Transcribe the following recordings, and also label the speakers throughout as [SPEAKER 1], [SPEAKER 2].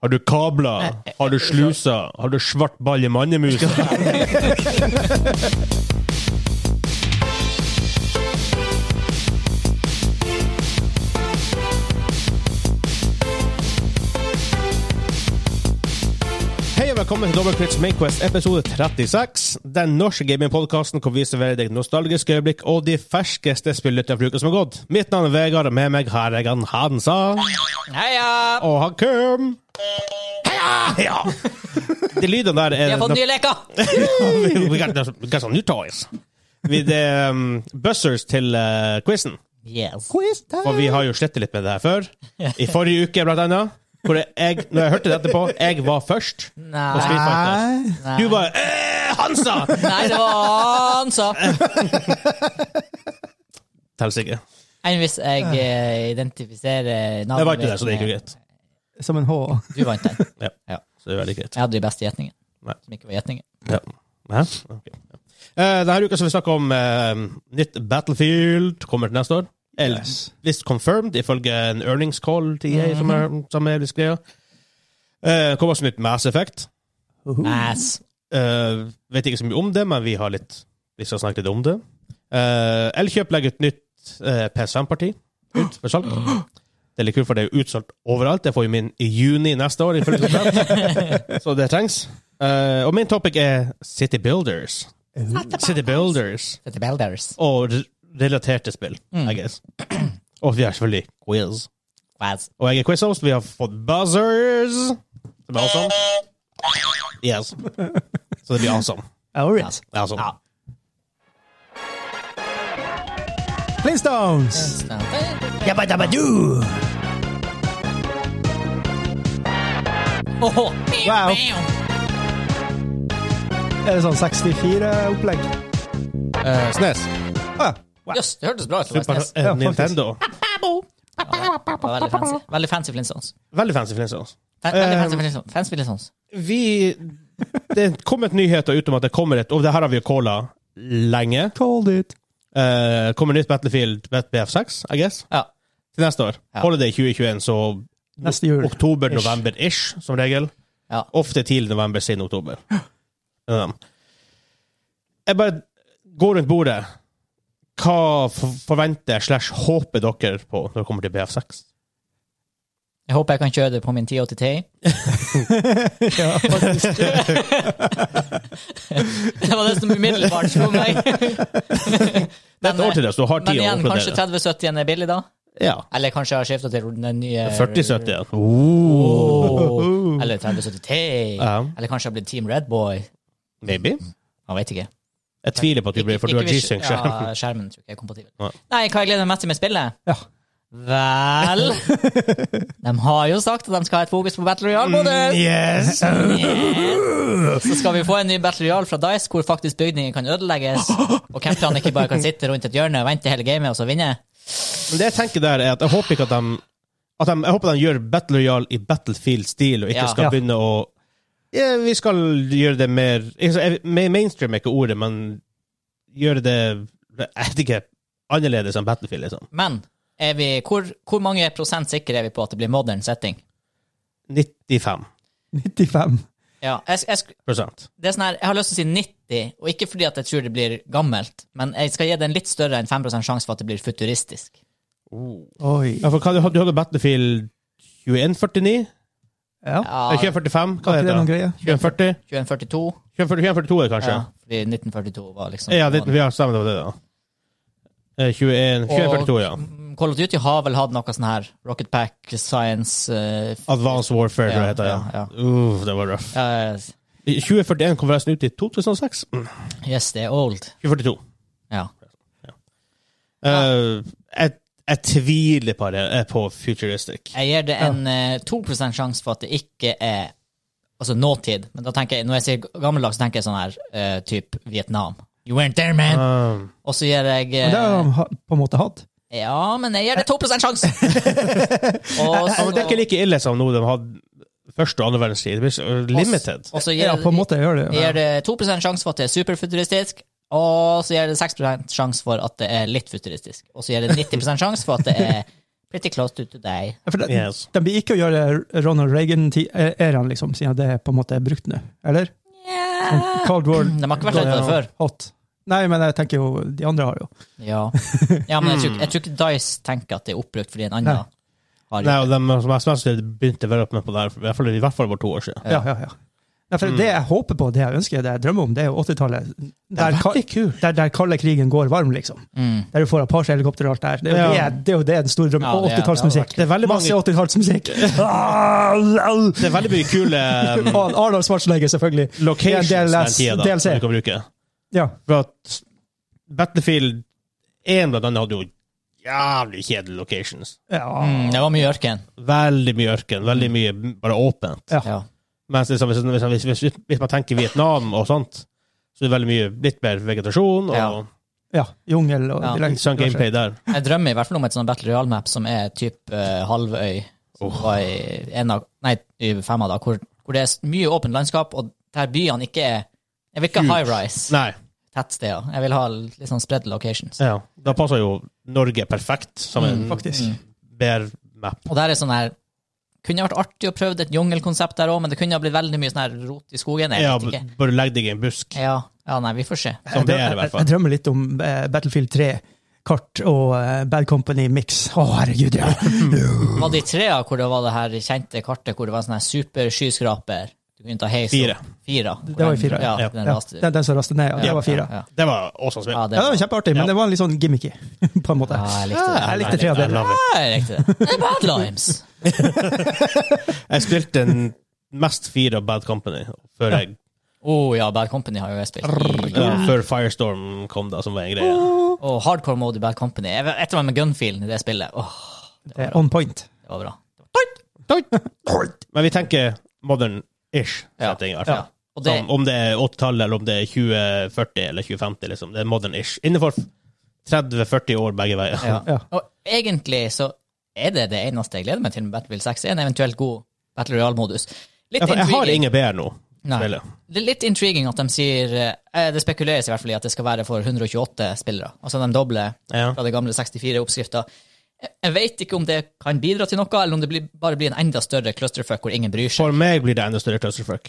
[SPEAKER 1] Har du kabler? Har du sluser? Har du svart ball i mannemusa? Hei og velkommen til Dobbeltkritts Mainquest episode 36. Den norske gamingpodkasten hvor vi serverer deg nostalgiske øyeblikk og de ferskeste spillene fra uka som har gått. Mitt navn er Vegard, og med meg har jeg han Hansa
[SPEAKER 2] Heia!
[SPEAKER 1] og han Køm. Ja! De lydene der er
[SPEAKER 2] Vi har fått nye leker!
[SPEAKER 1] We got, we got some new toys. altså. Vi det er um, buzzers til uh, quizen.
[SPEAKER 2] Yes.
[SPEAKER 1] Og vi har jo slettet litt med det her før. I forrige uke, blant annet. Hvor jeg, når jeg hørte det etterpå, jeg var først. på Street
[SPEAKER 2] Nei.
[SPEAKER 1] Fighter.
[SPEAKER 2] Nei.
[SPEAKER 1] Du bare eh, Hansa!
[SPEAKER 2] Nei, det var han sa.
[SPEAKER 1] Tels ikke.
[SPEAKER 2] Enn hvis jeg eh, identifiserer navnet
[SPEAKER 1] Jeg vant jo
[SPEAKER 2] mitt
[SPEAKER 1] det, så det gikk jo
[SPEAKER 2] med-
[SPEAKER 1] greit.
[SPEAKER 3] Som en H.
[SPEAKER 2] Du vant den.
[SPEAKER 1] Ja.
[SPEAKER 2] Ja.
[SPEAKER 1] Så det er veldig greit.
[SPEAKER 2] Jeg hadde de beste gjetningene.
[SPEAKER 1] Nei.
[SPEAKER 2] Som ikke var gjetninger.
[SPEAKER 1] Ja. Hæ? Ok. Eh, denne uka skal vi snakke om eh, nytt Battlefield kommer til neste år. Eller
[SPEAKER 3] Yes.
[SPEAKER 1] hvis confirmed, ifølge en earnings call til EA, som er, som er blitt skrevet. Eh, kommer også nytt Mass Effect.
[SPEAKER 2] Ass.
[SPEAKER 1] Eh, vet ikke så mye om det, men vi har litt Vi skal snakke litt om det. Eh, Elkjøp legger et nytt eh, PS5-parti ut for salg. Det er litt kult, for det er jo utsolgt overalt. Jeg får jo min i juni neste år, ifølge kontrakt. så det trengs. Eh, og min topic er City Builders. City Builders
[SPEAKER 2] Dette er Belders.
[SPEAKER 1] og re- relaterte spill, I guess. Og vi har selvfølgelig quiz.
[SPEAKER 2] Ass.
[SPEAKER 1] Og jeg er quizhost. Vi har fått buzzers, som er awesome. Yes. Så det blir awesome.
[SPEAKER 3] Alright.
[SPEAKER 1] Det er awesome.
[SPEAKER 2] Ja. sånn.
[SPEAKER 3] Flintstones! Jabba dabba doo!
[SPEAKER 2] Åhå.
[SPEAKER 3] Wow. Er det sånn 64-opplegg?
[SPEAKER 1] Eh, Snes.
[SPEAKER 3] Ah, wow.
[SPEAKER 2] Jøss, det hørtes bra ut.
[SPEAKER 1] Super
[SPEAKER 2] Lars Nes.
[SPEAKER 1] eh,
[SPEAKER 3] Ja, faktisk.
[SPEAKER 1] Nintendo.
[SPEAKER 2] Det var Veldig fancy. Veldig fancy altså. Flintstones.
[SPEAKER 1] Veldig fancy Flintstones.
[SPEAKER 2] Fan- Veldig fancy Flintstones. Fancy Flintstones.
[SPEAKER 1] Vi Det kom et nyheter ut om at det kommer et Og det her har vi jo calla lenge.
[SPEAKER 3] Called it.
[SPEAKER 1] Eh, kommer nytt Battlefield BF6, I guess,
[SPEAKER 2] Ja.
[SPEAKER 1] til neste år.
[SPEAKER 2] Ja.
[SPEAKER 1] Holiday 2021, så
[SPEAKER 3] Neste jul. Ish.
[SPEAKER 1] oktober-november-ish, som regel.
[SPEAKER 2] Ja.
[SPEAKER 1] Ofte tidlig november, sen oktober. Um, jeg bare går rundt bordet. Hva for- forventer slash håper dere på når det kommer til BF6?
[SPEAKER 2] Jeg håper jeg kan kjøre det på min 1080T.
[SPEAKER 3] Ja, faktisk.
[SPEAKER 2] Det var det som umiddelbart slo meg.
[SPEAKER 1] Det er et år til det, så du har
[SPEAKER 2] Men
[SPEAKER 1] tid å
[SPEAKER 2] igjen, kanskje
[SPEAKER 1] oppgradere.
[SPEAKER 2] 3070 er billig, da?
[SPEAKER 1] Ja.
[SPEAKER 2] Eller kanskje jeg har skifta til den nye
[SPEAKER 1] 40-70. altså. ja.
[SPEAKER 2] Oh. Åh. Eller 3070 T.
[SPEAKER 1] Oh. Ja.
[SPEAKER 2] Eller kanskje jeg har blitt Team Red Boy.
[SPEAKER 1] Maybe.
[SPEAKER 2] Jeg vet ikke.
[SPEAKER 1] Jeg tviler på at du blir for du har
[SPEAKER 2] Ikke hvis-
[SPEAKER 1] G-Sync. selv.
[SPEAKER 2] Ja, skjermen tror ikke jeg er kompatibel.
[SPEAKER 1] Nei.
[SPEAKER 2] Nei, hva jeg gleder meg mest til med spillet?
[SPEAKER 3] Ja.
[SPEAKER 2] Vel De har jo sagt at de skal ha et fokus på Battle
[SPEAKER 1] Mm,
[SPEAKER 2] Royale-modus!
[SPEAKER 1] Yes!
[SPEAKER 2] Så skal vi få en ny Battle Royale fra Dice, hvor faktisk bygninger kan ødelegges, og camperne ikke bare kan sitte rundt et hjørne og vente hele gamet og så vinne.
[SPEAKER 1] Men det jeg tenker der, er at jeg håper ikke at de at de, jeg håper de gjør Battle Royale i Battlefield-stil, og ikke
[SPEAKER 2] Ja.
[SPEAKER 1] skal
[SPEAKER 3] Ja.
[SPEAKER 1] begynne å ja, Vi skal gjøre det mer ikke så- jeg- ma- Mainstream er ikke ordet, men gjøre det Jeg vet ikke. Annerledes enn Battlefield, liksom.
[SPEAKER 2] Men er vi, hvor, hvor mange prosent sikre er vi på at det blir modern setting?
[SPEAKER 1] 95
[SPEAKER 3] 95.
[SPEAKER 2] Ja, jeg, jeg, sk- det er sånn her, jeg har lyst til å si 90, og ikke fordi at jeg tror det blir gammelt, men jeg skal gi det en litt større enn 5 sjanse for at det blir futuristisk.
[SPEAKER 3] Oi.
[SPEAKER 2] Oh.
[SPEAKER 1] Ja, for hva, du hadde- du hadde Battlefield 2149?
[SPEAKER 3] Ja.
[SPEAKER 1] Ja.
[SPEAKER 2] Ja,
[SPEAKER 1] 2145? Hva
[SPEAKER 3] Var ikke det
[SPEAKER 1] heter
[SPEAKER 3] noen
[SPEAKER 1] det?
[SPEAKER 3] greie?
[SPEAKER 1] 2140?
[SPEAKER 2] 2142.
[SPEAKER 1] 2142 er det kanskje?
[SPEAKER 2] Ja, fordi 1942 var liksom
[SPEAKER 1] Ja, det, ja stemmer det var det, da. Eh, 21, 2142, ja.
[SPEAKER 2] Mm, Call of Duty har vel hatt noe sånn her Rocket Pack, Science eh, f-
[SPEAKER 1] Advanced Warfare, tror jeg
[SPEAKER 2] Ja,
[SPEAKER 1] det heter. Ja.
[SPEAKER 2] ja,
[SPEAKER 1] Uff, det var røff.
[SPEAKER 2] eh,
[SPEAKER 1] 2041 kom forresten ut i 2006. Mm,
[SPEAKER 2] Yes, det er old.
[SPEAKER 1] 2042.
[SPEAKER 2] Ja.
[SPEAKER 1] Eh, jeg, jeg tviler på det, eh, på futuristic.
[SPEAKER 2] Jeg gir det en eh, 2 sjanse for at det ikke er Altså nåtid. Men da tenker jeg, når jeg sier gammeldags, så tenker jeg sånn her eh, typ Vietnam. You weren't there, man!
[SPEAKER 1] Um,
[SPEAKER 2] Og så gir jeg eh,
[SPEAKER 3] Men det har de ha- på en måte hatt.
[SPEAKER 2] Ja, men jeg gir det 2 sjanse! og,
[SPEAKER 1] ja, men det er ikke
[SPEAKER 2] så-
[SPEAKER 1] like ille som noe de hadde første og andre verdenskrig. Det blir så eh, limited.
[SPEAKER 2] og så gir,
[SPEAKER 3] Ja, på en måte gjør det jo.
[SPEAKER 2] gir det 2 sjanse for at det er superfuturistisk. Og så gir det 6 sjanse for at det er litt futuristisk. Og så gir det 90 sjanse for at det er Pretty close to today.
[SPEAKER 3] Ja, For de,
[SPEAKER 1] Yes.
[SPEAKER 3] de blir ikke å gjøre Ronald Reagan-æraen, liksom, siden det på en måte er brukt nå, eller? Sånn Cold War
[SPEAKER 2] De har ikke vært redde for det før.
[SPEAKER 3] hot. Nei, men jeg tenker jo, de andre har jo.
[SPEAKER 2] Ja, ja men jeg tror, ikke- jeg tror ikke Dice tenker at det er oppbrukt fordi en annen
[SPEAKER 3] Nei.
[SPEAKER 2] har
[SPEAKER 1] Nei, og de som jeg som jeg begynte å være oppe med på det her, i hvert fall, i hvert fall for to år siden.
[SPEAKER 2] Ja.
[SPEAKER 3] Ja, ja, ja. Nei, for Det jeg håper på, det jeg ønsker, det jeg drømmer om, det er jo 80-tallet. Der, ka- der, der kalde krigen går varm, liksom.
[SPEAKER 2] Mm.
[SPEAKER 3] Der du får Apache-helikopter og alt der. Det er jo
[SPEAKER 1] Ja.
[SPEAKER 3] det, det, er jo det den store drømmen.
[SPEAKER 2] Ja,
[SPEAKER 3] og
[SPEAKER 2] det- det hadde
[SPEAKER 3] 80-tallsmusikk.
[SPEAKER 1] Det er veldig
[SPEAKER 3] Masse
[SPEAKER 1] mange,
[SPEAKER 3] 80-tallsmusikk! Ah, au.
[SPEAKER 1] det er veldig mye kule um,
[SPEAKER 3] Og Arnold Schwarzenegger, selvfølgelig.
[SPEAKER 1] locations
[SPEAKER 3] Det er en
[SPEAKER 1] den
[SPEAKER 3] DLS,
[SPEAKER 1] tida da,
[SPEAKER 3] DLC.
[SPEAKER 1] som du kan bruke.
[SPEAKER 3] Ja.
[SPEAKER 1] For at Battlefield 1 blant annet hadde jo jævlig kjedelige locations.
[SPEAKER 3] Ja.
[SPEAKER 2] Mm, det var mye ørken.
[SPEAKER 1] Veldig mye ørken,
[SPEAKER 2] Mm.
[SPEAKER 1] veldig mye bare åpent.
[SPEAKER 3] Ja.
[SPEAKER 2] Ja.
[SPEAKER 1] Mens liksom, hvis, hvis, hvis, hvis, hvis man tenker Vietnam og sånt, så er det veldig mye litt mer vegetasjon og
[SPEAKER 2] Ja.
[SPEAKER 3] ja. Jungel og
[SPEAKER 2] Ja.
[SPEAKER 3] de lange-
[SPEAKER 1] litt sånn gameplay der.
[SPEAKER 2] Jeg drømmer i hvert fall om et sånt Battle Royale-map som er typ eh, halvøy, som var i, en av, nei, i fem av da, hvor, hvor det er s- mye åpent landskap, og der byene ikke er Jeg vil ikke ha
[SPEAKER 1] Huge.
[SPEAKER 2] high-rise
[SPEAKER 1] Nei.
[SPEAKER 2] tettsteder. Jeg vil ha litt sånn spread locations.
[SPEAKER 1] Ja. Da passer jo Norge perfekt som en
[SPEAKER 2] Mm,
[SPEAKER 3] Faktisk.
[SPEAKER 1] bedre map.
[SPEAKER 2] Og der er sånn her Kunne vært artig å prøve et jungelkonsept der òg, men det kunne ha blitt veldig mye sånn her rot i skogen. Jeg
[SPEAKER 1] Ja,
[SPEAKER 2] vet ikke.
[SPEAKER 1] bare legg deg i en busk.
[SPEAKER 2] Ja, ja, nei, vi får se.
[SPEAKER 1] Som det er, i hvert
[SPEAKER 3] Jeg, jeg
[SPEAKER 1] fall.
[SPEAKER 3] drømmer litt om eh, Battlefield 3-kart og eh, Bad Company-mix. Å, herregud, ja!
[SPEAKER 2] Var det i trea hvor det var det her kjente kartet hvor det var en sånn her superskyskraper? Du kunne ta heis
[SPEAKER 1] Fire.
[SPEAKER 2] opp. Fire.
[SPEAKER 3] Det var i fire,
[SPEAKER 2] Ja,
[SPEAKER 3] ja.
[SPEAKER 1] Ja.
[SPEAKER 2] den
[SPEAKER 3] ja.
[SPEAKER 2] raste-
[SPEAKER 3] Den, den som raste ned, ja, det
[SPEAKER 2] Ja,
[SPEAKER 3] var fire.
[SPEAKER 2] Ja,
[SPEAKER 1] Det var awesome spill.
[SPEAKER 2] ja. ja,
[SPEAKER 3] Ja, det var
[SPEAKER 2] det var
[SPEAKER 3] kjempeartig, men
[SPEAKER 1] Ja.
[SPEAKER 3] det var litt sånn gimmicky, på en måte.
[SPEAKER 2] Ja, jeg likte det.
[SPEAKER 3] Ja, jeg likte tre av
[SPEAKER 1] I
[SPEAKER 3] dem.
[SPEAKER 1] love it.
[SPEAKER 2] Ja, jeg likte det. Det er Bad Limes.
[SPEAKER 1] Jeg spilte den mest fire av Bad Company før, jeg,
[SPEAKER 2] Å Oh, ja, Bad Company har jo jeg spilt.
[SPEAKER 1] ja, før Firestorm kom, da, som var en greie.
[SPEAKER 2] Og hardcore mode i Bad Company. Jeg vet- jeg tror det var med gunfielen i det spillet. Åh,
[SPEAKER 3] Det er Eh, on point.
[SPEAKER 2] det var bra.
[SPEAKER 1] Men vi tenker modern-ish
[SPEAKER 2] Ja.
[SPEAKER 1] setting. i hvert
[SPEAKER 2] Ja.
[SPEAKER 1] fall.
[SPEAKER 2] Og det,
[SPEAKER 1] Som Om det er 80-tallet, eller om det er 2040 eller 2050. liksom. Det er modern-ish. Innenfor 30-40 år begge veier.
[SPEAKER 2] ja.
[SPEAKER 3] Ja.
[SPEAKER 2] Og egentlig så er det det eneste jeg gleder meg til med Battlefield 6, er en eventuelt god Battle Royale-modus. Litt
[SPEAKER 1] Ja, for jeg har
[SPEAKER 2] intriguing.
[SPEAKER 1] ingen BR nå.
[SPEAKER 2] Nei.
[SPEAKER 1] spillet.
[SPEAKER 2] Det er litt intriguing at de sier eh, Det spekuleres i hvert fall i at det skal være for 128 spillere. Altså de dobler
[SPEAKER 1] Ja.
[SPEAKER 2] fra det gamle 64-oppskrifta. Jeg vet ikke om det kan bidra til noe, eller om det blir, bare blir en enda større clusterfuck hvor ingen bryr seg.
[SPEAKER 1] For meg blir det enda større clusterfuck.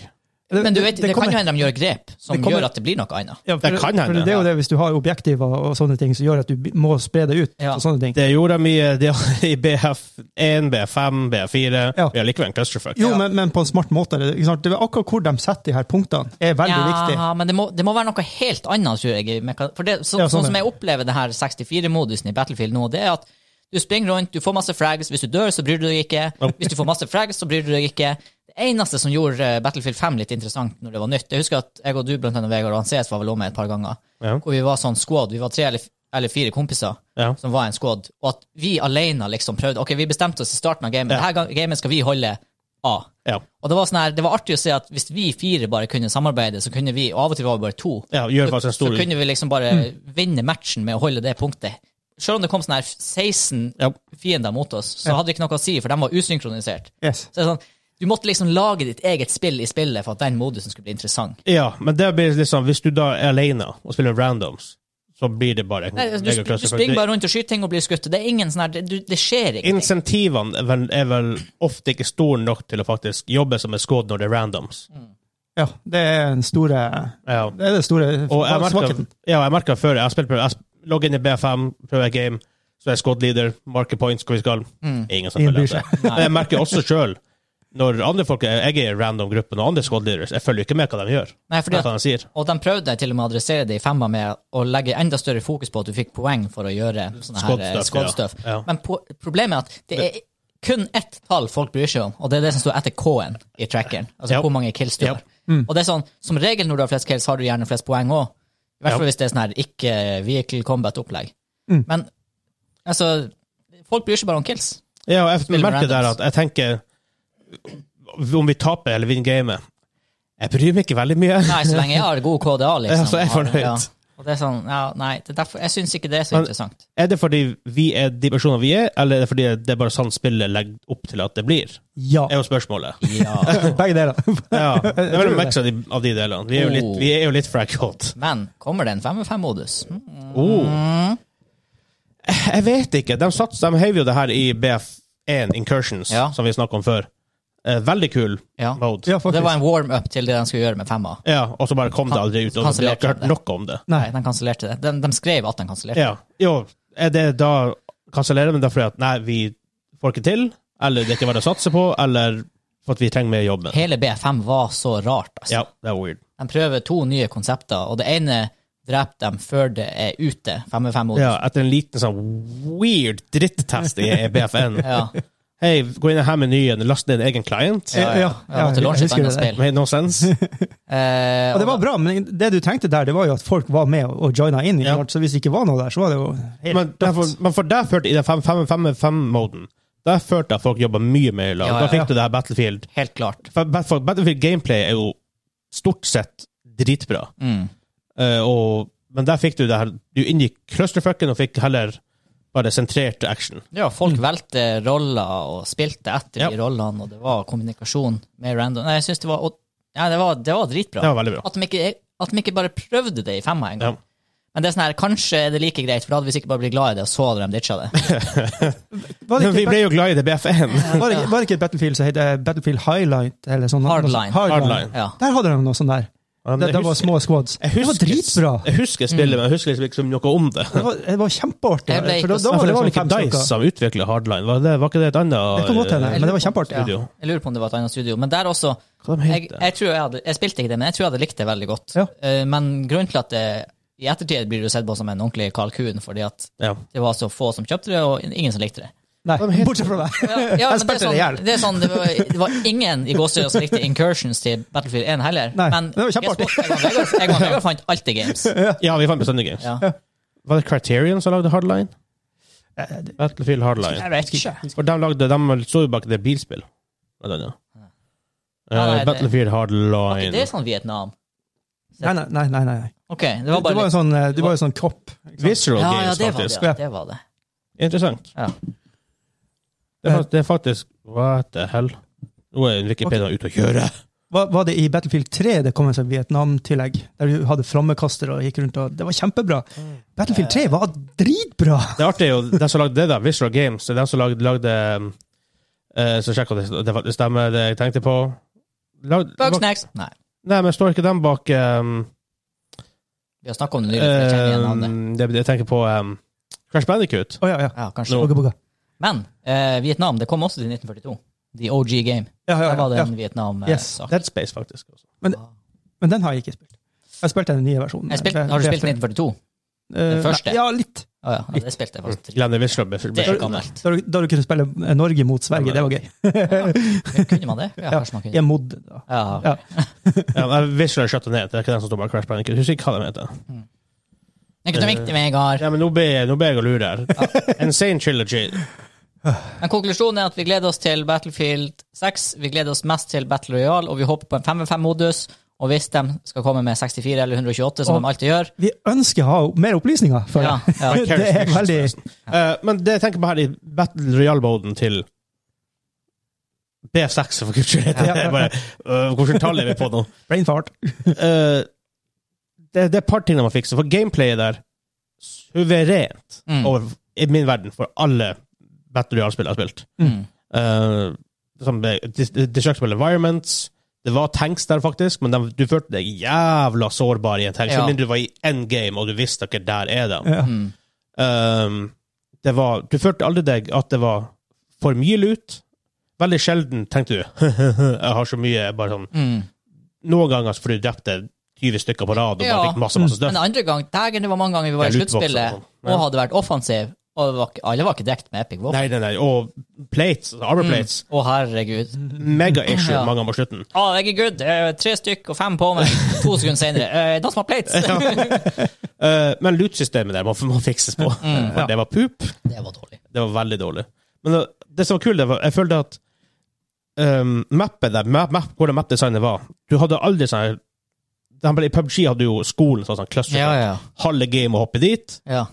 [SPEAKER 3] Det-
[SPEAKER 2] Men du vet,
[SPEAKER 3] det- det
[SPEAKER 2] det,
[SPEAKER 3] kommer-
[SPEAKER 2] kan jo hende de gjør grep som
[SPEAKER 3] det kommer-
[SPEAKER 2] gjør at det blir noe annet.
[SPEAKER 3] Ja, for
[SPEAKER 1] Det kan hende.
[SPEAKER 3] For det er jo det, hvis du har objektiver og sånne ting som gjør at du b- må spre det ut.
[SPEAKER 2] Ja.
[SPEAKER 3] og sånne ting.
[SPEAKER 1] Det gjorde de i, de, i BF1, BF5, BF4.
[SPEAKER 3] Ja.
[SPEAKER 1] Vi har likevel en clusterfuck.
[SPEAKER 3] Jo,
[SPEAKER 2] Ja.
[SPEAKER 3] men, men på en smart måte. det- Ikke sant? Det er akkurat hvor de setter de her punktene, er veldig viktig.
[SPEAKER 2] men det må, det må være noe helt annet, tror jeg. i meka- For det, så,
[SPEAKER 3] Ja, sånn
[SPEAKER 2] sånn,
[SPEAKER 3] er
[SPEAKER 2] som jeg opplever det her 64-modusen i Battlefield nå, det er at du springer rundt, du får masse frags. Hvis du dør, så bryr du deg ikke. Hvis du får masse frags, så bryr du deg ikke. Det eneste som gjorde eh, Battlefield 5 litt interessant når det var nytt, jeg husker at jeg og du, blant annet Vegard og han CS, var vel om et par ganger,
[SPEAKER 1] Ja.
[SPEAKER 2] hvor vi var sånn squad. Vi var tre eller, f- eller fire kompiser
[SPEAKER 1] Ja.
[SPEAKER 2] som var en squad, og at vi alene liksom prøvde Ok, vi bestemte oss i starten av gamet. Dette ga- gamet skal vi holde A.
[SPEAKER 1] Ja.
[SPEAKER 2] Og det var, sånn her, det var artig å se at hvis vi fire bare kunne samarbeide, så kunne vi, og av og til var vi bare to,
[SPEAKER 1] ja, gjør faktisk en
[SPEAKER 2] så
[SPEAKER 1] stor Mm.
[SPEAKER 2] kunne vi liksom bare vinne matchen med å holde det punktet. Selv om det kom sånn her 16
[SPEAKER 1] Ja.
[SPEAKER 2] fiender mot oss, så hadde det ikke noe å si, for de var usynkronisert.
[SPEAKER 3] Yes.
[SPEAKER 2] Så det er sånn, du måtte liksom lage ditt eget spill i spillet for at den modusen skulle bli interessant.
[SPEAKER 1] Ja, men det blir liksom, hvis du da er alene og spiller randoms, så blir det bare
[SPEAKER 2] Nei, altså, du,
[SPEAKER 1] mega
[SPEAKER 2] du
[SPEAKER 1] clusterfuck.
[SPEAKER 2] springer bare rundt og skyter ting og blir skutt. Det er ingen sånn her, det, du, det skjer
[SPEAKER 1] Det-
[SPEAKER 2] ingenting.
[SPEAKER 1] Insentivene er vel, er vel ofte ikke store nok til å faktisk jobbe som en squad når det er randoms.
[SPEAKER 2] Mm.
[SPEAKER 3] Ja, det er den store
[SPEAKER 1] Ja.
[SPEAKER 3] Det er den store
[SPEAKER 1] Og jeg merker,
[SPEAKER 3] svakheten.
[SPEAKER 1] ja, jeg merker før jeg har spilt jeg sp- logger inn i BFM, prøver et game, så er jeg squad leader, marker points hvor vi skal. Ingen som
[SPEAKER 3] Mm. Ingen
[SPEAKER 1] følger
[SPEAKER 3] bryr
[SPEAKER 1] etter. Men jeg merker også sjøl, når andre folk er, jeg er i random-gruppen og andre squad leaders, jeg følger ikke med hva de gjør.
[SPEAKER 2] Nei, fordi
[SPEAKER 1] Hva de
[SPEAKER 2] at
[SPEAKER 1] sier.
[SPEAKER 2] Og de prøvde til og med å adressere det i femma med å legge enda større fokus på at du fikk poeng for å gjøre sånne her eh,
[SPEAKER 1] Squad
[SPEAKER 2] squad stuff.
[SPEAKER 1] stuff, ja. Ja.
[SPEAKER 2] Men po problemet er at det er kun ett tall folk bryr seg om, og det er det som står etter K-en i trackeren. Altså
[SPEAKER 1] Ja.
[SPEAKER 2] hvor mange kills du
[SPEAKER 1] Ja. Mm.
[SPEAKER 2] har. Og det er sånn, som regel når du har flest kills, har du gjerne flest poeng òg. I
[SPEAKER 1] Ja.
[SPEAKER 2] hvert
[SPEAKER 1] Mm.
[SPEAKER 2] fall hvis det er sånn her ikke vehicle combat-opplegg. Men altså Folk bryr seg bare om kills.
[SPEAKER 1] Ja, og jeg
[SPEAKER 2] Spiller
[SPEAKER 1] merker der
[SPEAKER 2] randoms.
[SPEAKER 1] at jeg tenker om vi taper eller vinner gamet. Jeg bryr meg ikke veldig mye.
[SPEAKER 2] Nei, så lenge jeg har god KDA, liksom.
[SPEAKER 1] Ja, så er jeg
[SPEAKER 2] og har-
[SPEAKER 1] fornøyd.
[SPEAKER 2] Ja. Og det er sånn, ja, nei, det er derfor, jeg syns ikke det er så
[SPEAKER 1] Men-
[SPEAKER 2] interessant.
[SPEAKER 1] Er det fordi vi er de personene vi er, eller er det fordi det er bare sånn spillet legger opp til at det blir?
[SPEAKER 3] Ja.
[SPEAKER 1] Det er jo spørsmålet.
[SPEAKER 2] Ja.
[SPEAKER 3] Begge deler.
[SPEAKER 1] Ja, det er vel en mix av de, av de delene. Vi er jo litt,
[SPEAKER 2] Oh.
[SPEAKER 1] vi er jo litt fraggot.
[SPEAKER 2] Mm. Men kommer det en 5-5-modus?
[SPEAKER 1] Oh. Jeg vet ikke. De, sats, de heiv jo det her i BF1 Incursions,
[SPEAKER 2] Ja.
[SPEAKER 1] som vi snakka om før. Eh, veldig kul
[SPEAKER 2] Ja.
[SPEAKER 1] mode.
[SPEAKER 3] Ja,
[SPEAKER 2] Og Det
[SPEAKER 3] faktisk.
[SPEAKER 2] var en warm-up til det de skulle gjøre med femma.
[SPEAKER 1] Ja, og så bare kom det aldri ut. Og vi har
[SPEAKER 2] Kansellerte
[SPEAKER 1] ikke hørt
[SPEAKER 2] det.
[SPEAKER 1] noe om det.
[SPEAKER 3] Nei.
[SPEAKER 2] Nei, de kansellerte det. De, de skrev at de kansellerte.
[SPEAKER 1] Ja. Jo, er det da kansellerer vi det fordi at nei, vi får ikke til, eller det er ikke verdt å satse på, eller for at vi trenger mer jobben?
[SPEAKER 2] Hele B5 var så rart, altså.
[SPEAKER 1] Ja, det er weird.
[SPEAKER 2] De prøver to nye konsepter, og det ene dreper dem før det er ute. Fem med fem mot.
[SPEAKER 1] Ja, etter en liten sånn weird drittest i BFN.
[SPEAKER 2] Ja.
[SPEAKER 1] Hei, gå inn her med menyen, last ned en egen client.
[SPEAKER 3] Ja, ja.
[SPEAKER 2] Jeg måtte
[SPEAKER 3] jeg
[SPEAKER 2] launche et
[SPEAKER 3] husker
[SPEAKER 2] annet
[SPEAKER 3] det der.
[SPEAKER 2] spill.
[SPEAKER 1] Made no sense.
[SPEAKER 2] Eh,
[SPEAKER 3] Og det var bra, men det du tenkte der, det var jo at folk var med og- og joina inn. ikke
[SPEAKER 1] Ja.
[SPEAKER 3] sant? Så hvis det ikke var noe der, så var det jo helt
[SPEAKER 1] Men, derfor, men for der førte i den 5-5-5-moden, der førte jeg at folk jobba mye mer i lag.
[SPEAKER 2] Ja, ja,
[SPEAKER 1] Da fikk
[SPEAKER 3] ja.
[SPEAKER 1] du det her Battlefield.
[SPEAKER 2] Helt klart.
[SPEAKER 1] For for Battlefield gameplay er jo stort sett dritbra.
[SPEAKER 2] Mm.
[SPEAKER 1] Eh, og, men der fikk du det her Du inngikk clusterfucken og fikk heller bare sentrert action.
[SPEAKER 2] Ja, folk
[SPEAKER 3] Mm.
[SPEAKER 2] valgte roller og spilte etter
[SPEAKER 1] Ja.
[SPEAKER 2] de rollene, og det var kommunikasjon med random. Nei, jeg synes det var, og, ja, det var, det var dritbra.
[SPEAKER 1] Det var veldig bra.
[SPEAKER 2] At de ikke, at de ikke bare prøvde det i femma en gang.
[SPEAKER 1] Ja.
[SPEAKER 2] Men det er sånn her, kanskje er det like greit, for da hadde vi sikkert bare blitt glad i det, og så hadde de ditcha det.
[SPEAKER 3] Var det
[SPEAKER 1] Men vi
[SPEAKER 3] ikke,
[SPEAKER 1] ble jo glad i det BFN.
[SPEAKER 3] var det, var det ikke et Battlefield som het eh, Battlefield Highlight? Eller sånn,
[SPEAKER 2] Hardline.
[SPEAKER 1] Hardline.
[SPEAKER 2] Ja.
[SPEAKER 3] Der hadde de noe sånt der.
[SPEAKER 1] Ja, men
[SPEAKER 3] Det,
[SPEAKER 1] jeg
[SPEAKER 3] det var
[SPEAKER 1] husker-
[SPEAKER 3] små squads.
[SPEAKER 1] jeg
[SPEAKER 3] Det var
[SPEAKER 1] husker-
[SPEAKER 3] dritbra.
[SPEAKER 1] Jeg husker spillet, men jeg husker liksom ikke noe om det.
[SPEAKER 3] Det var, det var kjempeartig.
[SPEAKER 2] Jeg ble ikke
[SPEAKER 3] For da,
[SPEAKER 2] så-
[SPEAKER 3] da
[SPEAKER 1] Nei,
[SPEAKER 3] var
[SPEAKER 1] for
[SPEAKER 3] det
[SPEAKER 1] det var
[SPEAKER 3] vel
[SPEAKER 1] ikke
[SPEAKER 3] fem
[SPEAKER 1] Dice
[SPEAKER 3] stykker.
[SPEAKER 1] som utvikla Hardline, var det, var ikke det et annet
[SPEAKER 3] Det kan godt hende,
[SPEAKER 1] eh,
[SPEAKER 3] men det var kjempeartig.
[SPEAKER 1] studio?
[SPEAKER 2] Jeg lurer på om det var et annet studio. Men der også
[SPEAKER 1] Hva de
[SPEAKER 2] jeg,
[SPEAKER 1] heter?
[SPEAKER 2] jeg, tror jeg, hadde, jeg spilte ikke det, men jeg tror jeg hadde likt det veldig godt.
[SPEAKER 3] Ja.
[SPEAKER 2] Eh, Men grunnen til at det i ettertid blir du sett på som en ordentlig kalkun, fordi at
[SPEAKER 1] Ja.
[SPEAKER 2] det var så få som kjøpte det, og ingen som likte det.
[SPEAKER 3] Nei,
[SPEAKER 1] Hva de heter?
[SPEAKER 3] bortsett fra deg.
[SPEAKER 2] Ja, ja,
[SPEAKER 3] Jeg
[SPEAKER 2] men det, er
[SPEAKER 3] spilte det i
[SPEAKER 2] sånn,
[SPEAKER 3] hjel.
[SPEAKER 2] det, er sånn, det, var, det var ingen i Gåsøya som likte Incursions til Battlefield 1 heller.
[SPEAKER 3] Nei,
[SPEAKER 2] men
[SPEAKER 3] det var
[SPEAKER 2] jeg,
[SPEAKER 3] kjempeartig.
[SPEAKER 2] jeg, og Vegard- jeg og Vegard fant alltid games.
[SPEAKER 1] ja, vi fant bestandig games.
[SPEAKER 2] Ja.
[SPEAKER 1] Var det Criterion som lagde Hardline?
[SPEAKER 3] Eh, det-
[SPEAKER 1] Battlefield Hardline.
[SPEAKER 2] Jeg vet ikke.
[SPEAKER 1] For de lagde, de så jo bak det bilspill. Blant annet. Eh,
[SPEAKER 2] Ja, nei, det-
[SPEAKER 1] Battlefield
[SPEAKER 2] Var ikke det
[SPEAKER 1] Hardline.
[SPEAKER 2] sånn Vietnam?
[SPEAKER 3] Nei, nei, nei. nei, nei.
[SPEAKER 2] Ok, det
[SPEAKER 3] Du
[SPEAKER 2] var
[SPEAKER 3] var
[SPEAKER 2] bare
[SPEAKER 3] jo
[SPEAKER 2] litt
[SPEAKER 3] sånn, eh, du var jo sånn kopp. ikke sant?
[SPEAKER 1] Visceral
[SPEAKER 2] Ja, ja,
[SPEAKER 1] Games,
[SPEAKER 2] det var det.
[SPEAKER 1] faktisk.
[SPEAKER 2] Ja, det var det.
[SPEAKER 1] Interessant.
[SPEAKER 2] Ja.
[SPEAKER 1] Det, er, fakt- det er faktisk What the hell? Nå er Wikipedia ute å kjøre.
[SPEAKER 3] Var, var det i Battlefield 3 det kom en sånn Vietnam-tillegg? Der du hadde flammekaster og gikk rundt og Det var kjempebra. Battlefield 3 var dritbra!
[SPEAKER 1] Det artige er jo de som lagde det, da. Visceral Games. Det er de som lagde, lagde eh, Så sjekk om det, det faktisk stemmer, det jeg tenkte på. Lag, bak,
[SPEAKER 2] Bugsnacks. Nei,
[SPEAKER 1] nei, men står ikke dem bak um,
[SPEAKER 2] vi har snakka om det nylig. for Jeg kjenner igjen navnet.
[SPEAKER 1] det, Jeg tenker på um, Crash Bandicoot.
[SPEAKER 3] Å ja, ja.
[SPEAKER 2] Ja, kanskje.
[SPEAKER 1] Nå.
[SPEAKER 3] Bugga, bugga.
[SPEAKER 2] Men eh, Vietnam, det kom også til 1942. The OG Game.
[SPEAKER 3] Ja, ja,
[SPEAKER 2] Der var det
[SPEAKER 3] ja.
[SPEAKER 2] en eh, Vietnam-sak.
[SPEAKER 1] Dead Space, faktisk. Også.
[SPEAKER 3] Men den har jeg ikke spilt. Jeg har spilt den nye versjonen.
[SPEAKER 2] Har du spilt 1942?
[SPEAKER 3] den
[SPEAKER 2] første?
[SPEAKER 3] Eh, Ja, litt.
[SPEAKER 2] Å ja, ja, det spilte jeg faktisk.
[SPEAKER 1] Glenn Visceral Ble-
[SPEAKER 2] Det
[SPEAKER 1] ble-
[SPEAKER 2] er gammelt.
[SPEAKER 3] Da du, da du kunne spille Norge mot Sverige, det var gøy.
[SPEAKER 2] Kunne man det? Ja, kanskje man kunne.
[SPEAKER 3] Jeg modde da.
[SPEAKER 2] Ja,
[SPEAKER 3] Ja.
[SPEAKER 1] ja, men Visceral shut det ned. Det er ikke den som står bak Crash Bandicoot. Jeg husker ikke hva de heter.
[SPEAKER 2] Det er ikke noe viktig, Vegard.
[SPEAKER 1] Ja, men nå ber jeg nå ber jeg å lure her. Insane Trilogy.
[SPEAKER 2] Men konklusjonen er at vi gleder oss til Battlefield 6. Vi gleder oss mest til Battle Royale, og vi håper på en 5-5-modus. Og hvis de skal komme med 64 eller 128, som
[SPEAKER 3] Og-
[SPEAKER 2] de alltid gjør
[SPEAKER 3] Vi ønsker å ha mer opplysninger. For
[SPEAKER 2] Ja, ja.
[SPEAKER 3] det er veldig
[SPEAKER 1] Eh, men det jeg tenker på her i Battle Royale-moden til B6 for kultur, det
[SPEAKER 3] Ja.
[SPEAKER 1] er bare øh, Hvilket tall er vi på nå?
[SPEAKER 3] brain fart.
[SPEAKER 1] Eh, det, det er et par ting de må fikse, for gameplayet der suverent
[SPEAKER 2] Mm.
[SPEAKER 1] over, i min verden for alle Battle Royale-spill jeg har spilt.
[SPEAKER 2] mm.
[SPEAKER 1] Eh, som det- det- Destructible Environments. Det var tanks der, faktisk, men de, du følte deg jævla sårbar i en tank.
[SPEAKER 2] Ja.
[SPEAKER 1] Så mindre du var i end game og du visste ikke der er de.
[SPEAKER 3] Ja.
[SPEAKER 2] Mm.
[SPEAKER 1] Um, det var, du følte aldri deg at det var for mye lut. Veldig sjelden tenkte du jeg har så mye bare sånn.
[SPEAKER 2] Mm.
[SPEAKER 1] Noen ganger så får du drept 20 stykker på rad og bare
[SPEAKER 2] Ja.
[SPEAKER 1] fikk masse masse
[SPEAKER 2] Men
[SPEAKER 1] støff.
[SPEAKER 2] andre gang, dagen det var mange ganger vi var
[SPEAKER 1] Det
[SPEAKER 2] i
[SPEAKER 1] er lootboxer
[SPEAKER 2] sluttspillet
[SPEAKER 1] og sånn. Ja.
[SPEAKER 2] og hadde vært offensiv, og det var, ikke- alle var ikke dekt med epic våpen.
[SPEAKER 1] Nei, nei, nei. Og plates, armor plates,
[SPEAKER 2] Å, herregud.
[SPEAKER 1] mega issue
[SPEAKER 2] Mm. Ja.
[SPEAKER 1] mange ganger på slutten.
[SPEAKER 2] Å, herregud, eh, tre stykk og fem på meg. To sekunder senere. eh, De som har plates!
[SPEAKER 1] Uh, men loot-systemet der må, må fikses på.
[SPEAKER 2] Mm.
[SPEAKER 1] For
[SPEAKER 3] Ja.
[SPEAKER 1] Det var pup.
[SPEAKER 2] Det var dårlig.
[SPEAKER 1] Det var veldig dårlig. Men det, det som var kult, det var jeg følte at um, mappet der, map, map, hvordan mapdesignet var Du hadde aldri sånn her- de ble- I PubG hadde jo skolen som var sånn cluster.
[SPEAKER 2] Ja, ja.
[SPEAKER 1] Halve game å hoppe dit.
[SPEAKER 2] ja.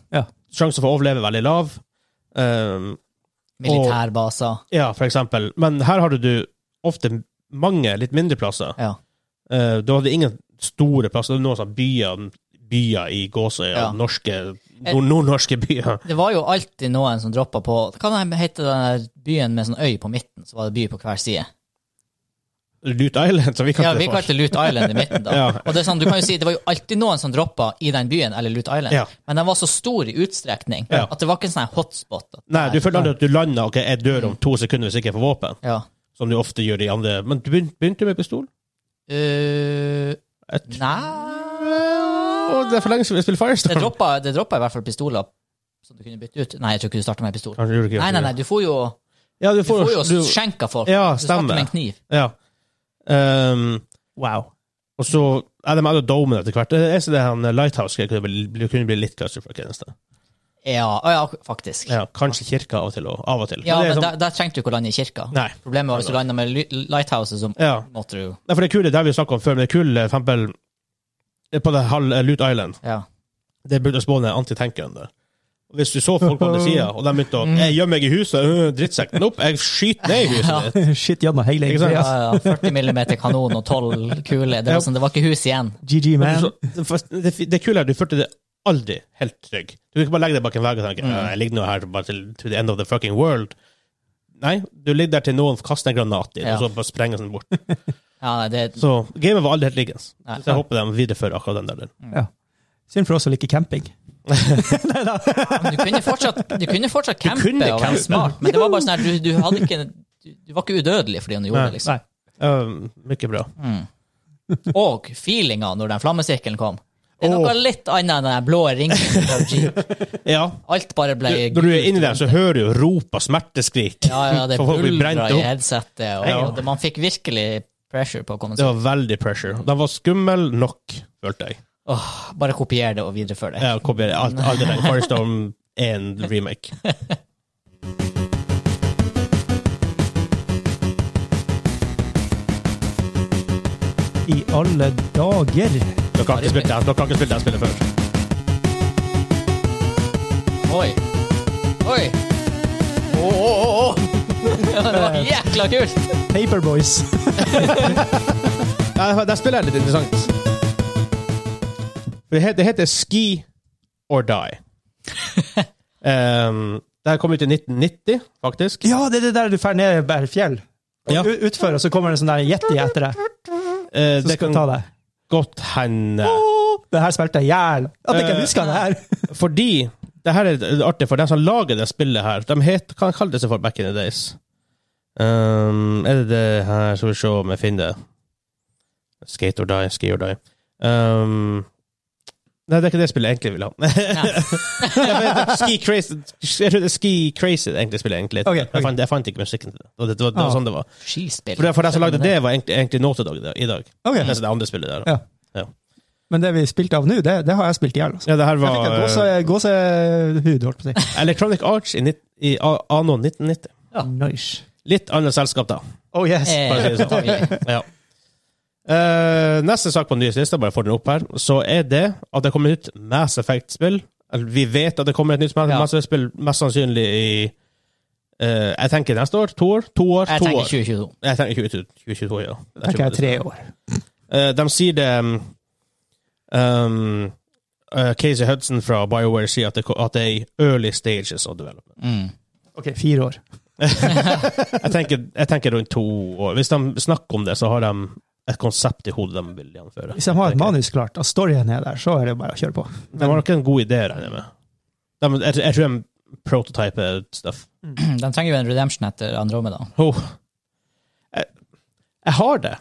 [SPEAKER 1] Sjansen for å overleve er veldig lav. Um,
[SPEAKER 2] Militærbaser.
[SPEAKER 1] ja, for eksempel. Men her hadde du ofte mange litt mindre plasser. Eh,
[SPEAKER 2] Ja.
[SPEAKER 1] Uh, du hadde ingen store plasser. Det var noen sånne byer, byer i Gåsøya.
[SPEAKER 2] Ja. Eh.
[SPEAKER 1] Norske, nord nordnorske byer.
[SPEAKER 2] Det var jo alltid noen som droppa på Hva den heter den der byen med sånn øy på midten, så var det by på hver side?
[SPEAKER 1] Lute Island, som vi kalte
[SPEAKER 2] Ja, vi
[SPEAKER 1] det for.
[SPEAKER 2] kalte det Lute Island i midten, da.
[SPEAKER 1] Ja.
[SPEAKER 2] Og det er sånn, du kan jo si, det var jo alltid noen som droppa i den byen, eller Lute Island,
[SPEAKER 1] Ja.
[SPEAKER 2] men den var så stor i utstrekning
[SPEAKER 1] Ja.
[SPEAKER 2] at det var ikke en sånn her hotspot. at
[SPEAKER 1] Nei, du
[SPEAKER 2] der-
[SPEAKER 1] føler aldri at du lander og jeg dør om to sekunder hvis jeg ikke får våpen.
[SPEAKER 2] Ja.
[SPEAKER 1] Som du ofte gjør i andre Men du begyn- begynte du med pistol?
[SPEAKER 2] Uh,
[SPEAKER 1] Jeg tror-
[SPEAKER 2] nei
[SPEAKER 1] Å, Det er for lenge siden vi spilte
[SPEAKER 2] Det
[SPEAKER 1] Firestorm.
[SPEAKER 2] droppa, det droppa i hvert fall pistoler som du kunne bytte ut. Nei, jeg tror ikke du starta med pistol.
[SPEAKER 1] Kanskje du gjorde ikke
[SPEAKER 2] Nei, nei, nei, du får jo,
[SPEAKER 1] Ja, du
[SPEAKER 2] du får jo
[SPEAKER 1] du-
[SPEAKER 2] skjenka folk.
[SPEAKER 1] Ja,
[SPEAKER 2] du starter med
[SPEAKER 1] stemmer.
[SPEAKER 2] en kniv.
[SPEAKER 1] Ja. Ehm,
[SPEAKER 3] Wow.
[SPEAKER 1] og så ja, De hadde jo domen etter hvert. Jeg ser det han eh, Lighthouse jeg kunne bli, kunne bli litt claustrophobic. i det neste.
[SPEAKER 2] Ja, å ja, faktisk. Ja,
[SPEAKER 1] Ja, kanskje kirka av og til. Og, av og til. Men
[SPEAKER 2] men
[SPEAKER 1] det er sånn,
[SPEAKER 2] der, der trengte du ikke å lande i kirka.
[SPEAKER 1] Nei.
[SPEAKER 2] Problemet var hvis du landa med ly- lighthouses, som
[SPEAKER 1] Ja.
[SPEAKER 2] måtte du
[SPEAKER 1] Nei, for det kule, det har vi snakket om før, men det kule, for eksempel eh, på det halv eh, Lute Island,
[SPEAKER 2] Ja.
[SPEAKER 1] det begynte å spåne antitankeren der. Og Hvis du så folk på andre sida, og de begynte å Jeg gjemmer meg i huset, øh, drittsekk. Nope, jeg skyter ned i huset ditt.
[SPEAKER 3] Shit, Janna Hegle.
[SPEAKER 1] Ikke sant?
[SPEAKER 2] Ja,
[SPEAKER 3] Ja.
[SPEAKER 2] ja, 40 millimeter kanon og 12 kuler. Det
[SPEAKER 1] Ja.
[SPEAKER 2] var, sånn, det var ikke hus igjen.
[SPEAKER 3] GG,
[SPEAKER 1] Men
[SPEAKER 3] man.
[SPEAKER 1] du så- fast- Det, det kule er at du følte det aldri helt trygg. Du kan ikke bare legge deg bak en vegg og tenke «Ja, Jeg ligger nå her bare til to the end of the fucking world. Nei, du ligger der til noen kaster en granat i,
[SPEAKER 2] Ja.
[SPEAKER 1] og så bare sprenger den bort.
[SPEAKER 2] Ja, nei, det,
[SPEAKER 1] Så gamet var aldri helt liggende.
[SPEAKER 2] Nei.
[SPEAKER 1] Så jeg håper de viderefører akkurat den der.
[SPEAKER 3] Ja. Synd for oss som liker camping.
[SPEAKER 2] men du, kunne fortsatt, du kunne fortsatt campe
[SPEAKER 1] kunne
[SPEAKER 2] og
[SPEAKER 1] campe.
[SPEAKER 2] være smart, men det var bare sånn her, du, du, hadde ikke, du, du var ikke udødelig fordi han gjorde
[SPEAKER 1] Nei.
[SPEAKER 2] det. liksom.
[SPEAKER 3] Nei.
[SPEAKER 1] Um, mye bra.
[SPEAKER 2] Og feelinga når den flammesirkelen kom. Det er noe
[SPEAKER 1] Åh.
[SPEAKER 2] litt annet enn den blå ringen. fra Jeep.
[SPEAKER 1] Ja.
[SPEAKER 2] Alt bare ble
[SPEAKER 1] Du, når du er inni der, så hører du jo rop og smerteskrik.
[SPEAKER 2] Ja, ja, det
[SPEAKER 1] For folk blir brent
[SPEAKER 2] buldra i
[SPEAKER 1] opp.
[SPEAKER 2] headsetet, og,
[SPEAKER 1] Ja.
[SPEAKER 2] og det, man fikk virkelig pressure på å komme
[SPEAKER 1] Det
[SPEAKER 2] seg
[SPEAKER 1] var veldig pressure. Den var skummel nok, følte jeg.
[SPEAKER 2] Åh, Bare kopier det og viderefør det.
[SPEAKER 1] Jeg kopierer alt, alt det der. Firestorm 1 remake.
[SPEAKER 3] I alle dager.
[SPEAKER 1] Dere har ikke spilt det, dere har ikke spilt det spillet før.
[SPEAKER 2] Oi. Oi. Åh, åh, åh, åh. det var jækla kult!
[SPEAKER 3] Paperboys.
[SPEAKER 1] Ja, det spillet er litt interessant. For Det heter, det heter Ski or Die. um, det her kom ut i 1990, faktisk.
[SPEAKER 3] Ja, det er det der du drar ned bergfjell.
[SPEAKER 1] Ja.
[SPEAKER 3] Ja. Utfor, og så kommer det en sånn der yeti etter deg.
[SPEAKER 1] Eh,
[SPEAKER 3] Så
[SPEAKER 1] det
[SPEAKER 3] skal
[SPEAKER 1] kan
[SPEAKER 3] ta deg.
[SPEAKER 1] godt hende
[SPEAKER 3] Det her spilte jeg i hjel. At jeg ikke
[SPEAKER 1] Eh.
[SPEAKER 3] husker det her.
[SPEAKER 1] Fordi det her er artig, for de som lager det spillet her, de het, hva kalte de seg for back in the days? Um, er det det her Skal vi se om jeg finner det. Skate or die, ski or die. Um, nei, det er ikke det spillet jeg egentlig vil ha. Jeg vet, ski crazy Jeg tror det er Ski Crazy det egentlig spillet egentlig.
[SPEAKER 3] Ok, ok.
[SPEAKER 1] Jeg, fant, jeg fant ikke musikken til det. Og det, det, var, det var
[SPEAKER 3] Ah.
[SPEAKER 1] sånn det var.
[SPEAKER 2] Skispill.
[SPEAKER 1] For det, for de som lagde det, var egentlig, egentlig Naughty Dog i dag.
[SPEAKER 3] Ok.
[SPEAKER 1] Det er det andre spillet der.
[SPEAKER 3] Ja. Men det vi spilte av nå, det, det har jeg spilt i hjel. Altså.
[SPEAKER 1] Ja, det her
[SPEAKER 3] Jeg fikk en gåse,
[SPEAKER 1] var eh,
[SPEAKER 3] gåsehud, holdt på å si.
[SPEAKER 1] Electronic Arts i, nitt- i a- anno 1990.
[SPEAKER 2] Ja.
[SPEAKER 3] Nice.
[SPEAKER 1] Litt annet selskap, da.
[SPEAKER 3] Oh yes.
[SPEAKER 2] Eh,
[SPEAKER 1] Bare si det sånn.
[SPEAKER 2] antagelig.
[SPEAKER 1] Ja. Eh, neste sak på den nye lista, bare få den opp her, så er det at det kommer ut Mass Effect-spill. Eller, Vi vet at det kommer et nytt Mass
[SPEAKER 2] Ja.
[SPEAKER 1] Mass Effect-spill, mest sannsynlig i eh, Jeg tenker neste år. To år. To år.
[SPEAKER 2] Jeg
[SPEAKER 1] to
[SPEAKER 2] tenker
[SPEAKER 1] år.
[SPEAKER 2] 2022.
[SPEAKER 1] Jeg tenker 2022, 2022 ja. Jeg
[SPEAKER 3] Tenker
[SPEAKER 1] tror
[SPEAKER 3] jeg er tre
[SPEAKER 1] det.
[SPEAKER 3] år.
[SPEAKER 1] Eh, de sier det um, um, eh, Casey Hudson fra BioWare sier at det, ko- at det er i early stages of development.
[SPEAKER 2] Mm.
[SPEAKER 3] Ok, fire år.
[SPEAKER 1] Jeg tenker, jeg tenker rundt to år. Hvis de snakker om det, så har de et konsept i hodet de vil gjennomføre.
[SPEAKER 3] Hvis de har
[SPEAKER 1] Tenker
[SPEAKER 3] et
[SPEAKER 1] jeg.
[SPEAKER 3] manus klart, og storyen er der, så er det bare å kjøre på.
[SPEAKER 1] De har nok en god idé, regner jeg med. De, jeg, jeg tror de prototyper stuff.
[SPEAKER 2] De trenger jo en redemption etter Andromeda.
[SPEAKER 1] Oh. Jeg, jeg har det.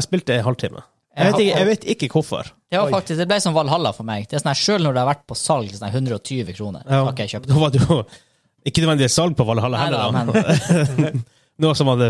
[SPEAKER 1] Jeg spilte en halvtime. Jeg vet ikke, jeg vet ikke hvorfor.
[SPEAKER 2] Det var
[SPEAKER 3] Oi.
[SPEAKER 2] faktisk, det ble som Valhalla for meg. Det er sånn her, Selv når det har vært på salg sånn her 120 kroner,
[SPEAKER 1] Ja.
[SPEAKER 2] har ikke jeg kjøpt.
[SPEAKER 1] Da var det jo ikke nødvendigvis salg på Valhalla
[SPEAKER 2] Nei da,
[SPEAKER 1] heller. da. Noe som hadde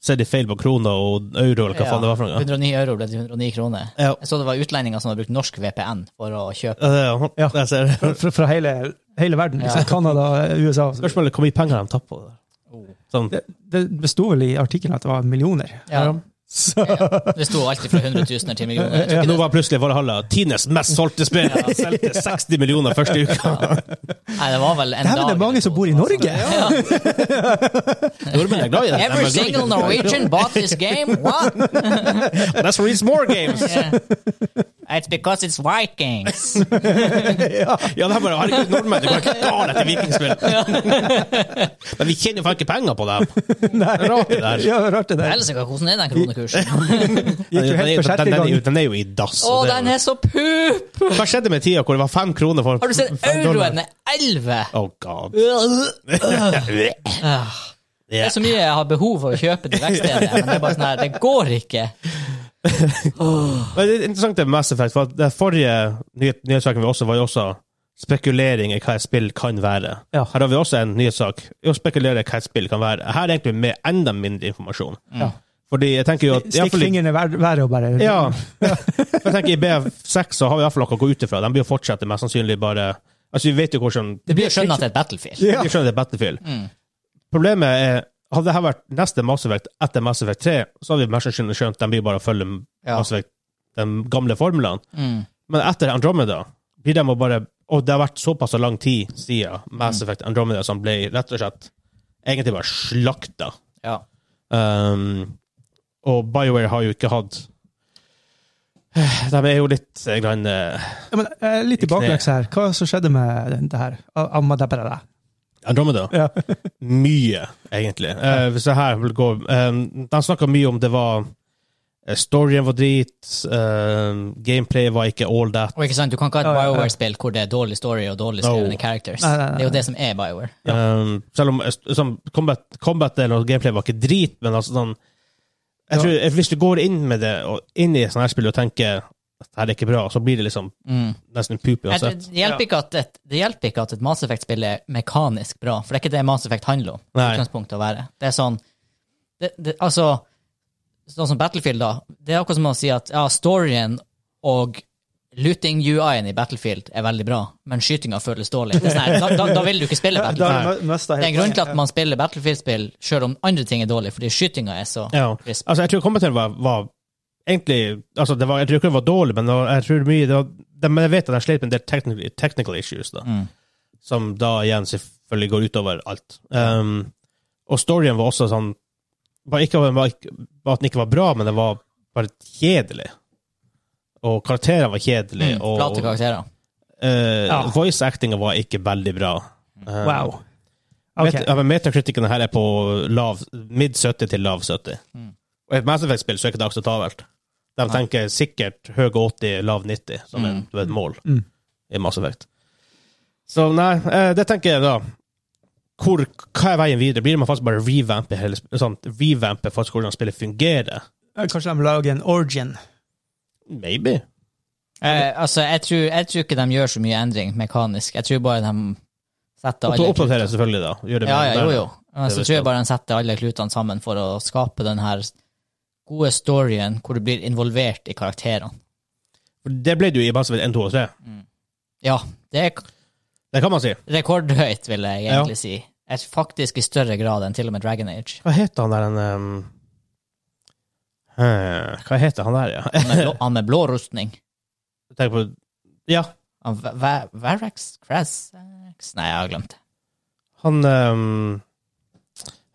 [SPEAKER 1] sett i feil på kroner og euro, eller hva faen det var for noe.
[SPEAKER 2] 109 euro ble til 109 kroner.
[SPEAKER 1] Ja.
[SPEAKER 2] Jeg så det var utlendinger som hadde brukt norsk VPN for å kjøpe.
[SPEAKER 1] Ja, det er jo-
[SPEAKER 3] Ja.
[SPEAKER 1] Jeg ser det.
[SPEAKER 3] Fra, fra hele, hele verden. Liksom. Canada, USA. og så videre.
[SPEAKER 1] Spørsmålet er hvor mye penger de tapte på det. Sånn,
[SPEAKER 3] Det, det besto vel i artikkelen at det var millioner.
[SPEAKER 2] Ja.
[SPEAKER 3] Så,
[SPEAKER 2] Det sto alltid fra 100 000 til millioner. Jeg tror
[SPEAKER 1] nå
[SPEAKER 2] ikke
[SPEAKER 1] var plutselig Valhalla Tines mest solgte spill. Jeg Solgte 60 millioner første uka.
[SPEAKER 2] det, nei, det var vel en
[SPEAKER 3] det
[SPEAKER 2] dag.
[SPEAKER 3] er vel det
[SPEAKER 2] eller
[SPEAKER 3] mange som
[SPEAKER 2] to
[SPEAKER 3] bor i
[SPEAKER 2] var
[SPEAKER 3] Norge!
[SPEAKER 1] Nordmenn er glad i det. De er
[SPEAKER 2] sånn.
[SPEAKER 1] glad i
[SPEAKER 2] Every
[SPEAKER 1] det.
[SPEAKER 2] single Norwegian bought this game! What?
[SPEAKER 1] Let's release more games!
[SPEAKER 2] Yeah. It's because it's Vikings.
[SPEAKER 3] ja.
[SPEAKER 1] Ja, det er bare herregud, nordmenn, du kan ikke bare etter vikingspill. Men vi tjener jo faen ikke penger på dem.
[SPEAKER 3] Nei.
[SPEAKER 1] Rart det der.
[SPEAKER 3] Ja, rart det der.
[SPEAKER 2] Ellers ikke, hvordan er den kronekursen?
[SPEAKER 3] Gikk
[SPEAKER 1] Den
[SPEAKER 3] jo
[SPEAKER 1] er
[SPEAKER 3] helt
[SPEAKER 1] jo-
[SPEAKER 3] for sjette
[SPEAKER 1] den er jo-
[SPEAKER 3] gang.
[SPEAKER 1] Den er jo i dass.
[SPEAKER 2] Å,
[SPEAKER 1] og det er
[SPEAKER 2] den er så pup!
[SPEAKER 1] jo- Hva skjedde med tida hvor det var fem kroner for
[SPEAKER 2] Har du sett
[SPEAKER 1] fem dollar?
[SPEAKER 2] euroen er 11?
[SPEAKER 1] Oh god.
[SPEAKER 2] Ah, Det er så mye jeg har behov for å kjøpe til verkstedet, men det er bare sånn her, det går ikke.
[SPEAKER 1] Men det er interessant det med Mass Effect, for at den forrige nyhet- nyhetssaken vi også var jo også spekulering i hva et spill kan være.
[SPEAKER 3] Ja.
[SPEAKER 1] Her har vi også en nyhetssak å spekulere hva et spill kan være. Her er egentlig med enda mindre informasjon.
[SPEAKER 3] Ja.
[SPEAKER 1] Fordi jeg tenker jo at i hvert
[SPEAKER 3] Stikk
[SPEAKER 1] fall i-
[SPEAKER 3] fingeren i vær- været og bare
[SPEAKER 1] Ja. For jeg tenker I BF6 så har vi iallfall noe å gå ut ifra. De blir jo fortsette mest sannsynlig bare Altså, Vi vet jo hvordan
[SPEAKER 2] Det blir Mm. jo skjønnet at det er et battlefield.
[SPEAKER 3] Ja.
[SPEAKER 1] Vi skjønner det er Battlefield. Problemet er Hadde dette vært neste Mass Effect etter Mass Effect 3, så hadde vi mest sannsynlig skjønt at de blir bare å følge
[SPEAKER 2] Ja.
[SPEAKER 1] Mass Effect, de gamle formlene.
[SPEAKER 2] Mm.
[SPEAKER 1] Men etter Andromeda blir de å bare Og det har vært såpass lang tid siden Mass Effect Andromeda som ble rett og slett egentlig bare slakta.
[SPEAKER 2] Ja.
[SPEAKER 1] Um, og BioWare har jo ikke hatt De er jo litt eh, grann, eh,
[SPEAKER 3] Ja, men, eh, litt i baklengs her. Hva som skjedde med den- det her? Ah, Amma da, ba, da, da.
[SPEAKER 1] Andromeda.
[SPEAKER 3] Ja.
[SPEAKER 1] Mye, egentlig. Eh, hvis jeg her vil gå eh, De snakka mye om det var eh, Storyen var drit, eh, gameplay var ikke all that.
[SPEAKER 2] Og ikke sant, du kan ikke ha
[SPEAKER 3] Ja,
[SPEAKER 2] et
[SPEAKER 3] ja, ja.
[SPEAKER 2] BioWare-spill hvor det er dårlig story og dårlig skrevne
[SPEAKER 1] No.
[SPEAKER 2] characters.
[SPEAKER 3] Nei, nei, nei.
[SPEAKER 2] Det er jo det som er BioWare.
[SPEAKER 1] Um, selv om eh, st- som combat, combat-delen og gameplay var ikke drit, men altså sånn jeg
[SPEAKER 3] Ja.
[SPEAKER 1] tror, eh, Hvis du går inn med det og inn i sånne her spill og tenker at det her er ikke bra, så blir det liksom
[SPEAKER 2] Mm.
[SPEAKER 1] nesten pup
[SPEAKER 2] Jeg-
[SPEAKER 1] uansett.
[SPEAKER 2] Det hjelper, ikke at et, det hjelper ikke at et Mass Effect-spill er mekanisk bra, for det er ikke det Mass Effect handler om. i
[SPEAKER 1] Nei.
[SPEAKER 2] utgangspunktet å være. Det er sånn det, det, Altså, sånn som Battlefield, da. Det er akkurat som å si at ja, storyen og looting-UI-en i Battlefield er veldig bra, men skytinga føles dårlig. Det er sånn, her, da, da, da vil du ikke spille
[SPEAKER 3] Da
[SPEAKER 2] Battlefield.
[SPEAKER 3] har vi mista
[SPEAKER 2] Det er
[SPEAKER 3] helt
[SPEAKER 2] en grunn til at man spiller Battlefield-spill sjøl om andre ting er dårlig, fordi skytinga er så
[SPEAKER 1] Ja.
[SPEAKER 2] crisp.
[SPEAKER 1] Altså, jeg tror combat-delen var, var egentlig altså det var, Jeg tror ikke det var dårlig, men det var, jeg tror mye det var, de, men jeg vet at de slet med en del technical, technical issues, da,
[SPEAKER 2] Mm.
[SPEAKER 1] som da igjen selvfølgelig går utover alt. Um, og storyen var også sånn var ikke, var, ikke- var at den ikke var bra, men den var bare kjedelig. Og karakterene var kjedelige.
[SPEAKER 2] Mm,
[SPEAKER 1] og
[SPEAKER 2] Flate karakterer.
[SPEAKER 1] eh,
[SPEAKER 3] Ja.
[SPEAKER 1] voice-actinga var ikke veldig bra. Um,
[SPEAKER 3] Wow. Ok.
[SPEAKER 1] Met, ja, men metakritikken her er på lav, mid 70 til lav 70.
[SPEAKER 2] Mm.
[SPEAKER 1] Og i et Mass Effect-spill så er ikke det akseptabelt. De
[SPEAKER 2] Nei.
[SPEAKER 1] tenker sikkert høy 80, lav 90 som en, du vet, mål
[SPEAKER 3] Mm.
[SPEAKER 1] i Mass Effect. Så nei, eh, det tenker jeg da. Hvor, hva er veien videre? Blir man faktisk bare revampe hele sp- sånn, revampe faktisk hvordan spillet fungerer?
[SPEAKER 3] Eh, Kanskje de lager en origin.
[SPEAKER 1] Maybe.
[SPEAKER 2] Eh, altså, jeg tror, jeg tror ikke de gjør så mye endring mekanisk. Jeg tror bare de setter
[SPEAKER 1] Opp,
[SPEAKER 2] alle
[SPEAKER 1] oppdatere selvfølgelig, da. Gjør det
[SPEAKER 2] Ja,
[SPEAKER 1] mer
[SPEAKER 2] ja, jo,
[SPEAKER 1] moderne.
[SPEAKER 2] jo. Men
[SPEAKER 1] Det
[SPEAKER 2] Så
[SPEAKER 1] vet
[SPEAKER 2] tror jeg
[SPEAKER 1] jeg.
[SPEAKER 2] bare han setter alle klutene sammen for å skape den her gode storyen hvor du blir involvert i karakterene.
[SPEAKER 1] For Det ble det jo i Mass Effect 1, 2 og 3.
[SPEAKER 2] Ja, det er
[SPEAKER 1] Det kan man si.
[SPEAKER 2] rekordhøyt, vil jeg egentlig si. Et faktisk i større grad enn til og med Dragon Age.
[SPEAKER 1] Hva heter han der en um... eh, Hva heter han der, ja?
[SPEAKER 2] Han med blå, han med blå rustning.
[SPEAKER 1] Tenk på Ja,
[SPEAKER 2] Han Va- Va- Varax? Krasax? Nei, jeg har glemt det.
[SPEAKER 1] han ehm,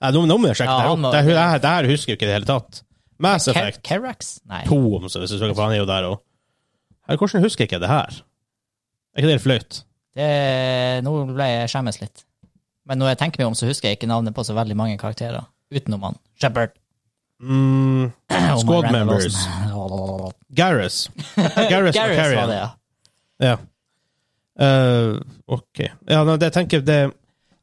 [SPEAKER 1] Nei, nå, nå må jeg sjekke
[SPEAKER 2] Ja,
[SPEAKER 1] det her
[SPEAKER 2] han
[SPEAKER 1] opp.
[SPEAKER 2] må-
[SPEAKER 1] Det, her- det, her- det her husker jeg ikke i det hele tatt. Mass
[SPEAKER 2] Ke-
[SPEAKER 1] Effect
[SPEAKER 2] Kerax? Nei.
[SPEAKER 1] 2, om så hvis du søker på. Han er jo der òg. Hvordan husker jeg ikke det her? Er ikke det helt flaut?
[SPEAKER 2] Det, nå ble jeg skjemmes litt. Men når jeg tenker meg om, så husker jeg ikke navnet på så veldig mange karakterer. Utenom han. Shepard.
[SPEAKER 1] Mm,
[SPEAKER 2] Og
[SPEAKER 1] Squad
[SPEAKER 2] Miranda
[SPEAKER 1] members.
[SPEAKER 2] Lawson.
[SPEAKER 1] Garrus. Garrus og
[SPEAKER 2] Garrus var
[SPEAKER 1] Carrion.
[SPEAKER 2] det, ja.
[SPEAKER 1] Ja. Eh, ok. Ja, nei, det jeg tenker det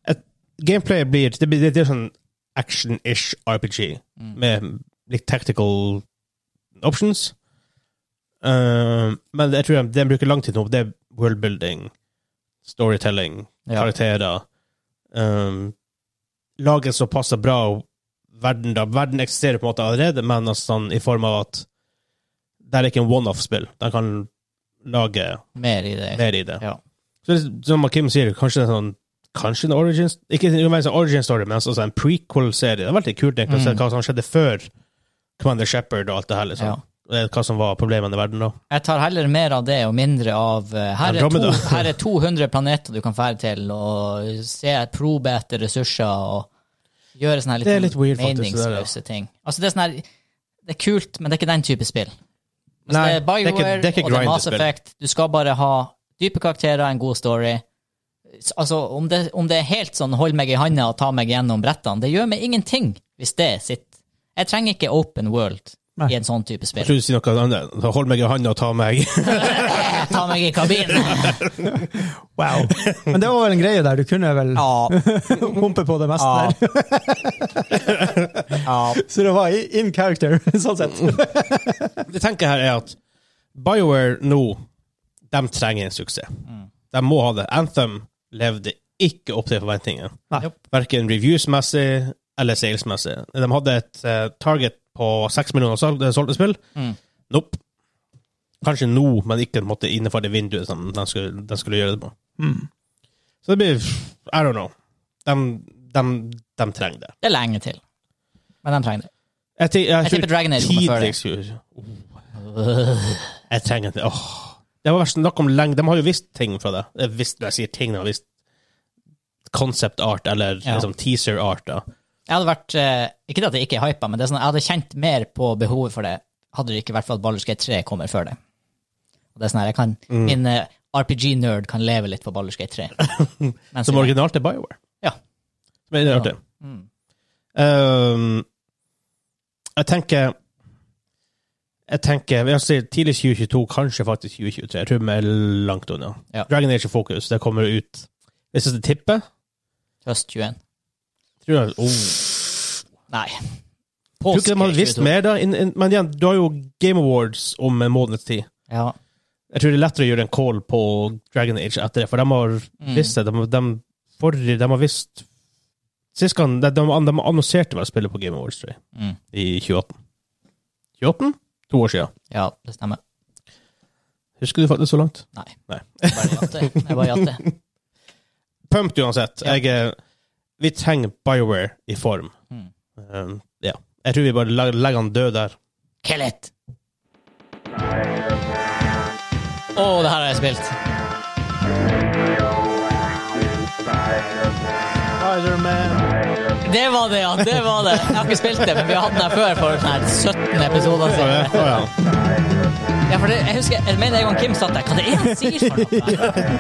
[SPEAKER 1] et, Gameplay blir Det blir det, er sånn action-ish RPG med litt tactical options. Eh, men jeg tror de bruker lang tid nå. Det er worldbuilding, storytelling,
[SPEAKER 2] Ja.
[SPEAKER 1] karakterer. Um, lage såpass bra verden da. Verden eksisterer på en måte allerede, men altså sånn, i form av at det er ikke en one-off-spill. De kan lage
[SPEAKER 2] Mer i det.
[SPEAKER 1] mer i det.
[SPEAKER 2] Eh, Ja.
[SPEAKER 1] Så det, er som Kim sier, kanskje det er sånn Kanskje en origin Ikke en sånn origin story, men altså en prequel-serie. Det er veldig kult egentlig, å se
[SPEAKER 2] Mm.
[SPEAKER 1] hva som skjedde før Commander Shepherd og alt det her. liksom.
[SPEAKER 2] Ja.
[SPEAKER 1] Eh, Hva som var problemene i verden da.
[SPEAKER 2] Jeg tar heller mer av det og mindre av eh, her er, to,
[SPEAKER 1] Andromeda.
[SPEAKER 2] her er 200 planeter du kan ferde til, og se probe etter ressurser og gjøre sånne her
[SPEAKER 1] Det er
[SPEAKER 2] litt,
[SPEAKER 1] litt weird, faktisk, det der, ja.
[SPEAKER 2] meningsløse ting. Altså, det er sånn her Det er kult, men det er ikke den type spill. Hvis
[SPEAKER 1] Nei,
[SPEAKER 2] det er BioWare
[SPEAKER 1] det er ikke- det er ikke
[SPEAKER 2] og det er
[SPEAKER 1] grind
[SPEAKER 2] Mass
[SPEAKER 1] det spillet.
[SPEAKER 2] Effect, du skal bare ha dype karakterer, en god story. S- Altså, om det, om det er helt sånn 'hold meg i handa og ta meg gjennom brettene', det gjør meg ingenting hvis det sitter. Jeg trenger ikke open world
[SPEAKER 3] Nei.
[SPEAKER 2] i en sånn type
[SPEAKER 1] Jeg
[SPEAKER 2] spill.
[SPEAKER 1] trodde du skulle si noe annet. Så Hold meg i handa og ta meg
[SPEAKER 2] Ta meg i kabinen!
[SPEAKER 3] Wow. Men det var vel en greie der. Du kunne vel
[SPEAKER 2] Ja,
[SPEAKER 3] pumpe på det meste
[SPEAKER 2] ja.
[SPEAKER 3] der.
[SPEAKER 2] ja.
[SPEAKER 3] Så det var i- in character, sånn sett.
[SPEAKER 1] Mm. Det jeg tenker her er at BioWare nå de trenger en suksess. De må ha det. Anthem levde ikke opp til forventningene.
[SPEAKER 3] Nei.
[SPEAKER 1] Verken reviews-messig eller sales-messig. De hadde et eh, target på seks millioner sol- eh, solgte spill.
[SPEAKER 2] Mm.
[SPEAKER 1] Nope. Kanskje nå, men ikke på en måte, innenfor det vinduet som de skulle, de skulle gjøre det på.
[SPEAKER 3] Mm.
[SPEAKER 1] Så det blir I don't know. De, de, de trenger det.
[SPEAKER 2] Det er lenge til. Men de trenger det.
[SPEAKER 1] Jeg, ti- jeg
[SPEAKER 2] Jeg
[SPEAKER 1] tror
[SPEAKER 2] tipper Dragon Age kommer før det.
[SPEAKER 1] tidligst gjør- Jeg trenger det. Åh. Det var verst snakk om lenge. De har jo visst ting fra det. Eh, Visst, når jeg sier ting, de har visst concept art, eller
[SPEAKER 2] Ja.
[SPEAKER 1] liksom teaser art. Da.
[SPEAKER 2] Jeg hadde vært eh, Ikke det at jeg ikke er hypa, men det er sånn, jeg hadde kjent mer på behovet for det hadde det ikke vært for at Baldur's Gate 3 kommer før det. Og det er sånn her, jeg kan,
[SPEAKER 1] Mm.
[SPEAKER 2] Min eh, RPG-nerd kan leve litt på Baldur's Gate 3. Mens
[SPEAKER 1] Som
[SPEAKER 2] jeg-
[SPEAKER 1] originalt er BioWare.
[SPEAKER 2] Ja.
[SPEAKER 1] Som er artig.
[SPEAKER 2] Mm.
[SPEAKER 1] Um, jeg tenker jeg tenker, jeg sier Tidlig 2022, kanskje faktisk 2023. Jeg tror vi er langt unna.
[SPEAKER 2] Ja.
[SPEAKER 1] Dragon Age og Focus, det kommer ut Hvis jeg tipper
[SPEAKER 2] Høst 21.
[SPEAKER 1] tror jeg, oh.
[SPEAKER 2] Nei.
[SPEAKER 1] Tror ikke de hadde visst
[SPEAKER 2] 22.
[SPEAKER 1] mer, da. Inn- inn- men igjen, du har jo Game Awards om en måneds tid.
[SPEAKER 2] Ja.
[SPEAKER 1] Jeg tror det er lettere å gjøre en call på Dragon Age etter det, for de har
[SPEAKER 2] Mm.
[SPEAKER 1] visst det. De, de, forrige, de har visst Sist gang de, de, de annonserte vel spillet på Game Awards, tror jeg,
[SPEAKER 2] Mm.
[SPEAKER 1] i 2018. 2018? To år siden.
[SPEAKER 2] ja, det stemmer.
[SPEAKER 1] Husker du faktisk så langt?
[SPEAKER 2] Nei.
[SPEAKER 1] Nei.
[SPEAKER 2] Jeg bare jatte. Jeg bare jatte.
[SPEAKER 1] Pumped uansett.
[SPEAKER 2] Ja.
[SPEAKER 1] Jeg, eh, vi trenger BioWare i form.
[SPEAKER 2] Mm.
[SPEAKER 1] Um, ja. Jeg tror vi bare legger, legger han død der.
[SPEAKER 2] Kill it! Å, det her har jeg spilt. Det var det, ja. Det var det. Jeg har ikke spilt det, men vi har hatt den her før for sånn her 17 episoder
[SPEAKER 1] Å,
[SPEAKER 2] siden.
[SPEAKER 1] ja. Å, ja.
[SPEAKER 2] Ja, for det, jeg husker, jeg mener en gang Kim satt der. Hva det er han sier for noe?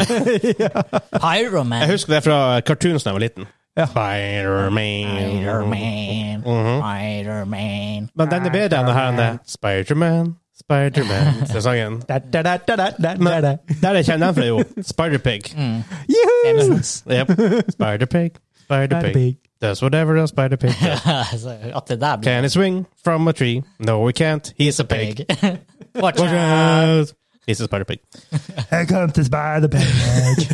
[SPEAKER 1] Jeg
[SPEAKER 2] Pyroman.
[SPEAKER 1] husker det fra cartoons da jeg var liten.
[SPEAKER 3] Ja.
[SPEAKER 1] Spider-Man.
[SPEAKER 2] Pyroman.
[SPEAKER 1] Mhm.
[SPEAKER 2] Pyroman.
[SPEAKER 1] Men den er bedre enn den her Spider-Man, Spider-Man. Det er sangen.
[SPEAKER 3] Da, da, da, da, da, da, da, da.
[SPEAKER 1] Men der jeg kjenner den fra, jo. Spider-Pig.
[SPEAKER 3] Juhu!
[SPEAKER 1] Yep. Spider-Pig, Spider-Pig.
[SPEAKER 3] Spider-Pig.
[SPEAKER 1] Does whatever a Spider-Pig does.
[SPEAKER 2] Så At det der blir
[SPEAKER 1] Can he swing from a tree? No, he can't. He's a pig.
[SPEAKER 2] pig.
[SPEAKER 1] Watch
[SPEAKER 2] Watch out.
[SPEAKER 1] out. He's a Spider-Pig.
[SPEAKER 3] Here comes the Spider-Pig.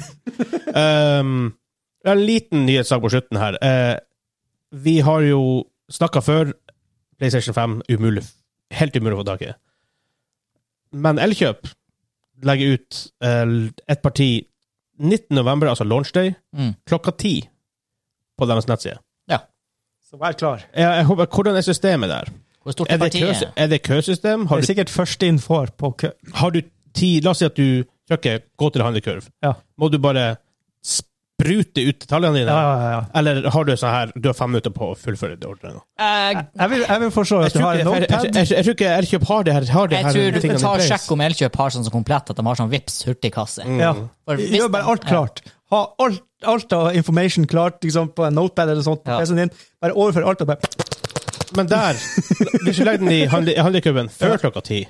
[SPEAKER 1] Um, en liten nyhetssak på slutten her. Eh, vi har jo snakka før. PlayStation 5 umulig. Helt umulig å få tak i. Men Elkjøp legger ut eh, et parti 19. november, altså launchday,
[SPEAKER 2] Mm.
[SPEAKER 1] klokka ti på deres nettside.
[SPEAKER 3] Så vær klar.
[SPEAKER 1] Jeg, jeg håper, hvordan er systemet der?
[SPEAKER 2] Hvor stort
[SPEAKER 1] Er
[SPEAKER 2] er
[SPEAKER 1] det, kø,
[SPEAKER 2] partiet?
[SPEAKER 1] er det køsystem?
[SPEAKER 3] Det
[SPEAKER 1] Har
[SPEAKER 3] er
[SPEAKER 1] du,
[SPEAKER 3] sikkert første inn får på kø.
[SPEAKER 1] har du ti La oss si at du trykker 'gå til handlekurv'.
[SPEAKER 3] Ja.
[SPEAKER 1] Må du bare sprute ut detaljene dine?
[SPEAKER 3] Ja, ja, ja.
[SPEAKER 1] Eller har du sånn her Du har fem minutter på å fullføre det ordre nå.
[SPEAKER 2] Eh,
[SPEAKER 3] Jeg vil, jeg vil forstå at
[SPEAKER 1] Jeg
[SPEAKER 3] du har
[SPEAKER 1] tror
[SPEAKER 3] en
[SPEAKER 1] ikke- jeg- jeg-
[SPEAKER 3] notepad.
[SPEAKER 1] jeg- jeg tror ikke Elkjøp har det her. Har det
[SPEAKER 2] Jeg
[SPEAKER 1] her
[SPEAKER 2] tror du
[SPEAKER 1] tingene
[SPEAKER 2] bør
[SPEAKER 1] in
[SPEAKER 2] ta og
[SPEAKER 1] place.
[SPEAKER 2] sjekke om Elkjøp har sånn som komplett, at de har sånn Vipps hurtigkasse.
[SPEAKER 1] Mm.
[SPEAKER 3] Ja.
[SPEAKER 2] For hvis
[SPEAKER 3] Gjør bare alt
[SPEAKER 2] de-
[SPEAKER 3] klart. Ha alt, alt av information klart liksom, på en notepad eller sånt. på
[SPEAKER 2] Ja.
[SPEAKER 3] PC-en din. Bare overfør alt. og bare...
[SPEAKER 1] Men der Hvis du legger den i handle- i handlekurven før klokka ti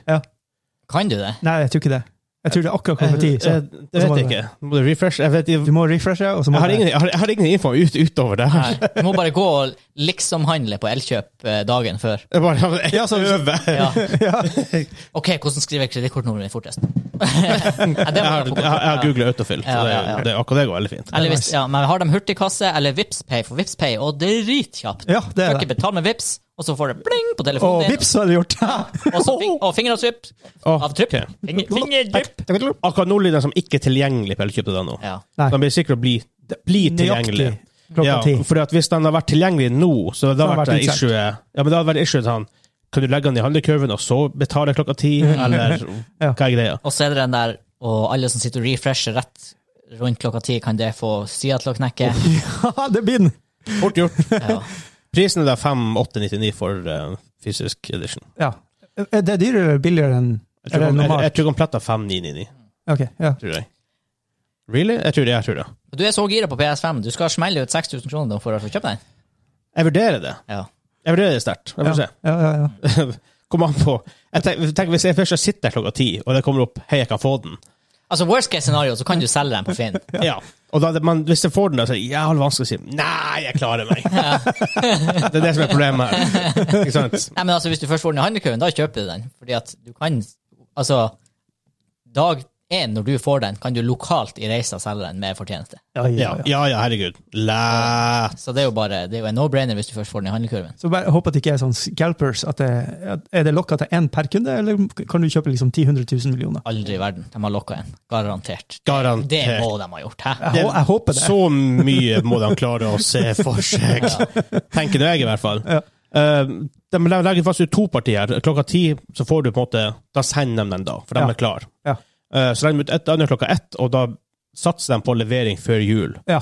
[SPEAKER 2] Kan du det?
[SPEAKER 3] Nei, jeg tror ikke det. Jeg tror det er akkurat
[SPEAKER 1] eh,
[SPEAKER 3] klokka ti. så-
[SPEAKER 1] eh, Det vet jeg ikke. Må du refresh? Jeg, vet, jeg,
[SPEAKER 3] Du må refreshe, og så må
[SPEAKER 1] jeg, har
[SPEAKER 3] du-
[SPEAKER 1] ingen, jeg, har, jeg har ingen info ut, utover det her.
[SPEAKER 2] Nei. Du må bare gå og liksom-handle på Elkjøp eh, dagen før.
[SPEAKER 1] Jeg bare jeg øver.
[SPEAKER 2] Ja.
[SPEAKER 3] Ja.
[SPEAKER 2] OK, hvordan skriver jeg kredittkortnummeret mitt fortest? Ja, det
[SPEAKER 1] Jeg
[SPEAKER 2] må
[SPEAKER 1] har,
[SPEAKER 2] jeg
[SPEAKER 1] jeg har- jeg har
[SPEAKER 2] på-
[SPEAKER 1] googlet autofill, så
[SPEAKER 2] Ja,
[SPEAKER 1] det,
[SPEAKER 2] ja, ja.
[SPEAKER 1] det, akkurat det går veldig fint.
[SPEAKER 2] Eller hvis, ja, men har de hurtigkasse eller Vipps-pay for Vipps-pay, og dritkjapt.
[SPEAKER 3] ja, det er
[SPEAKER 2] Trykker
[SPEAKER 3] det.
[SPEAKER 2] betal med Vipps, og så får du bling på
[SPEAKER 3] Og
[SPEAKER 2] telefonen din.
[SPEAKER 3] vips, så er det gjort.
[SPEAKER 2] Og, så fing, og fingeravtrypp.
[SPEAKER 1] Åh,
[SPEAKER 2] Avtrypp.
[SPEAKER 1] ok.
[SPEAKER 2] Finger, fingerdrypp.
[SPEAKER 1] Akkurat nå ligger den som ikke er tilgjengelig på Elkjøp.no.
[SPEAKER 2] Ja.
[SPEAKER 3] Nei.
[SPEAKER 1] Den blir sikkert å bli, bli tilgjengelig.
[SPEAKER 3] Nøyaktig klokka
[SPEAKER 1] Ja,
[SPEAKER 3] ti.
[SPEAKER 1] for at hvis den har vært tilgjengelig nå, så hadde det
[SPEAKER 3] Så har
[SPEAKER 1] vært
[SPEAKER 3] det
[SPEAKER 1] et
[SPEAKER 3] vært
[SPEAKER 1] issue Ja, men det hadde vært et issue sånn Kan du legge den i handlekurven, og så betale klokka ti, eller
[SPEAKER 3] Ja.
[SPEAKER 1] hva er greia?
[SPEAKER 2] Og så er det den der, og alle som sitter og refresher rett rundt klokka ti, kan det få sida til å knekke.
[SPEAKER 3] Ja, det blir den.
[SPEAKER 1] Fort gjort.
[SPEAKER 2] Ja.
[SPEAKER 1] Prisen er da 5899 for eh, fysisk edition.
[SPEAKER 3] Ja. Er det dyrere eller billigere enn
[SPEAKER 1] Jeg
[SPEAKER 3] Er
[SPEAKER 1] tror,
[SPEAKER 3] det
[SPEAKER 1] jeg,
[SPEAKER 3] normalt?
[SPEAKER 1] jeg tror komplett av 5999,
[SPEAKER 3] Ok, ja.
[SPEAKER 1] tror jeg. Really? Jeg tror det, jeg tror det.
[SPEAKER 2] Du er så gira på PS5. Du skal smelle ut 6000 kroner da for å få kjøpt den.
[SPEAKER 1] Jeg vurderer det.
[SPEAKER 2] Ja.
[SPEAKER 1] Jeg vurderer det sterkt. Jeg får
[SPEAKER 3] Ja,
[SPEAKER 1] se.
[SPEAKER 3] ja, ja, ja.
[SPEAKER 1] Kom an på. Jeg tenker, tenk hvis jeg først sitter der klokka ti, og det kommer opp 'hei, jeg kan få den',
[SPEAKER 2] Altså, worst case scenario, så kan du selge den på Finn.
[SPEAKER 1] Ja. Og da, men hvis jeg får den, da, så er det jævlig vanskelig å si Nei, jeg klarer meg. det er det som er problemet her. Ikke sant?
[SPEAKER 2] Nei, men altså, hvis du først får den i handlekøen, da kjøper du den. Fordi at du kan Altså, dag én når du får den, kan du lokalt i reisa selge den med fortjeneste.
[SPEAKER 3] ja, ja,
[SPEAKER 1] Ja,
[SPEAKER 3] ja.
[SPEAKER 1] ja, ja herregud. Læ...
[SPEAKER 2] Så det er jo bare Det er jo en no-brainer hvis du først får den i handlekurven.
[SPEAKER 3] Så bare håper at det ikke er sånn scalpers. At det, at, er det lokka til én per kunde, eller kan du kjøpe liksom 10 000 000 millioner?
[SPEAKER 2] Aldri i verden. De har lokka en. Garantert.
[SPEAKER 1] Garantert.
[SPEAKER 2] Det må de ha gjort, hæ?
[SPEAKER 3] Jeg, hå- jeg håper det.
[SPEAKER 1] Så mye må de klare å se for seg. Tenker nå jeg, i hvert fall.
[SPEAKER 3] Ja.
[SPEAKER 1] Eh, de legger fast ut to partier. Klokka ti så får du på en måte Da sender de den, da, for de
[SPEAKER 3] Ja.
[SPEAKER 1] er klare.
[SPEAKER 3] Ja.
[SPEAKER 1] så legger de ut et annet klokka ett, og da satser de på levering før jul.
[SPEAKER 3] Ja.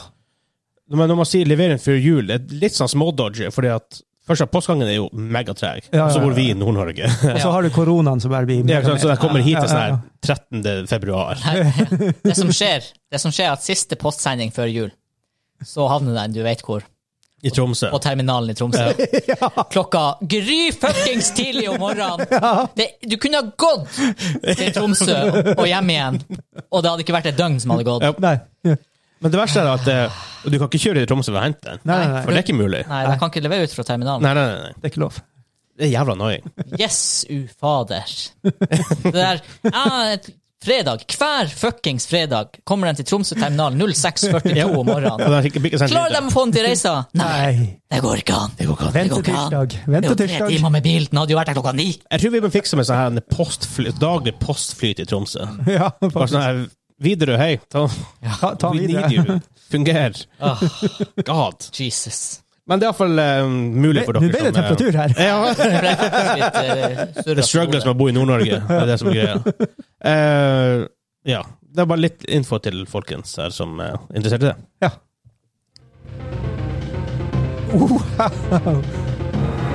[SPEAKER 1] Men når man sier levering før jul, det er litt sånn smådodgy, fordi at først av postgangen er jo megatreg,
[SPEAKER 3] Ja,
[SPEAKER 1] og så
[SPEAKER 3] ja,
[SPEAKER 1] bor vi i
[SPEAKER 3] ja.
[SPEAKER 1] Nord-Norge.
[SPEAKER 3] Og så har du koronaen som bare blir
[SPEAKER 1] Det er ikke sant, Så jeg kommer hit til sånn
[SPEAKER 3] Ja,
[SPEAKER 1] her 13. februar.
[SPEAKER 2] Nei, Det som skjer, det som skjer er at siste postsending før jul, så havner den, du vet hvor,
[SPEAKER 1] I Tromsø.
[SPEAKER 2] på terminalen i Tromsø. Klokka gry fuckings tidlig om morgenen! Det, du kunne ha gått til Tromsø og hjem igjen, og det hadde ikke vært et døgn som hadde gått.
[SPEAKER 1] Ja.
[SPEAKER 3] Nei. Ja.
[SPEAKER 1] Men det verste er at eh, du kan ikke kjøre til Tromsø for å hente den.
[SPEAKER 3] Nei, nei, nei.
[SPEAKER 1] For det er ikke mulig. Nei,
[SPEAKER 2] Nei, de kan ikke levere ut fra terminalen.
[SPEAKER 1] nei, nei. nei.
[SPEAKER 3] Det er ikke lov.
[SPEAKER 1] Det er jævla annoying.
[SPEAKER 2] Yes, ufader. Det der ja, et- Fredag, hver fuckings fredag, kommer den til Tromsø terminal 06.42 om morgenen.
[SPEAKER 1] sånn
[SPEAKER 2] Klarer de å få den til reisa? Nei,
[SPEAKER 3] Nei.
[SPEAKER 2] det går ikke an. Det går ikke an. Det går ikke an.
[SPEAKER 3] Ventetirsdag.
[SPEAKER 2] Det er jo tre
[SPEAKER 3] Ventetirsdag.
[SPEAKER 2] timer med bil. Den hadde jo vært der klokka ni.
[SPEAKER 1] Jeg tror vi må fikse med sånn her en postfly, daglig postflyt i Tromsø.
[SPEAKER 3] Ja,
[SPEAKER 1] Bare sånn her Widerøe, hei, ta,
[SPEAKER 3] ta, ta
[SPEAKER 1] we need
[SPEAKER 3] videre.
[SPEAKER 1] you. Funger.
[SPEAKER 2] Åh,
[SPEAKER 1] God.
[SPEAKER 2] Jesus.
[SPEAKER 1] Men det er iallfall um, mulig for
[SPEAKER 3] Nå
[SPEAKER 1] dere
[SPEAKER 3] ble det
[SPEAKER 1] som er-
[SPEAKER 3] temperatur her.
[SPEAKER 1] Ja.
[SPEAKER 2] Det ble faktisk litt eh, surret
[SPEAKER 1] Det er struggles med å bo i Nord-Norge. Det er det som er greia. Eh, ja. Det er bare litt info til folkens her som eh, er interessert i det.
[SPEAKER 3] Ja. Wow.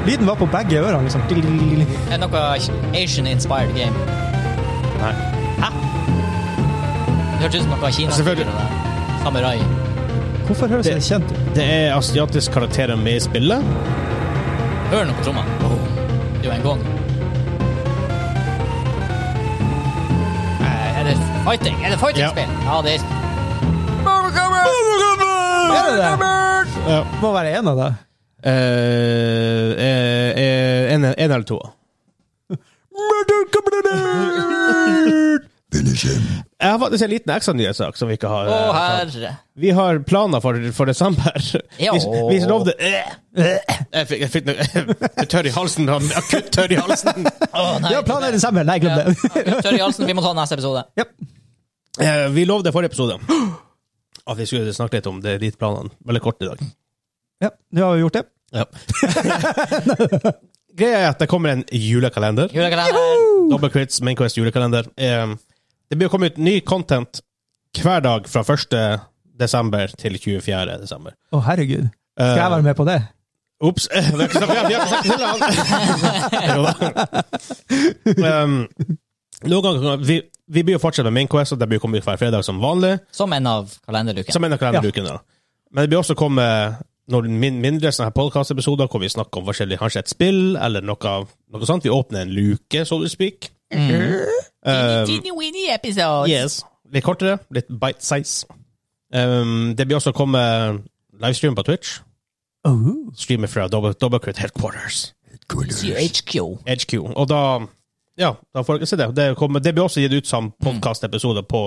[SPEAKER 3] Lyden var på begge ørene, liksom.
[SPEAKER 2] hodet. Det er noe Asian-inspired game.
[SPEAKER 1] Nei.
[SPEAKER 2] Det hørtes ut som noe Kina.
[SPEAKER 1] Selvfølgelig.
[SPEAKER 2] Samurai.
[SPEAKER 3] Hvorfor høres det kjent ut?
[SPEAKER 1] Det er asiatiske karakterer med i spillet.
[SPEAKER 2] Hør nå på trommene.
[SPEAKER 1] Oh.
[SPEAKER 2] Det er jo en gong. Eh, Er det fighting? Er det fighting-spill? Ja. det er
[SPEAKER 3] Er Ah, det det?
[SPEAKER 1] Ja.
[SPEAKER 3] Må være en av det.
[SPEAKER 1] Eh, eh, eh, en, en eller to. Jeg har faktisk en liten ekstranyhetssak som vi ikke har.
[SPEAKER 2] Å,
[SPEAKER 1] eh, tatt.
[SPEAKER 2] herre.
[SPEAKER 1] Vi har planer for, for desember.
[SPEAKER 2] Ja.
[SPEAKER 1] Vi, vi lovde Jeg fikk, jeg fikk noe tørr i halsen. da. Akutt tørr i halsen.
[SPEAKER 2] Å, nei.
[SPEAKER 3] Vi har planer i desember. Nei, glem det.
[SPEAKER 2] Ja. Tørr i halsen. Vi må ta neste episode.
[SPEAKER 3] Japp.
[SPEAKER 1] Eh, Vi lovde i forrige episode at vi skulle snakke litt om det, de planene. Veldig kort i dag.
[SPEAKER 3] Ja, du har jo gjort det.
[SPEAKER 1] Greia er at det kommer en julekalender.
[SPEAKER 2] Julekalender.
[SPEAKER 1] Double Crits, Mainquest julekalender. Eh, Det blir å komme ut ny content hver dag fra 1. desember til 24. desember.
[SPEAKER 3] Å, herregud. Skal jeg
[SPEAKER 1] Eh,
[SPEAKER 3] være med på det?
[SPEAKER 1] Ops! Det er ikke så bra, vi har ikke sagt til han! Jo da. um, noen ganger, vi, vi blir jo fortsatt med Mainquest, og det blir å komme ut hver fredag som vanlig.
[SPEAKER 2] Som en av kalenderlukene.
[SPEAKER 1] Som en av kalenderukene. da. Men det blir også komme noen min- mindre sånne her podcastepisoder hvor vi snakker om forskjellig, kanskje et spill eller noe, noe sånt. Vi åpner en luke, so to speak. eh,
[SPEAKER 2] Teeny-weeny episodes.
[SPEAKER 1] Litt kortere, litt bite size. Um, det blir også komme livestream på Twitch.
[SPEAKER 3] Oh.
[SPEAKER 1] Streamer fra Double, Double Crit Headquarters.
[SPEAKER 2] CHQ.
[SPEAKER 1] HQ. Og da Ja, da får dere se det. Det, kommer, det blir også gitt ut som podkastepisode på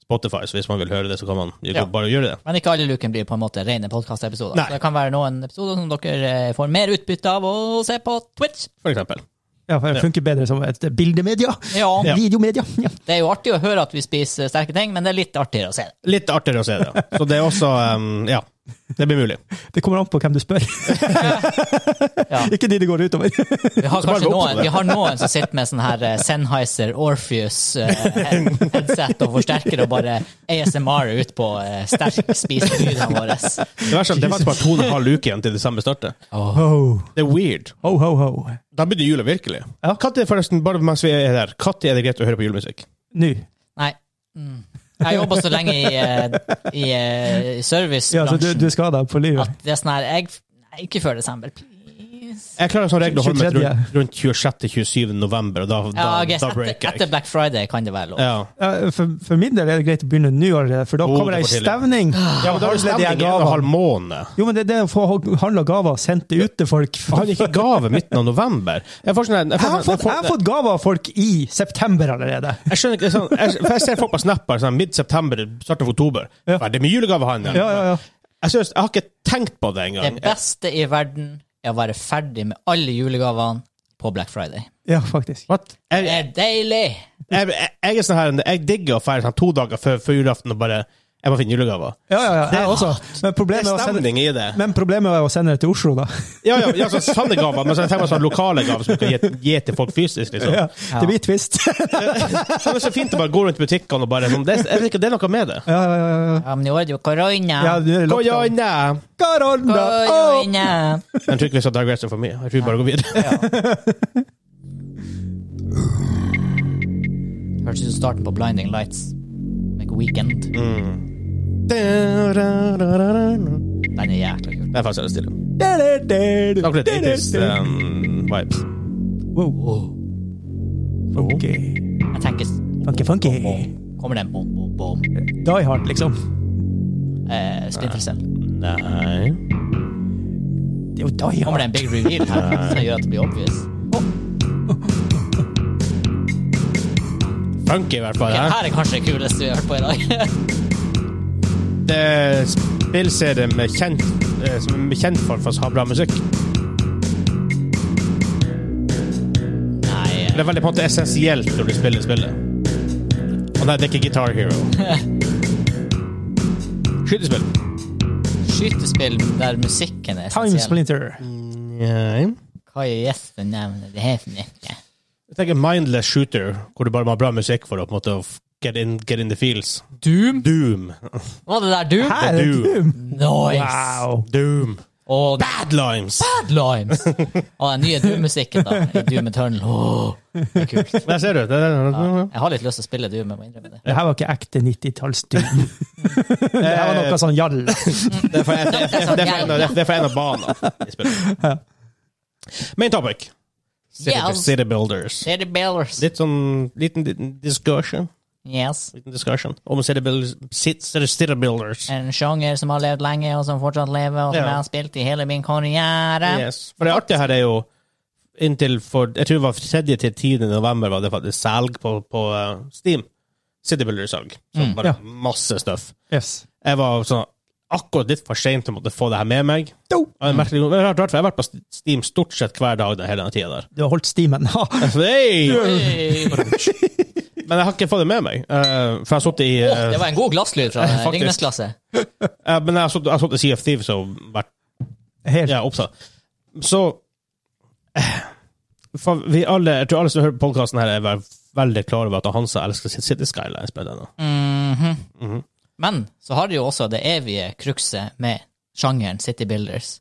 [SPEAKER 1] Spotify, så hvis man vil høre det, så kan man
[SPEAKER 2] Ja.
[SPEAKER 1] bare gjøre det.
[SPEAKER 2] Men ikke alle lukene blir på en måte rene podkastepisoder.
[SPEAKER 1] Nei.
[SPEAKER 2] Det kan være noen episoder som dere eh, får mer utbytte av å se på Twitch.
[SPEAKER 1] For eksempel.
[SPEAKER 3] Ja, for det funker bedre som et bildemedia.
[SPEAKER 2] Ja.
[SPEAKER 1] Ja.
[SPEAKER 3] Videomedia. Ja.
[SPEAKER 2] Det er jo artig å høre at vi spiser sterke ting, men det er litt artigere å se det.
[SPEAKER 1] Litt artigere å se det. Så det er også um, Ja. Det blir mulig.
[SPEAKER 3] Det kommer an på hvem du spør.
[SPEAKER 2] Ja.
[SPEAKER 3] Ikke de det går utover.
[SPEAKER 2] Vi har
[SPEAKER 1] Så bare gå
[SPEAKER 2] kanskje
[SPEAKER 1] opp
[SPEAKER 2] noen,
[SPEAKER 1] på det.
[SPEAKER 2] vi har noen som sitter med sånn her eh, Sennheiser Orpheus eh, head- headset og forsterker og bare ASMR ut på eh, sterk spiselydene våre.
[SPEAKER 1] Det verste er at det er faktisk bare to og en halv uke igjen til det samme starter.
[SPEAKER 3] Ho,
[SPEAKER 1] Det er weird.
[SPEAKER 3] ho, ho. ho.
[SPEAKER 1] Da begynner jula virkelig.
[SPEAKER 3] Ja.
[SPEAKER 1] Når, forresten, bare mens vi er der, når er det greit å høre på julemusikk?
[SPEAKER 3] Nå.
[SPEAKER 2] Nei. Mm. Jeg har jobba så lenge i, eh, i eh,
[SPEAKER 3] Ja, så du,
[SPEAKER 2] servicebransjen
[SPEAKER 3] du er skada på livet.
[SPEAKER 2] at det er sånn her jeg, Nei, Ikke før desember, please.
[SPEAKER 1] Jeg klarer som regel å holde meg
[SPEAKER 3] 23..
[SPEAKER 1] rundt, rundt 26.-27. november, og da, da,
[SPEAKER 2] Ja, I guess
[SPEAKER 1] da
[SPEAKER 2] etter,
[SPEAKER 1] breaker
[SPEAKER 2] etter
[SPEAKER 1] jeg.
[SPEAKER 2] Black Friday kan det være lov.
[SPEAKER 1] Ja.
[SPEAKER 3] Ja, for, for min del er det greit å begynne nå allerede, for da
[SPEAKER 1] Oh,
[SPEAKER 3] kommer
[SPEAKER 1] det
[SPEAKER 3] ei
[SPEAKER 1] var tidlig.
[SPEAKER 3] stevning.
[SPEAKER 1] ja, men da er det
[SPEAKER 3] Alle de
[SPEAKER 1] stemning i en
[SPEAKER 3] her
[SPEAKER 1] og en halv
[SPEAKER 3] gavene.
[SPEAKER 1] måned.
[SPEAKER 3] Jo, men det er det å få handla gaver og sendt det ut til folk.
[SPEAKER 1] Og Han gikk i gave midten av november. Jeg, får sånn her- jeg,
[SPEAKER 3] Jeg
[SPEAKER 1] får,
[SPEAKER 3] har
[SPEAKER 1] sånn-
[SPEAKER 3] fått, jeg har fått gaver av folk i september allerede.
[SPEAKER 1] jeg skjønner ikke sånn, jeg, for jeg ser folk på Snapper sånn, midt-september, start av oktober.
[SPEAKER 3] Ja.
[SPEAKER 1] Hva er Det med julegavehandel.
[SPEAKER 3] Ja, ja, ja.
[SPEAKER 1] Jeg, synes, jeg har ikke tenkt på det engang.
[SPEAKER 2] Det beste i verden er å være ferdig med alle julegavene på Black Friday.
[SPEAKER 3] ja faktisk.
[SPEAKER 1] What? Jeg,
[SPEAKER 2] Det
[SPEAKER 1] jeg,
[SPEAKER 2] er deilig!
[SPEAKER 1] jeg, jeg er sånn her, jeg digger å feire sånn to dager før, før julaften og bare Jeg må finne julegaver.
[SPEAKER 3] Ja, ja, ja, jeg også. Men
[SPEAKER 1] Det
[SPEAKER 3] problemet,
[SPEAKER 1] er
[SPEAKER 3] er å sende,
[SPEAKER 1] stemning i det.
[SPEAKER 3] men problemet er å sende det til Oslo, da.
[SPEAKER 1] Ja, ja, ja så sanne gaver, men så tenker man sånn lokale gaver som du kan gi, gi til folk fysisk. liksom.
[SPEAKER 3] Ja, det blir twist. Ja,
[SPEAKER 1] Så det er så fint å bare gå rundt i butikkene og bare sånn, det, Jeg vet ikke, det er noe med det.
[SPEAKER 3] ja, ja, ja.
[SPEAKER 2] Ja, men i år er det jo korona.
[SPEAKER 3] ja, nå er det
[SPEAKER 1] Gå
[SPEAKER 3] lockdown.
[SPEAKER 1] igjen!
[SPEAKER 3] Korona! Å!
[SPEAKER 2] korona.
[SPEAKER 1] Jeg tror ikke vi skal digresse for mye. Jeg tror vi bare går videre.
[SPEAKER 2] Ja. Hørtes ut som starten på Blinding Lights. Like Weekend.
[SPEAKER 1] Mm. Det
[SPEAKER 2] Den er jækla kul.
[SPEAKER 1] er faktisk veldig stille. Snakk litt 80s
[SPEAKER 3] Da-
[SPEAKER 1] um, vibes.
[SPEAKER 3] Wow. Funky.
[SPEAKER 2] Jeg tenker s-
[SPEAKER 3] Funky, funky.
[SPEAKER 2] Kommer den bom, bom, bom.
[SPEAKER 3] Die hard, liksom.
[SPEAKER 2] Eh, Splinter Cell.
[SPEAKER 1] Nei
[SPEAKER 3] Det er jo die
[SPEAKER 2] Kommer
[SPEAKER 3] hard.
[SPEAKER 2] det en big reveal her som gjør at det blir obvious?
[SPEAKER 1] Funky, i hvert fall.
[SPEAKER 2] Ok,
[SPEAKER 1] Her.
[SPEAKER 2] her er kanskje det kuleste vi har hørt på i dag.
[SPEAKER 1] Det er eh, spillserie med kjent, eh, som er kjent folk for å ha bra musikk.
[SPEAKER 2] Nei, eh,
[SPEAKER 1] Det er veldig på en måte essensielt når du spiller spillet. Og nei, det er ikke Guitar Hero. Skytespill.
[SPEAKER 2] skytespill der musikken er
[SPEAKER 3] Time
[SPEAKER 2] essensiell.
[SPEAKER 3] Splinter.
[SPEAKER 1] Nei.
[SPEAKER 2] Hva er gjesten nevner? Det heter den ikke.
[SPEAKER 1] Jeg tenker mindless shooter, hvor du bare må ha bra musikk for å på en måte f- get in, get in the feels.
[SPEAKER 2] Doom?
[SPEAKER 1] Doom.
[SPEAKER 2] Var det der Doom?
[SPEAKER 3] Her er
[SPEAKER 1] Det er
[SPEAKER 3] det
[SPEAKER 1] du.
[SPEAKER 3] Doom.
[SPEAKER 2] Nice!
[SPEAKER 3] Wow.
[SPEAKER 1] Doom.
[SPEAKER 2] Og
[SPEAKER 1] Bad Limes.
[SPEAKER 2] Bad Limes! Og den nye Doom-musikken, da. I Doom Eternal. Åh, det er kult.
[SPEAKER 1] Der ser du. Det er-
[SPEAKER 2] Jeg har litt lyst til å spille Doom, jeg må innrømme det.
[SPEAKER 3] Det her var ikke ekte 90-talls-Doom. det her var noe sånn jall.
[SPEAKER 1] Det er for en- det er for- det er for en av- det er for en av banene i spillet. Main topic. City,
[SPEAKER 2] Yes.
[SPEAKER 1] city Builders.
[SPEAKER 2] City Builders.
[SPEAKER 1] Litt sånn liten di- discussion.
[SPEAKER 2] Yes.
[SPEAKER 1] Liten discussion om City Builders. sit- City, city builders.
[SPEAKER 2] En sjanger som har levd lenge, og som fortsatt lever, og som
[SPEAKER 1] Ja.
[SPEAKER 2] jeg har spilt i hele min karriere.
[SPEAKER 1] Yes. For det artige her er jo inntil for Jeg tror det var 3. til 10. november var det faktisk salg på, på eh, Steam. City Builders-salg. Så
[SPEAKER 2] Mm.
[SPEAKER 1] bare
[SPEAKER 3] Ja.
[SPEAKER 1] masse stuff.
[SPEAKER 3] Yes.
[SPEAKER 1] Jeg var sånn akkurat litt for sein til å måtte få det her med meg.
[SPEAKER 3] Do.
[SPEAKER 1] Og jeg, merkelig, jeg, har, jeg har vært på Steam stort sett hver dag den hele den tida der.
[SPEAKER 3] Du har holdt stimen. Ha.
[SPEAKER 1] Så, hey!
[SPEAKER 2] Hey.
[SPEAKER 1] Men jeg har ikke fått det med meg. eh, for jeg har sittet i
[SPEAKER 2] Åh,
[SPEAKER 1] eh,
[SPEAKER 2] det var en god glasslyd fra
[SPEAKER 1] Faktisk.
[SPEAKER 2] Ringnes-klasse.
[SPEAKER 1] eh, Men jeg har sittet- jeg har sittet i Sea of Thieves og vært
[SPEAKER 3] Helt.
[SPEAKER 1] ja, opptatt. Så eh, for vi alle, Jeg tror alle som hører på podkasten her, er vel- veldig klar over at Hansa elsker City Skylines. med denne.
[SPEAKER 2] Mhm.
[SPEAKER 1] Mhm.
[SPEAKER 2] Men så har de jo også det evige krukset med sjangeren City Builders.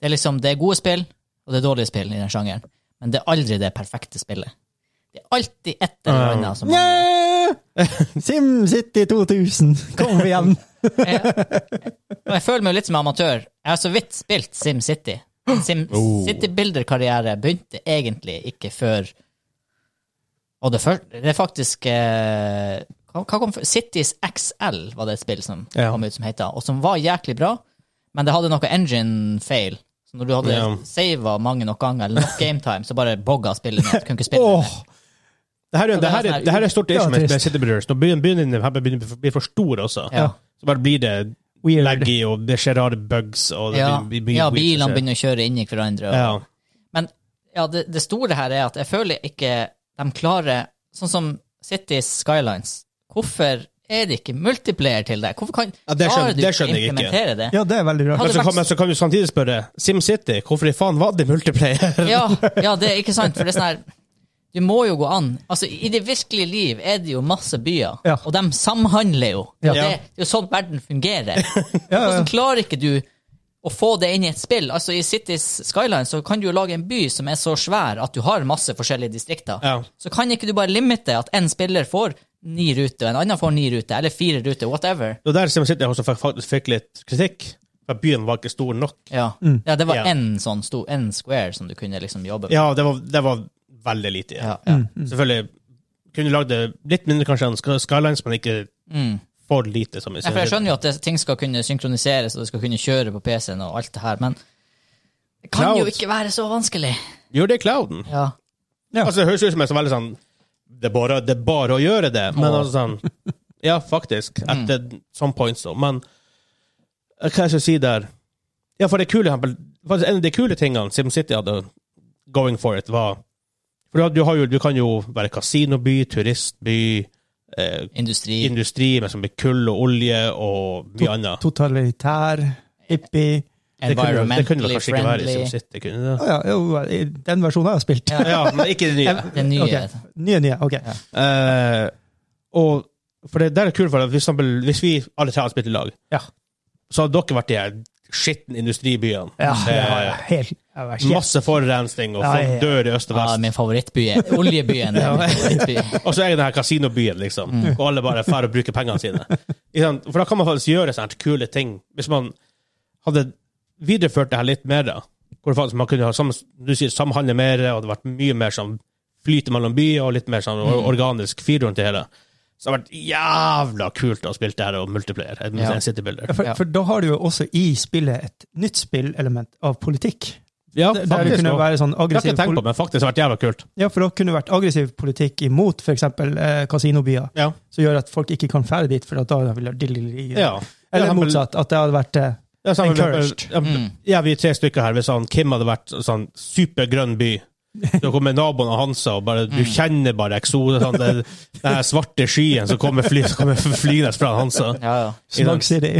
[SPEAKER 2] Det er liksom, det er gode spill, og det er dårlige spill i den sjangeren, men det er aldri det perfekte spillet. Det er alltid et eller
[SPEAKER 1] Ja.
[SPEAKER 2] annet som
[SPEAKER 3] Nye! SimCity 2000, kom igjen!
[SPEAKER 2] jeg, og jeg føler meg jo litt som en amatør. Jeg har så vidt spilt SimCity. Min Sim
[SPEAKER 1] Oh.
[SPEAKER 2] City Builder-karriere begynte egentlig ikke før Og det, før, det er faktisk eh, hva, hva kom før? Cities XL var det et spill som
[SPEAKER 1] Ja.
[SPEAKER 2] kom ut som het, og som var jæklig bra, men det hadde noe engine fail. Så når du hadde
[SPEAKER 1] Ja.
[SPEAKER 2] sava mange nok ganger, eller nok game time, så bare bogga spillet ned. Du kunne ikke spille
[SPEAKER 3] Åh,
[SPEAKER 1] Det her, er-
[SPEAKER 2] det
[SPEAKER 1] det,
[SPEAKER 2] er
[SPEAKER 1] her,
[SPEAKER 2] sånn
[SPEAKER 1] er-
[SPEAKER 2] her-
[SPEAKER 1] det her er stort
[SPEAKER 3] Ja,
[SPEAKER 1] issue med
[SPEAKER 3] trist.
[SPEAKER 1] City Builders. Nå begynner begynner- her begynner det å bli for stor også.
[SPEAKER 2] Ja.
[SPEAKER 1] Så bare blir det
[SPEAKER 3] weird.
[SPEAKER 1] laggy, og det skjer rare bugs. Og
[SPEAKER 2] det.
[SPEAKER 1] det
[SPEAKER 2] Ja,
[SPEAKER 1] blir- blir- blir-
[SPEAKER 2] ja
[SPEAKER 1] blir-
[SPEAKER 2] bilene begynner å kjøre inn i hverandre. Og,
[SPEAKER 1] Ja.
[SPEAKER 2] Men ja, det, det store her er at jeg føler ikke de klarer Sånn som Cities Skylines. Hvorfor er det ikke multiplayer til det? Hvorfor kan
[SPEAKER 1] Ja, det skjønner-
[SPEAKER 2] klarer du
[SPEAKER 1] det skjønner jeg ikke.
[SPEAKER 2] implementere det?
[SPEAKER 3] Ja, det er veldig rart.
[SPEAKER 1] Men
[SPEAKER 2] Hadde
[SPEAKER 1] så,
[SPEAKER 2] vært-
[SPEAKER 1] kan, men så kan du samtidig spørre SimCity, hvorfor i faen var det multiplayer?
[SPEAKER 2] Ja, ja, det er ikke sant, for det er sånn her Det må jo gå an. Altså, I det virkelige liv er det jo masse byer,
[SPEAKER 3] Ja.
[SPEAKER 2] og de samhandler jo.
[SPEAKER 3] Ja.
[SPEAKER 2] Det, det er jo sånn verden fungerer.
[SPEAKER 3] ja.
[SPEAKER 2] Hvordan klarer ikke du å få det inn i et spill? Altså, I Cities Skyline så kan du jo lage en by som er så svær at du har masse forskjellige distrikter.
[SPEAKER 1] Ja.
[SPEAKER 2] Så kan ikke du bare limite at en spiller får ni ruter, og en annen får ni ruter, eller fire ruter, whatever.
[SPEAKER 1] Det var der SimCity også fa- faktisk fikk litt kritikk. For byen var ikke stor nok.
[SPEAKER 2] Ja,
[SPEAKER 3] Mm.
[SPEAKER 2] ja det var
[SPEAKER 1] Ja.
[SPEAKER 2] én sånn stor, en square som du kunne liksom jobbe med.
[SPEAKER 1] Ja, det var, det var veldig lite.
[SPEAKER 2] Ja,
[SPEAKER 3] Mm.
[SPEAKER 2] ja.
[SPEAKER 1] Mm. Selvfølgelig kunne du lagd det litt mindre kanskje enn Sky- Skylines, men ikke for lite. som i
[SPEAKER 2] Mm. Ja, for jeg
[SPEAKER 1] SimCity.
[SPEAKER 2] skjønner jo at det, ting skal kunne synkroniseres, og det skal kunne kjøre på PC-en og alt det her, men det kan
[SPEAKER 1] Cloud.
[SPEAKER 2] jo ikke være så vanskelig.
[SPEAKER 1] Gjør det i clouden.
[SPEAKER 2] Ja.
[SPEAKER 3] Ja.
[SPEAKER 1] Altså, det høres ut som jeg er så veldig sånn det er, bare, det er bare å gjøre det, men
[SPEAKER 2] Åh. Mm.
[SPEAKER 1] altså sånn Ja, faktisk. At det- some point, så. Men eh, hva jeg skal si der Ja, for det kule eksempel, faktisk En av de kule tingene SimCity hadde going for it, var For du, har- du, har jo, du kan jo være kasinoby, turistby,
[SPEAKER 2] Mm.
[SPEAKER 1] eh,
[SPEAKER 2] Industri.
[SPEAKER 1] industri med sånn med kull og olje og mye annet.
[SPEAKER 3] Totalitær, hippie
[SPEAKER 1] Det kunne, det kunne vel
[SPEAKER 2] environmentally
[SPEAKER 1] kanskje ikke være i
[SPEAKER 2] friendly.
[SPEAKER 1] SimCity? Kunne det?
[SPEAKER 3] Å ja, jo, i den versjonen jeg har spilt.
[SPEAKER 2] Ja.
[SPEAKER 1] Ja, men ikke det nye.
[SPEAKER 2] Det nye.
[SPEAKER 3] Ok, Nye, nye. Ok.
[SPEAKER 1] Eh, og for det der er kult, for at for eksempel, hvis vi alle tre hadde spilt i lag,
[SPEAKER 3] Ja.
[SPEAKER 1] så hadde dere vært de her skitne industribyene.
[SPEAKER 3] Ja,
[SPEAKER 1] Eh,
[SPEAKER 3] ja, ja, helt, ja, vær så-
[SPEAKER 1] Masse forurensning, og
[SPEAKER 3] Ja,
[SPEAKER 1] folk
[SPEAKER 3] ja, ja.
[SPEAKER 1] dør i øst og
[SPEAKER 2] Ja,
[SPEAKER 1] vest.
[SPEAKER 2] min favorittby er oljebyen. er min favorittby.
[SPEAKER 1] Og så er det denne kasinobyen, liksom. Og alle bare drar og bruker pengene sine. Ikke sant? For da kan man faktisk gjøre sånne kule ting. Hvis man hadde videreført det her litt mer, da. Hvor faktisk man kunne ha sam, du sier, samhandle mer, og det hadde vært mye mer sånn flyt mellom byer, og litt mer sånn or- organisk fyrhjul til hele. Så det hadde vært jævla kult å spille det her og multiplayer. En
[SPEAKER 2] Ja.
[SPEAKER 1] en citybuilder.
[SPEAKER 3] Ja, for,
[SPEAKER 2] Ja.
[SPEAKER 3] for da har du jo også i spillet et nytt spillelement av politikk.
[SPEAKER 1] Ja,
[SPEAKER 3] Der der du
[SPEAKER 1] faktisk.
[SPEAKER 3] kunne
[SPEAKER 1] og-
[SPEAKER 3] være sånn
[SPEAKER 1] Det har jeg
[SPEAKER 3] aggressiv,
[SPEAKER 1] ikke tenkt på, men faktisk det har vært jævla kult.
[SPEAKER 3] poli- ja, for da kunne det vært aggressiv politikk imot f.eks. Eh, kasinobyer,
[SPEAKER 1] Ja.
[SPEAKER 3] som gjør at folk ikke kan fære dit, for at da vil det
[SPEAKER 1] ja.
[SPEAKER 3] Eller
[SPEAKER 1] Ja, men-
[SPEAKER 3] motsatt, at det hadde vært eh,
[SPEAKER 1] Ja, sammen med-
[SPEAKER 3] Encouraged.
[SPEAKER 1] Ja,
[SPEAKER 2] Mm.
[SPEAKER 1] ja, vi er tre stykker her. Hvis han, Kim hadde vært sånn supergrønn by Så kommer naboen og Hansa, og bare,
[SPEAKER 2] Mm.
[SPEAKER 1] du kjenner bare eksoden. Sånn, den, den her svarte skyen som kommer, fly, som kommer flygende fra Hansa.
[SPEAKER 2] Ja, ja.
[SPEAKER 3] Snug City.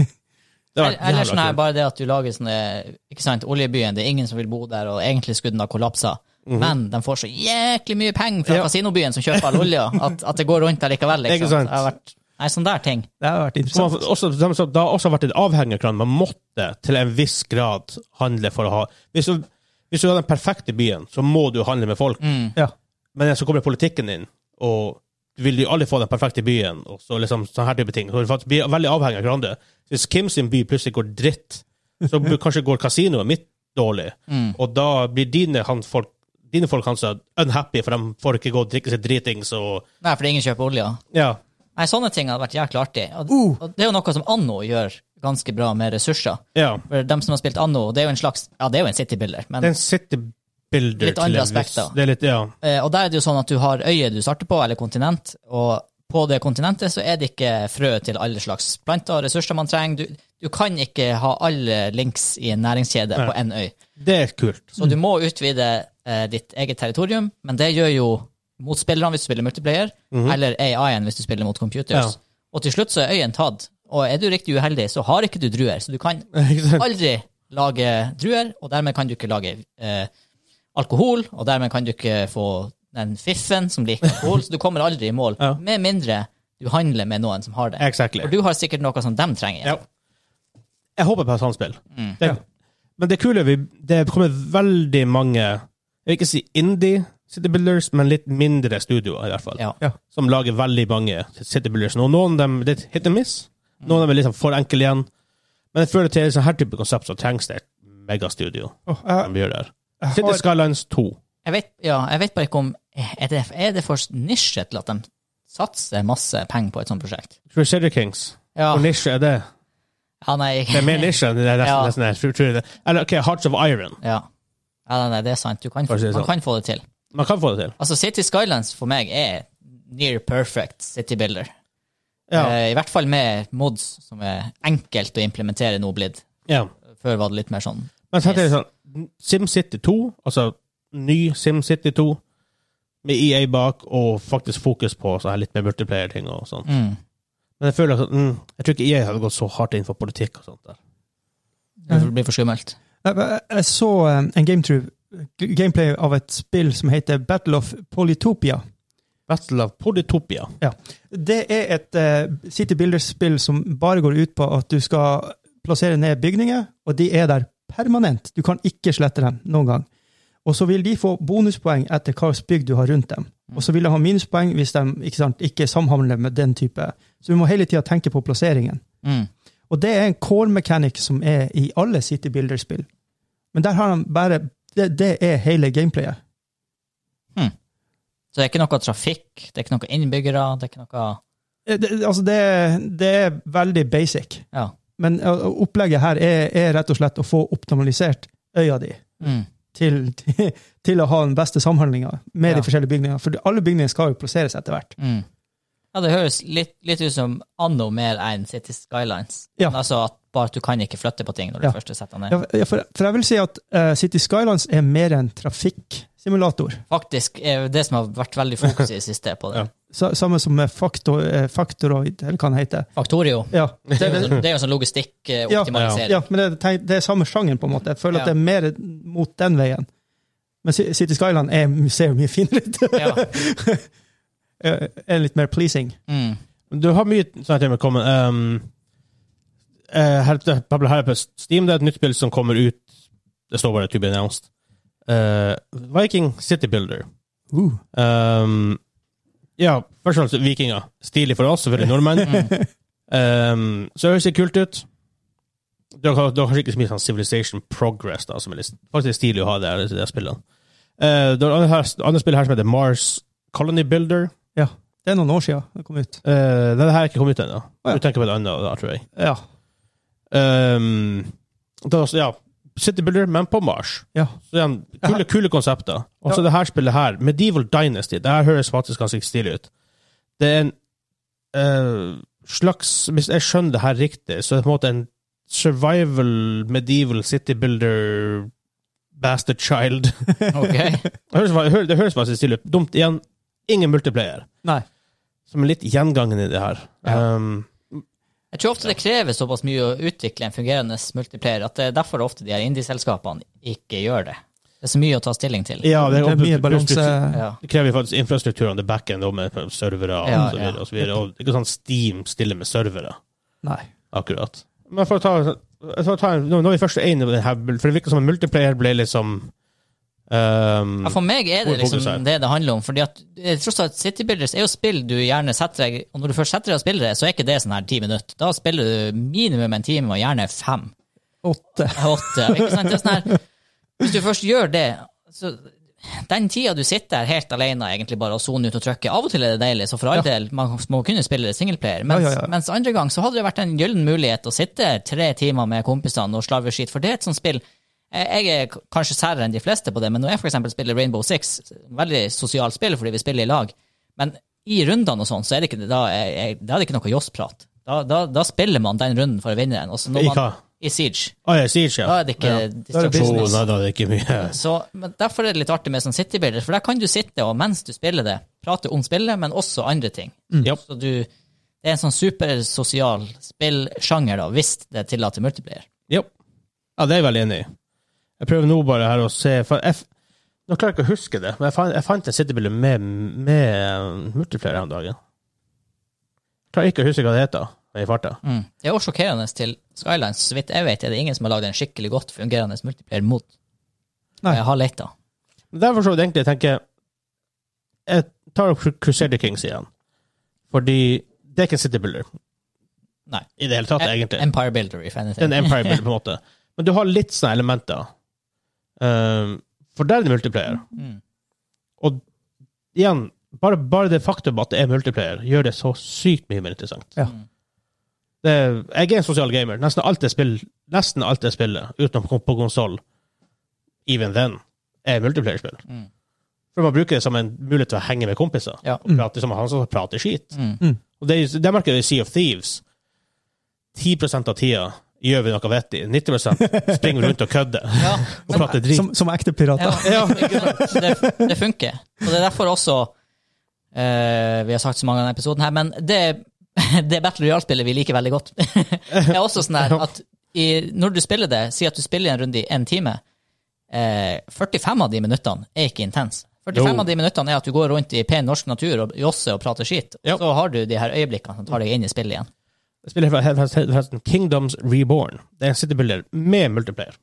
[SPEAKER 1] Det var
[SPEAKER 2] Eller sånn her,
[SPEAKER 1] jævla kult.
[SPEAKER 2] bare det at du lager sånne ikke sant, Oljebyen, det er ingen som vil bo der, og egentlig skulle den ha kollapsa. Men de får så jæklig mye penger fra
[SPEAKER 1] Mhm. Ja.
[SPEAKER 2] kasinobyen som kjøper all olja, at, at det går rundt allikevel. Liksom.
[SPEAKER 1] Ikke sant?
[SPEAKER 2] Det har vært, sånn. nei, sånn der ting.
[SPEAKER 3] Det hadde vært
[SPEAKER 1] Så man,
[SPEAKER 3] interessant.
[SPEAKER 1] også, som sagt, det har også vært et avhengerkran. Man måtte til en viss grad handle for å ha Hvis du, hvis du har den perfekte byen, så må du handle med folk.
[SPEAKER 2] Mm.
[SPEAKER 3] Ja.
[SPEAKER 1] Men så kommer politikken inn, og du vil jo aldri få den perfekte byen, og så liksom sånne her type ting. Så du faktisk blir veldig avhengig av hverandre. Hvis Kim sin by plutselig går dritt, så b- kanskje går kasinoet mitt dårlig,
[SPEAKER 2] Mm.
[SPEAKER 1] og da blir dine han- folk dine folk hans er unhappy, for de får ikke gå og drikke seg dritings og
[SPEAKER 2] Nei, fordi ingen kjøper olja.
[SPEAKER 1] Ja.
[SPEAKER 2] Nei, sånne ting hadde vært jækla artig. Og,
[SPEAKER 3] Uh.
[SPEAKER 2] og det er jo noe som Anno gjør ganske bra med ressurser.
[SPEAKER 1] ja.
[SPEAKER 2] For dem som har spilt Anno, det er jo en slags Ja, det er jo en citybuilder, men
[SPEAKER 1] Det er en citybuilder
[SPEAKER 2] Litt andre
[SPEAKER 1] en viss-
[SPEAKER 2] aspekter.
[SPEAKER 1] Det er litt, ja.
[SPEAKER 2] eh, Og der er det jo sånn at du har øyet du starter på, eller kontinent, og på det kontinentet så er det ikke frø til alle slags planter og ressurser man trenger. Du, du kan ikke ha alle links i en næringskjede på én øy.
[SPEAKER 1] Det er kult.
[SPEAKER 2] Så du må utvide eh, ditt eget territorium, men det gjør jo motspillerne hvis du spiller multiplayer, eller AI-en hvis du spiller mot computers.
[SPEAKER 1] Mhm. Ja.
[SPEAKER 2] Og til slutt så er øyen tatt, og er du riktig uheldig, så har ikke du druer, så du kan
[SPEAKER 1] Ikke sant?
[SPEAKER 2] aldri lage druer, og dermed kan du ikke lage eh, alkohol, og dermed kan du ikke få den fiffen som liker alkohol, så du kommer aldri i mål,
[SPEAKER 1] Ja.
[SPEAKER 2] med mindre du handler med noen som har det.
[SPEAKER 1] Exactly.
[SPEAKER 2] For du har sikkert noe som dem trenger.
[SPEAKER 1] Ja. Jeg håper på et samspill.
[SPEAKER 2] Mm.
[SPEAKER 1] Det, Men det kule er vi, det er kommet veldig mange Jeg vil ikke si indie City Builders, men litt mindre studioer, i hvert fall.
[SPEAKER 2] Ja.
[SPEAKER 3] Ja.
[SPEAKER 1] Som lager veldig mange City Builders. Og noen av dem det er hit and miss.
[SPEAKER 2] Mm.
[SPEAKER 1] Noen av dem er liksom for enkle igjen. Men jeg føler til sånn her type konsept så trengs det et megastudio.
[SPEAKER 3] Åh, jeg-
[SPEAKER 1] som vi gjør der.
[SPEAKER 3] eh, jeg
[SPEAKER 1] City
[SPEAKER 3] har-
[SPEAKER 1] Skylines 2.
[SPEAKER 2] Jeg vet, ja, jeg vet bare ikke om Er det, er det for nisje til at de satser masse penger på et sånt prosjekt?
[SPEAKER 1] Crusader Kings.
[SPEAKER 2] Ja,
[SPEAKER 1] Hvor nisje er det?
[SPEAKER 2] ja nei
[SPEAKER 1] Det er mer nisje enn det er
[SPEAKER 2] Ja.
[SPEAKER 1] nesten, nesten, tror jeg det. Eller OK, Hearts of Iron.
[SPEAKER 2] ja. ja nei, nei, det er sant. Du kan,
[SPEAKER 1] For å si det
[SPEAKER 2] man
[SPEAKER 1] sånn.
[SPEAKER 2] kan få det til.
[SPEAKER 1] Man kan få det til.
[SPEAKER 2] Altså, City Skylines for meg er near perfect city builder.
[SPEAKER 1] Ja.
[SPEAKER 2] Eh, I hvert fall med mods, som er enkelt å implementere nå blitt.
[SPEAKER 1] ja.
[SPEAKER 2] Før var det litt mer sånn
[SPEAKER 1] Men så tenker jeg
[SPEAKER 2] Yes.
[SPEAKER 1] sånn, SimCity 2, altså ny SimCity E 2, med EA bak, og faktisk fokus på så her litt mer multiplayer-ting og sånn.
[SPEAKER 2] mm.
[SPEAKER 1] Men jeg føler at, mm, jeg tror ikke jeg hadde gått så hardt inn for politikk og sånt der.
[SPEAKER 2] Det blir for skummelt.
[SPEAKER 3] Nei, men Jeg jeg så eh, en gametru- gameplay av et spill som heter Battle of Polytopia.
[SPEAKER 1] Battle of Poditopia.
[SPEAKER 3] Det er et eh, City Builders-spill som bare går ut på at du skal plassere ned bygninger, og de er der permanent. Du kan ikke slette dem noen gang. Og så vil de få bonuspoeng etter hva slags bygg du har rundt dem. Og så vil de ha minuspoeng hvis de ikke, sant, ikke samhandler med den type. Så du må hele tida tenke på plasseringen.
[SPEAKER 2] Mm.
[SPEAKER 3] Og det er en core mechanic som er i alle City Builder-spill. Men der har de bare Det, det er hele gameplayet.
[SPEAKER 2] Så det er ikke noe trafikk, det er ikke noe innbyggere, det er ikke noe
[SPEAKER 3] Eh, Det, altså, det, det er veldig basic.
[SPEAKER 2] Ja.
[SPEAKER 3] Men ø, ø, opplegget her er, er rett og slett å få optimalisert øya di
[SPEAKER 2] Mm.
[SPEAKER 3] til, til å ha den beste samhandlinga med
[SPEAKER 2] Ja.
[SPEAKER 3] de forskjellige bygningene. For alle bygningene skal jo plasseres etter hvert.
[SPEAKER 2] Mm. Ja, det høres litt, litt ut som anno mer enn City Skylines.
[SPEAKER 3] Ja.
[SPEAKER 2] Men Altså at bare at du kan ikke flytte på ting når du
[SPEAKER 3] Ja.
[SPEAKER 2] først setter ned.
[SPEAKER 3] Ja, for, for jeg vil si at ø, City Skylines er mer en trafikksimulator.
[SPEAKER 2] Faktisk er det som har vært veldig fokus i det siste på det.
[SPEAKER 1] Ja.
[SPEAKER 3] Sa- Samme som med Factor, eh, Factoroid, eller hva den heter.
[SPEAKER 2] Factorio.
[SPEAKER 3] Ja,
[SPEAKER 2] Det er jo det er jo sånn
[SPEAKER 3] Ja,
[SPEAKER 2] logistikkoptimalisering.
[SPEAKER 3] ja men det, tenk- det er samme sjangeren, på en måte. Jeg føler at
[SPEAKER 2] Ja.
[SPEAKER 3] det er mer mot den veien. Men Ci- City Skyline er, ser jo mye finere ut.
[SPEAKER 2] Ja.
[SPEAKER 3] Eh, er litt mer pleasing.
[SPEAKER 2] Mm.
[SPEAKER 1] Men Du har mye sånne ting med kommet. Um, eh, her, Pablo, her er på Steam det er et nytt spill som kommer ut. Det står bare 'to be announced'. Eh, Viking City Builder.
[SPEAKER 3] Uh.
[SPEAKER 1] Um, ja, først og fremst vikinger. Stilig for oss, selvfølgelig nordmenn. Um, så det høres litt kult ut. Du har, du har kanskje ikke så mye sånn Civilization Progress, da, som er litt, faktisk stilig å ha der, i det spillet. Uh, det er andre, her, andre spill her som heter Mars Colony Builder.
[SPEAKER 3] Det er noen år siden det kom ut.
[SPEAKER 1] Uh, denne her er ikke kommet ut ennå.
[SPEAKER 3] Å, ja.
[SPEAKER 1] Du tenker på et annet, da, tror jeg.
[SPEAKER 3] Ja.
[SPEAKER 1] Um, det er også, ja, City Builder, men på Mars.
[SPEAKER 3] ja.
[SPEAKER 1] Så igjen, kule, kule konsepter. Og så
[SPEAKER 3] Ja.
[SPEAKER 1] det her spillet her, Medieval Dynasty, det her høres faktisk ganske stilig ut. Det er en eh, slags Hvis jeg skjønner det her riktig, så er det på en måte en survival medieval city builder bastard child. Det
[SPEAKER 2] Ok.
[SPEAKER 1] høres, det høres- det høres faktisk stilig ut. Dumt igjen. Ingen multiplayer,
[SPEAKER 3] Nei.
[SPEAKER 1] som er litt gjengangen i det her.
[SPEAKER 3] Ja.
[SPEAKER 1] Um,
[SPEAKER 2] Jeg tror ofte det krever såpass mye å utvikle en fungerende multiplayer at det er derfor ofte de her indie-selskapene ikke gjør det. Det er så mye å ta stilling til.
[SPEAKER 1] ja,
[SPEAKER 3] Det er mye balanse.
[SPEAKER 2] Ja.
[SPEAKER 1] Det krever faktisk infrastruktur on the backend og med servere og
[SPEAKER 2] Ja,
[SPEAKER 1] så
[SPEAKER 2] ja.
[SPEAKER 1] videre. Og så videre. Og ikke sånn Steam stiller med servere.
[SPEAKER 3] Nei.
[SPEAKER 1] Akkurat. Men for å ta, for å ta nå- Når vi først er inne i det her, for det virker som en multiplayer ble liksom ehm,
[SPEAKER 2] Ja, for meg er det
[SPEAKER 1] Hvor fokus er?
[SPEAKER 2] liksom det det handler om. fordi at eh, tross alt City Builders er jo spill du gjerne setter deg Og når du først setter deg og spiller det, så er ikke det sånn her ti minutter. Da spiller du minimum en time, og gjerne fem.
[SPEAKER 3] Åtte.
[SPEAKER 2] Åtte. Ikke sant? Det er sånn her, hvis du først gjør det, så den tida du sitter her helt alene egentlig bare og soner ut og trykker, av og til er det deilig, så for all del, man må kunne spille det singleplayer. Mens,
[SPEAKER 3] Ja, ja, ja.
[SPEAKER 2] mens andre gang så hadde det vært en gyllen mulighet å sitte tre timer med kompisene og slarve skit, for det er et sånt spill. Jeg jeg er k- kanskje særere enn de fleste på det, men når jeg for eksempel spiller Rainbow Six, veldig sosialt spill fordi vi spiller i lag, men i rundene og sånn, så er det ikke, da er, jeg- da er det ikke noe joss-prat. Da, da, da spiller man den runden for å vinne den. og så når
[SPEAKER 1] I
[SPEAKER 2] man-
[SPEAKER 1] hva?
[SPEAKER 2] I Siege.
[SPEAKER 1] Å, jeg sier ikke
[SPEAKER 2] Da er Ah, det ikke
[SPEAKER 1] ja.
[SPEAKER 2] distraksjon.
[SPEAKER 1] Så, nei, da er det ikke mye.
[SPEAKER 2] Så, men derfor er det litt artig med sånn City Builder, for der kan du sitte og mens du spiller det, prate om spillet, men også andre ting.
[SPEAKER 1] Ja.
[SPEAKER 2] Så du, det er en sånn supersosial spillsjanger, da, hvis det tillater multiplayer.
[SPEAKER 1] Jo. Ja, det er jeg veldig enig i. Jeg prøver nå bare her å se for jeg, f- Nå klarer jeg ikke å huske det, men jeg fant, jeg fant en citybilde med, med eh, multiplayer her om dagen. Jeg klarer ikke å huske hva det heter i farta.
[SPEAKER 2] Mm. Det er også sjokkerende til Skylines. Så vidt jeg vet, er det ingen som har lagd en skikkelig godt fungerende multiplayer mot.
[SPEAKER 3] Nei.
[SPEAKER 2] Jeg har lett, da.
[SPEAKER 1] Derfor så vidt egentlig jeg tenker Jeg tar opp Crusader Kings igjen. Fordi det er ikke en City Builder.
[SPEAKER 2] Nei.
[SPEAKER 1] I det hele tatt, egentlig.
[SPEAKER 2] Empire Builder, if anything.
[SPEAKER 1] Den Empire Builder, på en måte. Men du har litt sånne elementer. Um, for der er det multiplayer.
[SPEAKER 2] Mm.
[SPEAKER 1] Og igjen, bare, bare det faktum at det er multiplayer, gjør det så sykt mye mer interessant.
[SPEAKER 3] Ja.
[SPEAKER 2] Mm.
[SPEAKER 1] Det, jeg er en sosial gamer. Nesten alt jeg spiller, nesten alt jeg spiller utenom på, på konsoll, even then, er multiplayer-spill.
[SPEAKER 2] Mm.
[SPEAKER 1] For man bruker det som en mulighet til å henge med kompiser.
[SPEAKER 2] Ja.
[SPEAKER 1] Og prate som han som prater skit.
[SPEAKER 2] Mm.
[SPEAKER 1] Og det, er jo- det merker vi i Sea of Thieves. 10 av tida gjør vi noe vettig. 90 springer vi rundt og kødder
[SPEAKER 2] Ja.
[SPEAKER 1] og prater drit.
[SPEAKER 3] Som, som ekte pirater.
[SPEAKER 2] Ja, ikke sant? det, det funker. Og det er derfor også eh, Vi har sagt så mange av denne episoden her, men det det Battle Royale-spillet vi liker veldig godt. det er også sånn der at i, når du spiller det, si at du spiller en runde i en time, eh, 45 av de minuttene er ikke intense. 45
[SPEAKER 1] Jo.
[SPEAKER 2] av de minuttene er at du går rundt i pen norsk natur og josser og prater skit.
[SPEAKER 1] Ja.
[SPEAKER 2] Så har du de her øyeblikkene som tar deg inn i spillet igjen.
[SPEAKER 1] Jeg spiller her- her- her- her- Kingdoms Reborn. Det er en citybuilder med multiplayer.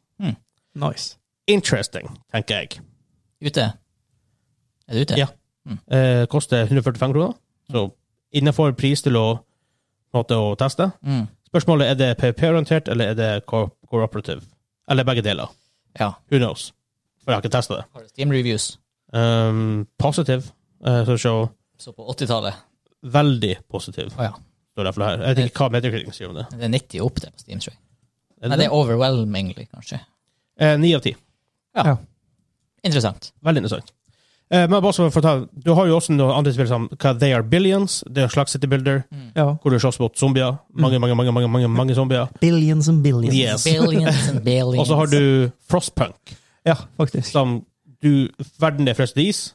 [SPEAKER 3] Nice.
[SPEAKER 1] Interesting, tenker jeg.
[SPEAKER 2] Ute. Er du ute?
[SPEAKER 1] Ja. Eh, koster 145 kroner, så innenfor pris til å, måte å teste.
[SPEAKER 2] Mm.
[SPEAKER 1] Spørsmålet er det PVP-orientert, eller er det co cooperative? Eller begge deler.
[SPEAKER 2] ja.
[SPEAKER 1] Who knows? For jeg har ikke testa det.
[SPEAKER 2] Har du Steam Reviews?
[SPEAKER 1] Um, positiv, eh, så se
[SPEAKER 2] Så på 80-tallet.
[SPEAKER 1] veldig positiv.
[SPEAKER 2] Å ja.
[SPEAKER 1] står det for det her. Jeg vet ikke hva Metacritic sier om det.
[SPEAKER 2] Det er 90 opp det på Steam, tror jeg.
[SPEAKER 1] Er det
[SPEAKER 2] Nei, det
[SPEAKER 1] det?
[SPEAKER 2] er overwhelmingly, kanskje.
[SPEAKER 1] Eh, Ni av ti.
[SPEAKER 3] Ja.
[SPEAKER 2] Interessant.
[SPEAKER 1] Veldig interessant. Eh, men bare så for å ta, du har jo også noen andre spill som hva They Are Billions. Det er en slags City Builder,
[SPEAKER 3] ja.
[SPEAKER 1] hvor du slåss mot zombier. Mange, mange, mange, mange, mange, mange zombier.
[SPEAKER 3] Billions and billions.
[SPEAKER 1] Yes.
[SPEAKER 2] Billions and billions.
[SPEAKER 1] Og så har du Frostpunk,
[SPEAKER 3] Ja, faktisk.
[SPEAKER 1] som du Verden er frosset is.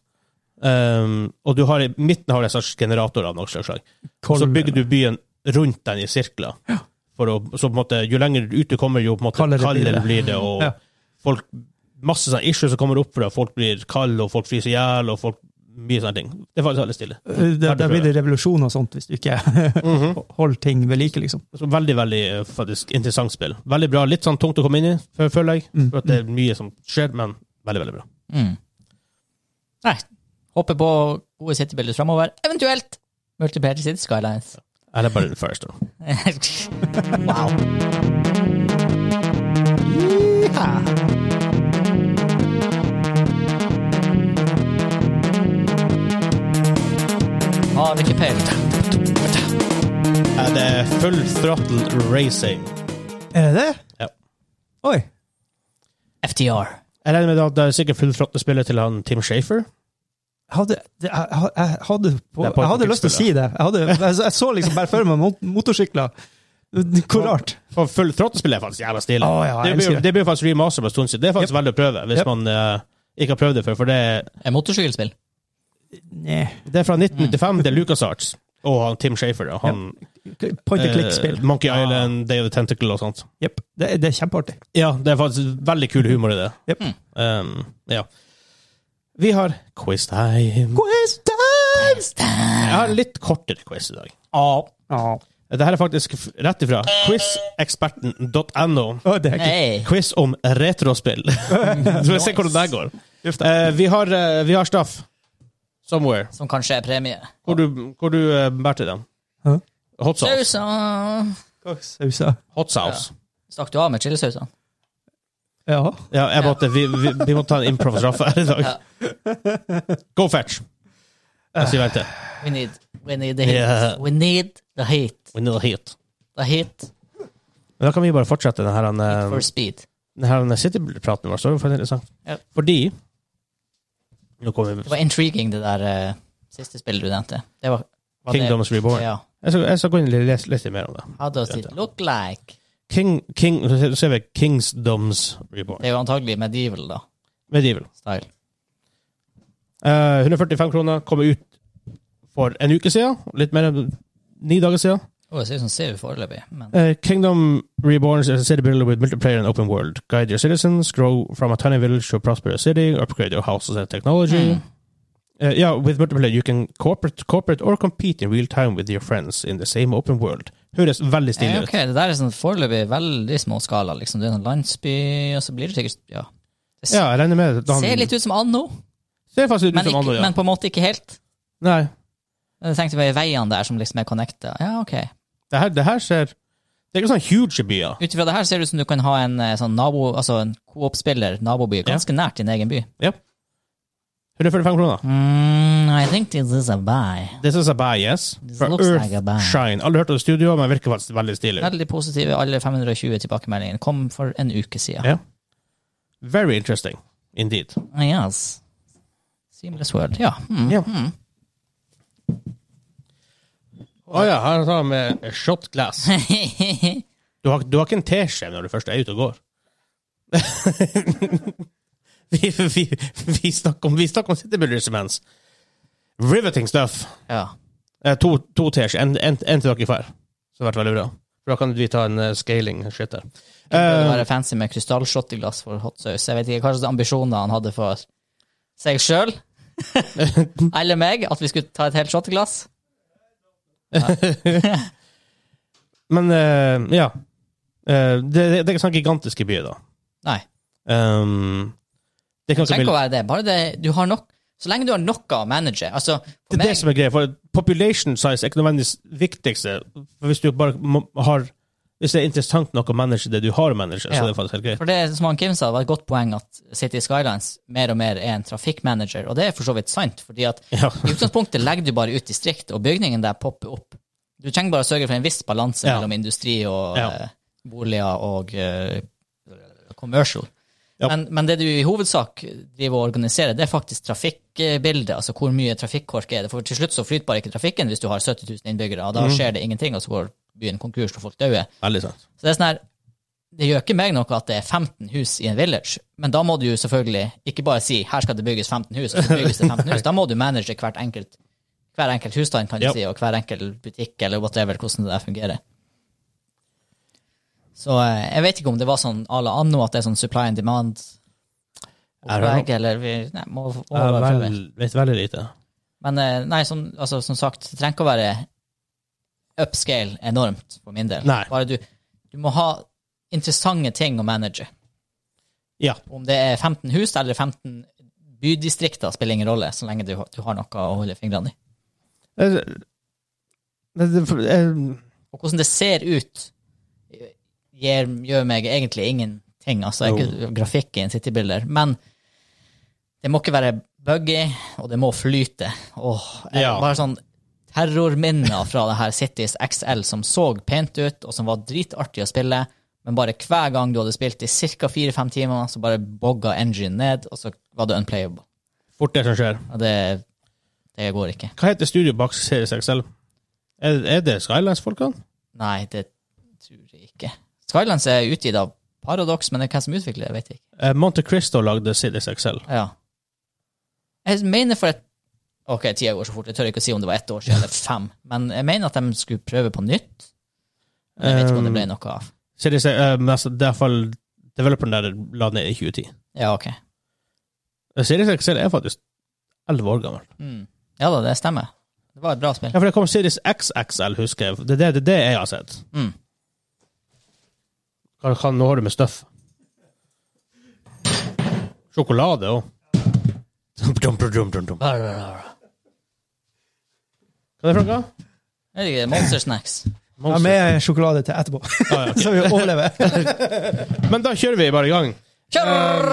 [SPEAKER 1] Um, og du har i midten har du en slags generator av noe slags. Og så bygger du byen rundt den i sirkler. For å, så på en måte, jo lenger ut du kommer, jo på en måte
[SPEAKER 3] Kaldere
[SPEAKER 1] kaldere,
[SPEAKER 3] blir
[SPEAKER 1] blir
[SPEAKER 3] det.
[SPEAKER 1] det. Og
[SPEAKER 3] Ja.
[SPEAKER 1] folk, masse sånne issues som kommer opp for det. Folk blir kalde, og folk fryser i hjel, og folk mye sånne ting. Det er faktisk veldig stille.
[SPEAKER 3] Eh, Det, der blir det revolusjon og sånt hvis du ikke holder ting ved like, liksom.
[SPEAKER 1] Så veldig, veldig eh, faktisk interessant spill. Veldig bra. Litt sånn tungt å komme inn i, fø- føler jeg. For at det er mye som skjer, men veldig, veldig bra.
[SPEAKER 2] Mm. Nei. Håper på gode sittebilder framover. Eventuelt Multiplayer City Skylines.
[SPEAKER 1] Eller bare First. da.
[SPEAKER 2] wow. Yeeha. Har ikke peiling.
[SPEAKER 1] Er det full throttle racing?
[SPEAKER 3] Er det det?
[SPEAKER 1] Ja.
[SPEAKER 3] Oi.
[SPEAKER 2] FTR.
[SPEAKER 1] Jeg regner med at det er sikkert full throttle spillet til han Tim Shafer.
[SPEAKER 3] Jeg hadde, det, jeg, jeg hadde, på,
[SPEAKER 1] Det er på-
[SPEAKER 3] jeg hadde lyst til å si det. Jeg, hadde, jeg, jeg så liksom bare for meg mot- motorsykler. Hvor rart.
[SPEAKER 1] For full throttle-spill er faktisk jævla stilig.
[SPEAKER 3] Å, ja, jeg
[SPEAKER 1] det, blir,
[SPEAKER 3] elsker det.
[SPEAKER 1] det blir faktisk remaster på en stund siden. Det er faktisk veldig å prøve, hvis
[SPEAKER 3] Yep.
[SPEAKER 1] man eh, ikke har prøvd det før. For det, er-
[SPEAKER 2] Et motorsykkelspill.
[SPEAKER 3] Nei.
[SPEAKER 1] det er fra 1995, det er Lucas Arts og han Tim Shafer. Og han,
[SPEAKER 3] Point and
[SPEAKER 1] eh,
[SPEAKER 3] click-spill.
[SPEAKER 1] Monkey
[SPEAKER 3] Ah.
[SPEAKER 1] Island, Day of the Tentacle og sånt.
[SPEAKER 3] Jepp. Det, det er kjempeartig.
[SPEAKER 1] Ja, det er faktisk veldig kul humor i det.
[SPEAKER 3] Yep.
[SPEAKER 1] Um, ja. Vi har quiz time.
[SPEAKER 3] Quiz time!
[SPEAKER 1] Jeg har en litt kortere quiz i dag.
[SPEAKER 3] Ja.
[SPEAKER 1] Dette her er faktisk f- rett ifra quizeksperten.no.
[SPEAKER 3] Å, det er kult.
[SPEAKER 2] Hey.
[SPEAKER 1] Quiz om retrospill. Så vi ser hvordan det går. Eh, vi, har, eh, vi har straff. Somewhere.
[SPEAKER 2] Som kanskje er premie.
[SPEAKER 1] Hvor du, hvor du eh, bærte den.
[SPEAKER 3] Hæ?
[SPEAKER 1] Hot sauce.
[SPEAKER 2] Sausa.
[SPEAKER 3] Hva Sausa.
[SPEAKER 1] Hot sauce.
[SPEAKER 2] Stakk du av med chilisausene?
[SPEAKER 3] Ja.
[SPEAKER 1] Ja, jeg måtte, vi, vi, vi må ta en improv-straff her i dag. Go fetch. Jeg sier vent til.
[SPEAKER 2] We need, we need the heat.
[SPEAKER 1] Yeah.
[SPEAKER 2] We need the heat.
[SPEAKER 1] We need a hit.
[SPEAKER 2] The heat
[SPEAKER 1] Men da kan vi bare fortsette denne, her, eh,
[SPEAKER 2] for speed.
[SPEAKER 1] denne, her, eh, City-praten vår. Så er det faktisk interessant.
[SPEAKER 2] Ja.
[SPEAKER 1] Fordi Nå kommer
[SPEAKER 2] Det var intriguing, det der eh, siste spillet du nevnte. Det var, var det-
[SPEAKER 1] Kingdoms Reborn.
[SPEAKER 2] Ja.
[SPEAKER 1] Jeg skal, jeg skal gå inn og lese, lese litt mer om det.
[SPEAKER 2] How does it look like?
[SPEAKER 1] King, King, så ser vi Kingsdoms Reborn.
[SPEAKER 2] Det er jo antagelig medieval, da.
[SPEAKER 1] Medieval.
[SPEAKER 2] Style.
[SPEAKER 1] Eh, 145 kroner. Kom ut for en uke siden. Litt mer enn ni dager siden.
[SPEAKER 2] Å, det ser ut som ser vi foreløpig, men
[SPEAKER 1] Eh, Kingdom Reborns is a city builder with multiplayer and open world. Guide your citizens, grow from a tiny village to a prosperous city, upgrade your houses and technology.
[SPEAKER 2] Mm.
[SPEAKER 1] Uh, yeah, with multiplayer you can cooperate, cooperate or compete in real time with your friends in the same open world. Høres veldig
[SPEAKER 2] Eh,
[SPEAKER 1] stilig
[SPEAKER 2] Ok, det der er sånn foreløpig veldig små skala, liksom. Du er en landsby, og så blir det sikkert Ja.
[SPEAKER 1] ut. Ja, jeg regner med at han-
[SPEAKER 2] Ser litt ut som anno,
[SPEAKER 1] Ser faktisk ut
[SPEAKER 2] men,
[SPEAKER 1] som
[SPEAKER 2] ikke,
[SPEAKER 1] Anno, ja.
[SPEAKER 2] men på en måte ikke helt.
[SPEAKER 1] Nei,
[SPEAKER 2] Men Jeg tenkte på veiene der som liksom er connecta. Ja, ok.
[SPEAKER 1] det her, det her ser Det er ikke sånn huge byer.
[SPEAKER 2] Ut ifra det her ser det ut som du kan ha en eh, sånn nabo, altså en coop-spiller, naboby, ganske nært din egen by.
[SPEAKER 1] Ja. 145 kroner.
[SPEAKER 2] Mm, I think this is a buy.
[SPEAKER 1] This is a buy, yes.
[SPEAKER 2] This
[SPEAKER 1] Fra
[SPEAKER 2] looks like a buy.
[SPEAKER 1] Earthshine. Aldri hørt om studioet, men virker faktisk veldig stilig.
[SPEAKER 2] Veldig positive, alle 520 tilbakemeldingene. Kom for en uke siden.
[SPEAKER 1] Ja. Very interesting indeed.
[SPEAKER 2] Ah, Yes. Seamless world. Ja. Mm.
[SPEAKER 1] Ja. Å ja, her tar han med shot glass. Du har, du har ikke en teskje når du først er ute og går. vi, vi, vi snakker om, vi snakker om City Builders imens. Riveting stuff.
[SPEAKER 2] ja.
[SPEAKER 1] Eh, to to tiers. En, en, en til dere hver. Så det har vært veldig bra. For da kan vi ta en eh, scaling shit der.
[SPEAKER 2] Prøvde å
[SPEAKER 1] Eh,
[SPEAKER 2] være fancy med krystallshot i glass for hot sauce. Jeg vet ikke hva slags ambisjoner han hadde for seg sjøl eller meg, at vi skulle ta et helt shot i glass.
[SPEAKER 1] men eh, ja. Eh, det, det, det er ikke sånn gigantiske byer, da.
[SPEAKER 2] Nei.
[SPEAKER 1] Um, det kan
[SPEAKER 2] Det
[SPEAKER 1] ikke
[SPEAKER 2] trenger ikke å
[SPEAKER 1] bli
[SPEAKER 2] være det. Bare det du har nok, så lenge du har noe å manage. Altså, for
[SPEAKER 1] det er det
[SPEAKER 2] meg,
[SPEAKER 1] som er greia, for population size er ikke nødvendigvis viktigste. For hvis du bare må- har Hvis det er interessant nok å manage det du har å manage, så
[SPEAKER 2] Ja.
[SPEAKER 1] er det faktisk helt greit.
[SPEAKER 2] for det som han Kim sa, var et godt poeng at City Skylines mer og mer er en trafikkmanager, og det er for så vidt sant. fordi at
[SPEAKER 1] Ja.
[SPEAKER 2] i utgangspunktet legger du bare ut distrikt, og bygningen der popper opp. Du trenger bare å sørge for en viss balanse
[SPEAKER 1] Ja.
[SPEAKER 2] mellom industri og
[SPEAKER 1] Ja.
[SPEAKER 2] eh, boliger og eh, commercial.
[SPEAKER 1] Ja.
[SPEAKER 2] Men, men det du i hovedsak driver og organiserer, det er faktisk trafikkbildet. Altså hvor mye trafikkork er det. For til slutt så flyter bare ikke trafikken hvis du har 70 000 innbyggere, og da
[SPEAKER 1] Mm.
[SPEAKER 2] skjer det ingenting, og så går byen konkurs og folk dauer.
[SPEAKER 1] Veldig sant.
[SPEAKER 2] Så det er sånn her det gjør ikke meg noe at det er 15 hus i en village, men da må du jo selvfølgelig ikke bare si her skal det bygges 15 hus, og så bygges det 15 hus. Da må du manage hvert enkelt, hver enkelt husstand, kan du
[SPEAKER 1] Ja.
[SPEAKER 2] si, og hver enkelt butikk eller whatever, hvordan det der fungerer. Så eh, jeg vet ikke om det var sånn à la anno, at det er sånn supply and demand.
[SPEAKER 1] Er det
[SPEAKER 2] Opplegg, eller vi nei, må, må
[SPEAKER 1] Jeg
[SPEAKER 2] bare prøve.
[SPEAKER 1] Eh, vel, vet veldig lite.
[SPEAKER 2] Men eh, nei, som, altså, som sagt, det trenger ikke å være upscale enormt, for min del.
[SPEAKER 1] Nei.
[SPEAKER 2] Bare du, du må ha interessante ting å manage.
[SPEAKER 1] Ja.
[SPEAKER 2] Om det er 15 hus eller 15 bydistrikter, spiller ingen rolle, så lenge du, har- du har noe å holde fingrene i.
[SPEAKER 1] Eh, det- det- for- eh,
[SPEAKER 2] Og hvordan det ser ut, gir, gjør meg egentlig ingenting. Altså, jeg er ikke grafikk i en citybilder, men det må ikke være buggy, og det må flyte. Åh, jeg,
[SPEAKER 1] Ja.
[SPEAKER 2] Bare sånn terrorminner fra det her Cities XL som så pent ut, og som var dritartig å spille, men bare hver gang du hadde spilt i ca. fire-fem timer, så bare bogga engine ned, og så var det unplayable.
[SPEAKER 1] Fort det som skjer.
[SPEAKER 2] Og det, det går ikke.
[SPEAKER 1] Hva heter studio bak Series XL? Er, er det Skylines-folkene?
[SPEAKER 2] Nei, det tror jeg ikke. Skylands er utgitt av Paradox, men det er hvem som utvikler det, vet jeg ikke.
[SPEAKER 1] Eh, Monte Cristo lagde Series XL.
[SPEAKER 2] Ja. Jeg mener for et Ok, tida går så fort. Jeg tør ikke å si om det var ett år siden eller fem, men jeg mener at de skulle prøve på nytt. Men jeg vet ikke om det ble noe av.
[SPEAKER 1] Series, eh, men altså, det er i hvert fall developeren der la ned i 2010.
[SPEAKER 2] Ja, ok.
[SPEAKER 1] Eh, Series XL er faktisk 11 år gammel.
[SPEAKER 2] Mm. Ja da, det stemmer. Det var et bra spill.
[SPEAKER 1] Ja, for det kom Series XXL, husker jeg. Det er det, det, er det jeg har sett.
[SPEAKER 2] Mm.
[SPEAKER 1] Hva, hva, nå har du med støff. Sjokolade òg. Hva
[SPEAKER 2] Jeg
[SPEAKER 1] er det for noe?
[SPEAKER 2] vet ikke, Monster Snacks.
[SPEAKER 3] Ja, med sjokolade til etterpå,
[SPEAKER 1] Ah, ja, ok.
[SPEAKER 3] så vi overlever.
[SPEAKER 1] Men da kjører vi bare i gang.
[SPEAKER 2] Kjør!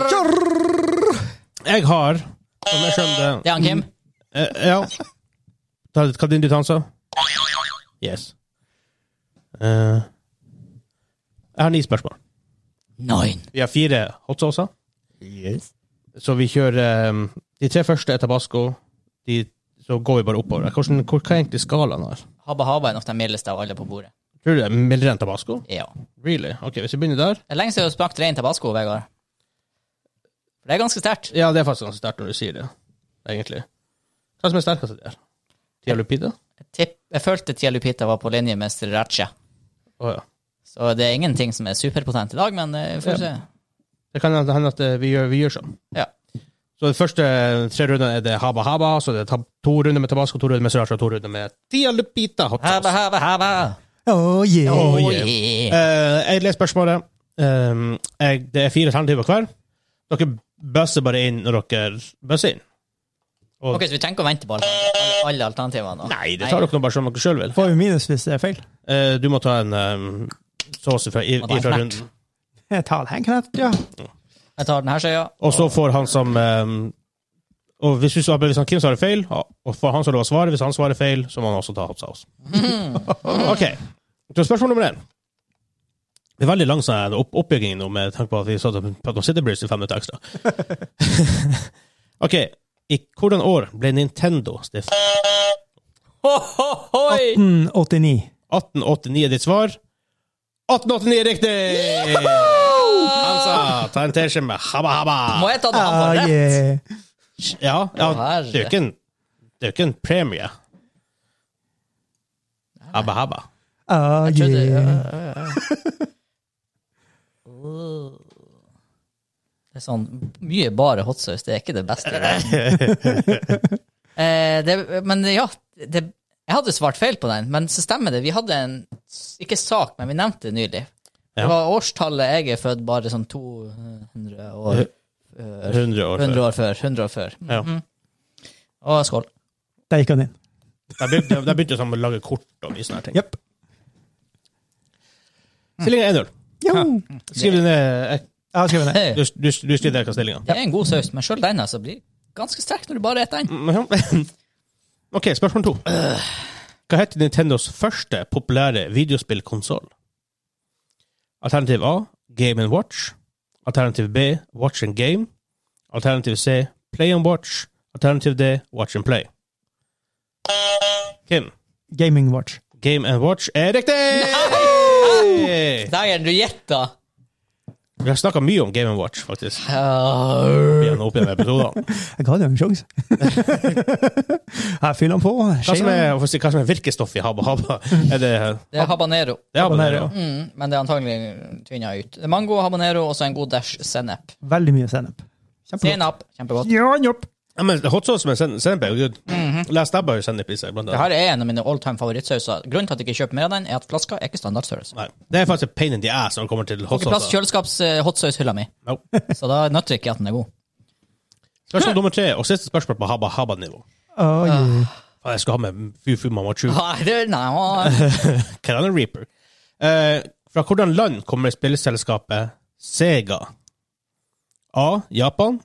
[SPEAKER 1] Jeg har, som jeg skjønner
[SPEAKER 2] Det er han Kim.
[SPEAKER 1] eh, Ja. Ta litt din distanse. Yes. Eh, jeg har ni spørsmål.
[SPEAKER 2] Nine.
[SPEAKER 1] Vi har fire hot saucer.
[SPEAKER 2] Yes.
[SPEAKER 1] Så vi kjører eh, De tre første er tabasco. De, så går vi bare oppover. Hvordan, hvor, hva er egentlig skalaen her?
[SPEAKER 2] Habba Habba er nok den mildeste av alle på bordet.
[SPEAKER 1] Tror du det er mildere enn tabasco?
[SPEAKER 2] Ja.
[SPEAKER 1] Really? Ok, Hvis vi begynner der
[SPEAKER 2] Det er lenge siden du sprakk rein tabasco, Vegard. For det er ganske sterkt.
[SPEAKER 1] Ja, det er faktisk ganske sterkt når du sier det, egentlig. Hva som er sterkest der? Tia Lupita?
[SPEAKER 2] Jeg tipp- Jeg følte Tia Lupita var på linje med Sriracha.
[SPEAKER 1] Å ja.
[SPEAKER 2] Så det er ingenting som er superpotent i dag, men eh, vi
[SPEAKER 1] Ja.
[SPEAKER 2] får se.
[SPEAKER 1] Det kan hende at eh, vi gjør, vi gjør sånn.
[SPEAKER 2] Ja.
[SPEAKER 1] Så de første tre rundene er det Haba Haba, så det er tab to runder med tabasco, to runder med sriracha, to runder med Tia Lupita hot sauce.
[SPEAKER 2] Haba, haba, haba.
[SPEAKER 3] Oh, yeah.
[SPEAKER 1] Oh,
[SPEAKER 2] Oh,
[SPEAKER 1] yeah.
[SPEAKER 2] yeah.
[SPEAKER 1] Eh, jeg leser spørsmålet. Eh, jeg, det er fire alternativer hver. Dere bøsser bare inn når dere bøsser inn.
[SPEAKER 2] Ok, så vi trenger ikke å vente på alle, alle, alle alternativene. da.
[SPEAKER 1] Nei, det tar dere nå bare som dere sjøl vil.
[SPEAKER 3] Får vi minus hvis det er feil?
[SPEAKER 1] Eh, du må ta en um, sauce fra, i,
[SPEAKER 2] Må ta en
[SPEAKER 1] ifra
[SPEAKER 2] knert.
[SPEAKER 1] runden.
[SPEAKER 3] Jeg tar den knert, ja.
[SPEAKER 2] Jeg tar den her, så ja.
[SPEAKER 1] Og så får han som eh, Og hvis, du, sa- hvis han Kim svarer feil, og får han som lov å svare, hvis han svarer feil, så må han også ta hot sauce. OK. Så spørsmål nummer én. Det er veldig lang sånn her opp oppbygging nå, med tanke på at vi satt og pratet om City Breeze i fem minutter ekstra. OK. I hvordan år ble Nintendo stiftet?
[SPEAKER 2] Ho, ho, hoi!
[SPEAKER 3] Mm, 89.
[SPEAKER 1] 1889 er ditt svar. 1889 er riktig! Han sa ta en teskje med habba habba.
[SPEAKER 2] Må jeg ta den? Han
[SPEAKER 3] Ah,
[SPEAKER 2] var rett.
[SPEAKER 3] yeah.
[SPEAKER 1] Ja, ja
[SPEAKER 2] Å, herre.
[SPEAKER 1] det er jo ikke en, det er jo ikke en premie. Abba, abba.
[SPEAKER 3] Ah,
[SPEAKER 2] Jeg trodde
[SPEAKER 3] yeah.
[SPEAKER 2] Det er sånn Mye bare hotsaus, det er ikke det beste. i verden. eh, det, men ja, det, jeg hadde svart feil på den, men så stemmer det. Vi hadde en Ikke sak, men vi nevnte det nylig.
[SPEAKER 1] Ja.
[SPEAKER 2] Det var årstallet jeg er født, bare sånn 200 år, eh,
[SPEAKER 1] 100 år
[SPEAKER 2] 100
[SPEAKER 1] før.
[SPEAKER 2] år før. 100 år før.
[SPEAKER 1] Ja.
[SPEAKER 2] Mhm. Og skål.
[SPEAKER 3] Der gikk han inn.
[SPEAKER 1] Der begynte, der begynte sånn å lage kort og mye sånne her ting.
[SPEAKER 3] Jepp.
[SPEAKER 1] Stillingen er 1-0.
[SPEAKER 3] Jo.
[SPEAKER 1] Skriv det ned.
[SPEAKER 3] Jeg har skrevet det.
[SPEAKER 1] Du,
[SPEAKER 2] Det
[SPEAKER 1] du, du skriver ned hva stillinga
[SPEAKER 2] er en god saus, men sjøl den altså blir ganske sterk når du bare spiser den.
[SPEAKER 1] Mhm. OK, spørsmål to. Hva heter Nintendos første populære videospillkonsoll? Alternativ A Game and Watch. Alternativ B Watch and Game. Alternativ C Play and Watch. Alternativ D Watch and Play. Kim.
[SPEAKER 3] Gaming Watch.
[SPEAKER 1] Game and Watch er riktig!
[SPEAKER 2] Dægen, du gjetta!
[SPEAKER 1] Vi har snakka mye om Game and Watch, faktisk.
[SPEAKER 2] Uh,
[SPEAKER 1] Gjennom opp gjennom episodene.
[SPEAKER 3] Jeg ga det jo en sjanse. Her fyller han på.
[SPEAKER 1] Hva som
[SPEAKER 3] Skjea.
[SPEAKER 1] er, for å si- hva som er virkestoffet i Habba Habba? Er det,
[SPEAKER 2] det er habanero.
[SPEAKER 1] det er habanero?
[SPEAKER 2] Mm, men det er antagelig tvinna ut. Det er Mango, habanero og så en god dash sennep.
[SPEAKER 3] Veldig mye sennep. Kjempegodt.
[SPEAKER 2] Sennep, kjempegodt.
[SPEAKER 3] Ja, jopp.
[SPEAKER 1] Ja, men hot sauce med sen- sennep er jo good. Les deg bare sennep i seg. Blant
[SPEAKER 2] Det
[SPEAKER 1] annet.
[SPEAKER 2] her er en av mine all time favorittsauser. Grunnen til at jeg ikke kjøper mer av den, er at flaska er ikke standardstørrelse.
[SPEAKER 1] Nei, det er faktisk a pain in the ass når det kommer til hot
[SPEAKER 2] Ikke plass eh, i
[SPEAKER 1] sauce.
[SPEAKER 2] kjøleskaps-hotsaushylla mi,
[SPEAKER 1] No.
[SPEAKER 2] så da nytter det ikke at den er god.
[SPEAKER 1] Spørsmål nummer tre, og siste spørsmål på Habba Habba-nivå.
[SPEAKER 3] Oi.
[SPEAKER 1] Faen, Jeg skal ha med Fu Fu Mamma Chu.
[SPEAKER 2] Nei, det- nei,
[SPEAKER 1] Carolina Reaper. Eh, fra hvordan land kommer spillselskapet Sega? A. Japan.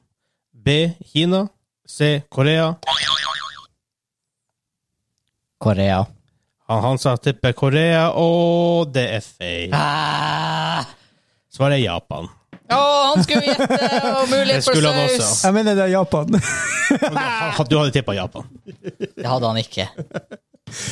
[SPEAKER 1] B. Kina. C. Korea.
[SPEAKER 2] Korea.
[SPEAKER 1] Han, han sa tipper Korea, og det er feil.
[SPEAKER 2] Ah.
[SPEAKER 1] Svaret er Japan.
[SPEAKER 2] Å, han skulle gjette! Og
[SPEAKER 1] Det
[SPEAKER 2] mulighet for
[SPEAKER 1] skulle han
[SPEAKER 2] saus!
[SPEAKER 1] også.
[SPEAKER 3] Jeg mener det er Japan.
[SPEAKER 1] Ha- Du hadde tippa Japan.
[SPEAKER 2] Det hadde han ikke.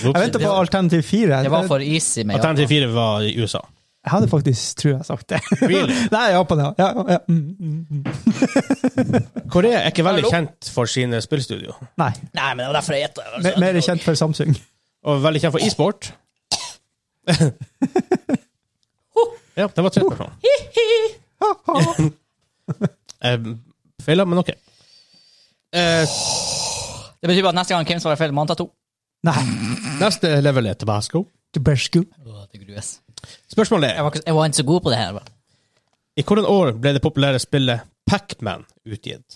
[SPEAKER 3] Jeg venter på alternativ fire.
[SPEAKER 2] Det var for easy med Japan.
[SPEAKER 1] Alternativ fire var i USA.
[SPEAKER 3] Jeg hadde faktisk, tror jeg, sagt det.
[SPEAKER 1] Really?
[SPEAKER 3] Nei, Japan, ja. ja, ja. Mm, mm, mm.
[SPEAKER 1] Korea er ikke veldig
[SPEAKER 2] Hallo?
[SPEAKER 1] kjent for sine spillstudio.
[SPEAKER 3] Nei.
[SPEAKER 2] Nei, men det var derfor jeg altså. gjetta.
[SPEAKER 3] Me- Mer kjent for Samsung.
[SPEAKER 1] Og veldig kjent for e-sport. ja, det var tre spørsmål. Eh, Feila, men OK. Eh,
[SPEAKER 2] Det betyr bare at neste gang Kim svarer feil, må han ta to.
[SPEAKER 3] Nei.
[SPEAKER 1] neste level er Tabasco.
[SPEAKER 3] Tabasco.
[SPEAKER 2] Å, det grues.
[SPEAKER 1] Spørsmålet
[SPEAKER 2] Jeg
[SPEAKER 1] er
[SPEAKER 2] var, ikke, jeg var ikke så god på det her. bare.
[SPEAKER 1] I hvilket år ble det populære spillet Pac-Man utgitt?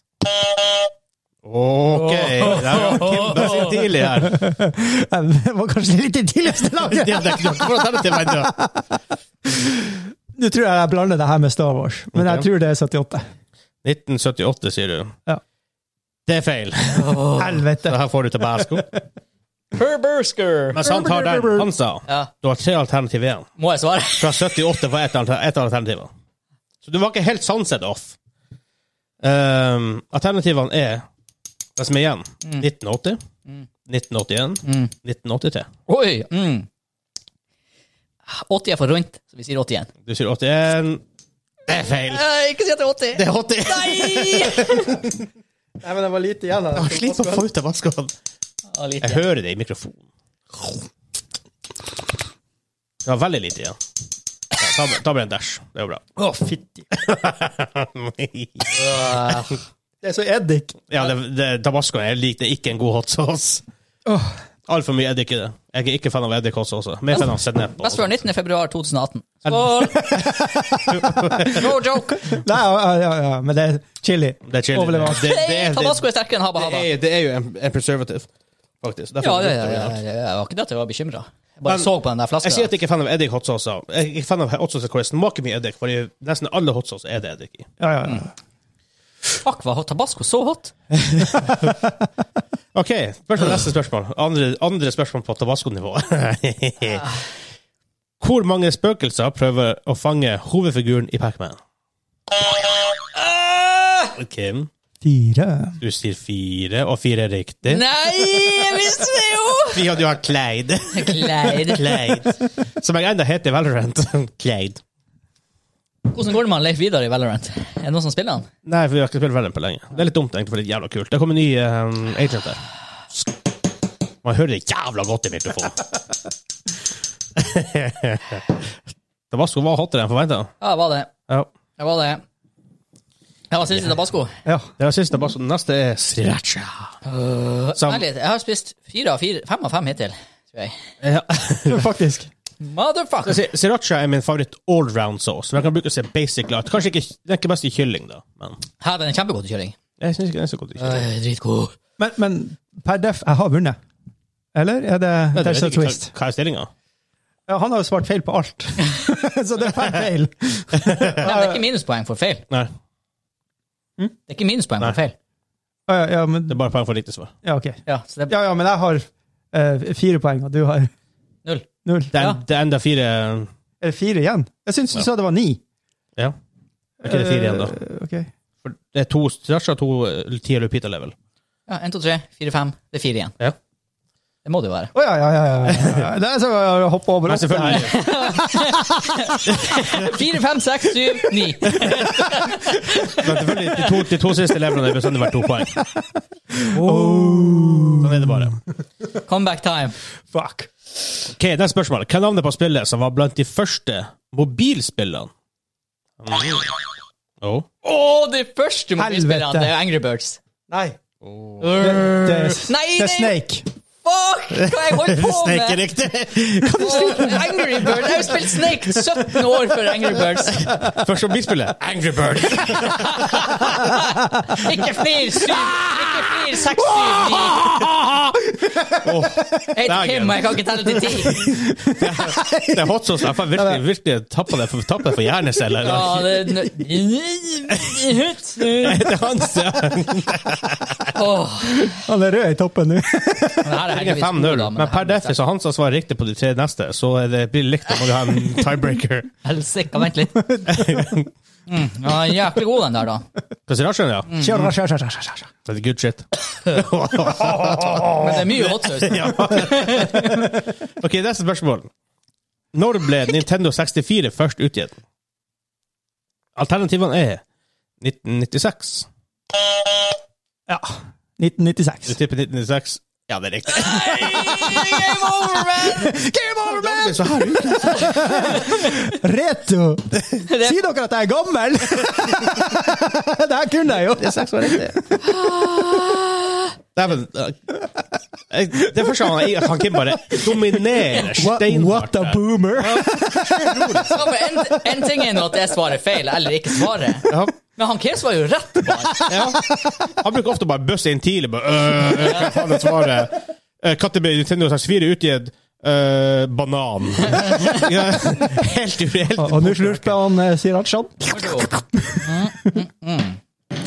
[SPEAKER 1] OK Der var Kim der sin tidlig her.
[SPEAKER 3] Det var kanskje litt i tidligste
[SPEAKER 1] Det
[SPEAKER 3] laget.
[SPEAKER 1] er ikke noe for alternativ ennå.
[SPEAKER 3] Nå tror jeg jeg blander det her med Star Wars, men jeg
[SPEAKER 1] Ok.
[SPEAKER 3] tror det er 78.
[SPEAKER 1] 1978, sier du.
[SPEAKER 3] Ja.
[SPEAKER 1] Det er feil.
[SPEAKER 3] Helvete.
[SPEAKER 1] Så her får du Tabasco.
[SPEAKER 2] Herbersker!
[SPEAKER 1] Mens han tar den. Han sa
[SPEAKER 2] Ja,
[SPEAKER 1] du har tre alternativ igjen.
[SPEAKER 2] må jeg svare?
[SPEAKER 1] Fra 78 var ett alter- ett av alternativene. Så du var ikke helt sunset off. Ehm, alternativene er det som er igjen. 1980, 1981, 1983.
[SPEAKER 2] Oi! Mm. 80 er for rundt, så vi sier 81.
[SPEAKER 1] Du sier 81. Det er feil.
[SPEAKER 2] ikke si at det
[SPEAKER 1] Det
[SPEAKER 2] er 80!
[SPEAKER 1] er 80.
[SPEAKER 2] Nei!
[SPEAKER 3] Nei, men det var lite igjen.
[SPEAKER 1] Jeg sliter med å få ut tabascoen.
[SPEAKER 2] Ja, lite.
[SPEAKER 1] Jeg hører det i mikrofonen. Det var veldig lite igjen. Ja, ta, ta med en dash. Det er jo bra.
[SPEAKER 3] Å, fitti.
[SPEAKER 2] Øh,
[SPEAKER 3] Det er så eddik.
[SPEAKER 1] Ja, det, det, tabascoen er lik. Det er ikke en god hot sauce.
[SPEAKER 3] Åh.
[SPEAKER 1] Altfor mye eddik i det. Jeg er ikke fan av eddik hot sauce også. Mer fan av sennep. og-
[SPEAKER 2] Best før 19. februar 2018. Skål! No joke!
[SPEAKER 3] Nei, ja, ja, ja, men det er chili.
[SPEAKER 1] Det er chili.
[SPEAKER 3] Overlever.
[SPEAKER 1] Det, det, er-
[SPEAKER 2] Tabasco er sterkere enn Haba
[SPEAKER 1] det,
[SPEAKER 2] Haba.
[SPEAKER 1] er, det er jo en, en preservative, faktisk. Derfor
[SPEAKER 2] Ja,
[SPEAKER 1] er
[SPEAKER 2] ja,
[SPEAKER 1] det
[SPEAKER 2] ja,
[SPEAKER 1] litt
[SPEAKER 2] ja,
[SPEAKER 1] originalt.
[SPEAKER 2] ja, Jeg var ikke det at jeg var bekymra. Jeg bare
[SPEAKER 1] Men-
[SPEAKER 2] så på den der flaska.
[SPEAKER 1] Jeg sier at jeg ikke er fan av eddik hot sauce. også. Jeg er ikke fan av hot sauce hvor det smaker mye eddik, fordi nesten alle hot sauce er det eddik i.
[SPEAKER 3] Ja, ja, ja.
[SPEAKER 2] Fuck, var hot- Tabasco så hot?
[SPEAKER 1] OK, spørsmål, neste spørsmål. Andre, andre spørsmål på tabasco-nivå. Hvor mange spøkelser prøver å fange hovedfiguren i Pac-Man? Eh, Kim,
[SPEAKER 3] Fire.
[SPEAKER 1] du sier fire, og fire er riktig.
[SPEAKER 2] Nei, jeg visste det jo!
[SPEAKER 1] Vi hadde jo hatt Clyde.
[SPEAKER 2] Kleid.
[SPEAKER 1] Clyde. Som jeg enda heter i Valorant. Clyde.
[SPEAKER 2] Hvordan går det med han Leif Vidar i Valorant? Er det noen som spiller han?
[SPEAKER 1] Nei, for vi har ikke spilt Valorant på lenge. Det er litt dumt, egentlig, for det er jævla kult. Det kommer en ny um, agent der. Man hører det jævla godt i mikrofonen. Tabasco var hottere enn forventa.
[SPEAKER 2] Ja, det var det.
[SPEAKER 1] Ja.
[SPEAKER 2] Det var det. Det var siste tabasco.
[SPEAKER 3] Ja.
[SPEAKER 1] Det var siste tabasco. Den neste er sriracha.
[SPEAKER 2] Uh,
[SPEAKER 1] Sam-
[SPEAKER 2] ærlig, jeg har spist fire av fire, fem av fem hittil, tror jeg.
[SPEAKER 1] Ja.
[SPEAKER 3] Faktisk.
[SPEAKER 1] Jeg
[SPEAKER 2] Motherfucker!
[SPEAKER 1] sier, Sriracha er min favoritt allround sauce. Men jeg kan bruke seg basic lat. Kanskje ikke, den er ikke best i kylling, da. Men
[SPEAKER 2] Her, den er kjempegod til kjøring.
[SPEAKER 1] jeg syns ikke den er så god i kylling.
[SPEAKER 2] Øh, dritgod.
[SPEAKER 3] Men, men per def, jeg har vunnet. Eller er det
[SPEAKER 1] Men jeg
[SPEAKER 3] There's a
[SPEAKER 1] vet ikke
[SPEAKER 3] twist?
[SPEAKER 1] Hva hva er stillinga?
[SPEAKER 3] Ja, han har jo svart feil på alt. så det er fem feil.
[SPEAKER 2] Nei, men det er ikke minuspoeng for feil.
[SPEAKER 1] Nei,
[SPEAKER 2] Det er ikke minuspoeng
[SPEAKER 1] Nei.
[SPEAKER 2] for feil.
[SPEAKER 3] Ja, ja, ja, men,
[SPEAKER 1] det er bare poeng for riktig svar.
[SPEAKER 3] ja, ok.
[SPEAKER 2] Ja, så det er
[SPEAKER 3] Ja, ja, men jeg har eh, fire poeng, og du har
[SPEAKER 2] null.
[SPEAKER 3] null.
[SPEAKER 1] Det er,
[SPEAKER 2] Ja.
[SPEAKER 1] det er enda fire um,
[SPEAKER 3] Er det fire igjen? Jeg syns du
[SPEAKER 1] Ja.
[SPEAKER 3] sa det var ni.
[SPEAKER 1] Ja. Er ikke det fire igjen, da?
[SPEAKER 3] Eh, ok.
[SPEAKER 1] For det er to sriracha og to eh, ti lupita level.
[SPEAKER 2] Ja, en, to, tre, fire, fem. Det er fire igjen.
[SPEAKER 1] Ja.
[SPEAKER 2] Det må det jo være.
[SPEAKER 3] Å ja, ja, ja. ja, ja, ja. Det er så å hoppe over.
[SPEAKER 1] Men selvfølgelig.
[SPEAKER 2] Fire, fem, seks, syv, ni.
[SPEAKER 1] Men selvfølgelig, de to, de to siste levelene er bestandig verdt to poeng. Sånn er det bare.
[SPEAKER 2] Comeback time.
[SPEAKER 3] Fuck.
[SPEAKER 1] Ok, det er spørsmålet. Hva er navnet på spillet som var blant de første mobilspillene? Oh.
[SPEAKER 2] Å, de første mobilspillene
[SPEAKER 3] Helvete.
[SPEAKER 2] det er jo Angry Birds.
[SPEAKER 3] Nei.
[SPEAKER 2] Øh,
[SPEAKER 3] Det er, s-
[SPEAKER 2] Nei,
[SPEAKER 3] det er
[SPEAKER 2] det-
[SPEAKER 3] Snake.
[SPEAKER 2] Fuck! Hva jeg holdt på
[SPEAKER 1] Snake er
[SPEAKER 2] med?
[SPEAKER 1] riktig!
[SPEAKER 2] Åh, Angry Birds. Jeg har spilt Snake 17 år før Angry Birds.
[SPEAKER 1] Første mobilspillet. Angry Birds.
[SPEAKER 2] Ikke flir, syv. Ikke flir, seks, syv, ni. Jeg heter
[SPEAKER 1] Dagen.
[SPEAKER 2] Kim, og jeg kan ikke telle til ti.
[SPEAKER 1] Det er hot sauce. Jeg får virkelig, virkelig tappa det for, tappa det for hjerneceller.
[SPEAKER 2] Ja, det er nø-
[SPEAKER 1] Det er hans, ja.
[SPEAKER 2] Åh,
[SPEAKER 3] Han er rød i toppen nå.
[SPEAKER 1] Mm. Det er
[SPEAKER 2] men her er heldigvis god,
[SPEAKER 1] 5-0.
[SPEAKER 2] da,
[SPEAKER 1] Men per def, hvis han som svarer riktig på de tre neste, så er det blir det likt. Da må du ha en tiebreaker.
[SPEAKER 2] Helsike, vent litt. Mm, ja, jæklig god den der, da.
[SPEAKER 1] Hva sier Arsen, ja?
[SPEAKER 3] Kjør, kjør, kjør, kjør, kjør, kjør.
[SPEAKER 1] Det er good shit.
[SPEAKER 2] Men det er mye hot sauce.
[SPEAKER 1] Ja. Ok, neste spørsmål. Når ble Nintendo 64 først utgitt? Alternativene er 1996.
[SPEAKER 3] Ja. 1996.
[SPEAKER 1] Du tipper 1996. Ja, det er riktig.
[SPEAKER 2] Game over, man!
[SPEAKER 3] Game over, man!
[SPEAKER 1] Så her ut.
[SPEAKER 3] Reto! Si dere at jeg er gammel! det her kunne jeg jo.
[SPEAKER 1] Det er seks år riktig. Dæven. eh, jeg- Det er første gang jeg jeg kan ikke bare dominere
[SPEAKER 3] What,
[SPEAKER 1] steinhardt.
[SPEAKER 3] what a
[SPEAKER 1] her.
[SPEAKER 3] boomer!
[SPEAKER 2] Ja, men en, en ting er nå at jeg svarer feil, eller ikke svarer.
[SPEAKER 1] Ja.
[SPEAKER 2] Men han Kim svarer jo rett på alt.
[SPEAKER 1] Ja. Han bruker ofte bare bøsse inn tidlig. Bare, øh, øh, hva faen er svaret? Eh, Katte ble Nintendo 64 utgitt. eh, banan. ja, helt ureelt.
[SPEAKER 3] Og nå slurper han eh, srirachaen.
[SPEAKER 2] Mm,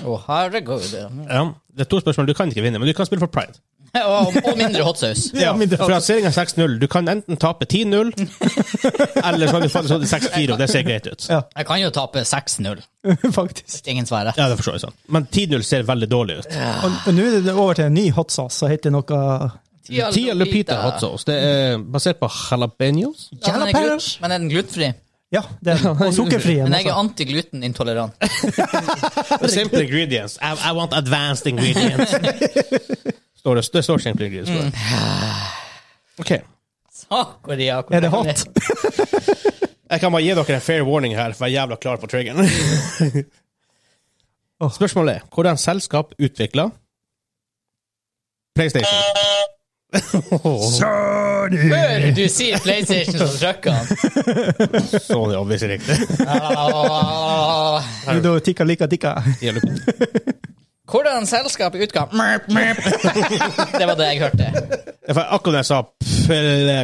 [SPEAKER 2] Å, herregud. Å,
[SPEAKER 1] Ja, det er to spørsmål. Du kan ikke vinne, men du kan spille for pride.
[SPEAKER 2] Og, og mindre hot sauce.
[SPEAKER 3] Ja, men det-
[SPEAKER 1] for lanseringen er 6-0. Du kan enten tape 10-0, eller så kan du få det 6-4, og det ser greit ut.
[SPEAKER 3] Ja.
[SPEAKER 2] Jeg kan jo tape 6-0.
[SPEAKER 3] Faktisk.
[SPEAKER 2] Ingen svarer.
[SPEAKER 1] Ja, det forstår jeg sånn. Men 10-0 ser veldig dårlig ut.
[SPEAKER 3] Og, og nå er det over til en ny hot sauce som heter noe
[SPEAKER 1] Tia Lupita hot sauce. Det er basert på jalapeños.
[SPEAKER 2] Ja, men, er den
[SPEAKER 3] Jalapeños.
[SPEAKER 2] glut- men er den glutenfri?
[SPEAKER 3] Ja, det er den. Og altså. sukkerfri en
[SPEAKER 2] Men jeg er
[SPEAKER 3] også.
[SPEAKER 2] antiglutenintolerant.
[SPEAKER 1] Simple ingredients. I, I want advanced ingredients. står det, det står simple ingredients. på det. Ok.
[SPEAKER 2] Sakkoria.
[SPEAKER 3] Er det hot?
[SPEAKER 1] Jeg kan bare gi dere en fair warning her, for jeg er jævla klar på triggeren.
[SPEAKER 3] Åh.
[SPEAKER 1] Spørsmålet er hvordan selskap utvikla PlayStation?
[SPEAKER 2] Før du sier PlayStation, så trykker han.
[SPEAKER 1] Så det er obvious riktig.
[SPEAKER 2] Ah.
[SPEAKER 3] Du tikka lika tikka.
[SPEAKER 1] Tia Lupita.
[SPEAKER 2] Hvordan selskap utga Merp, merp. Det var det jeg hørte.
[SPEAKER 1] Ja, for Akkurat da jeg sa pff,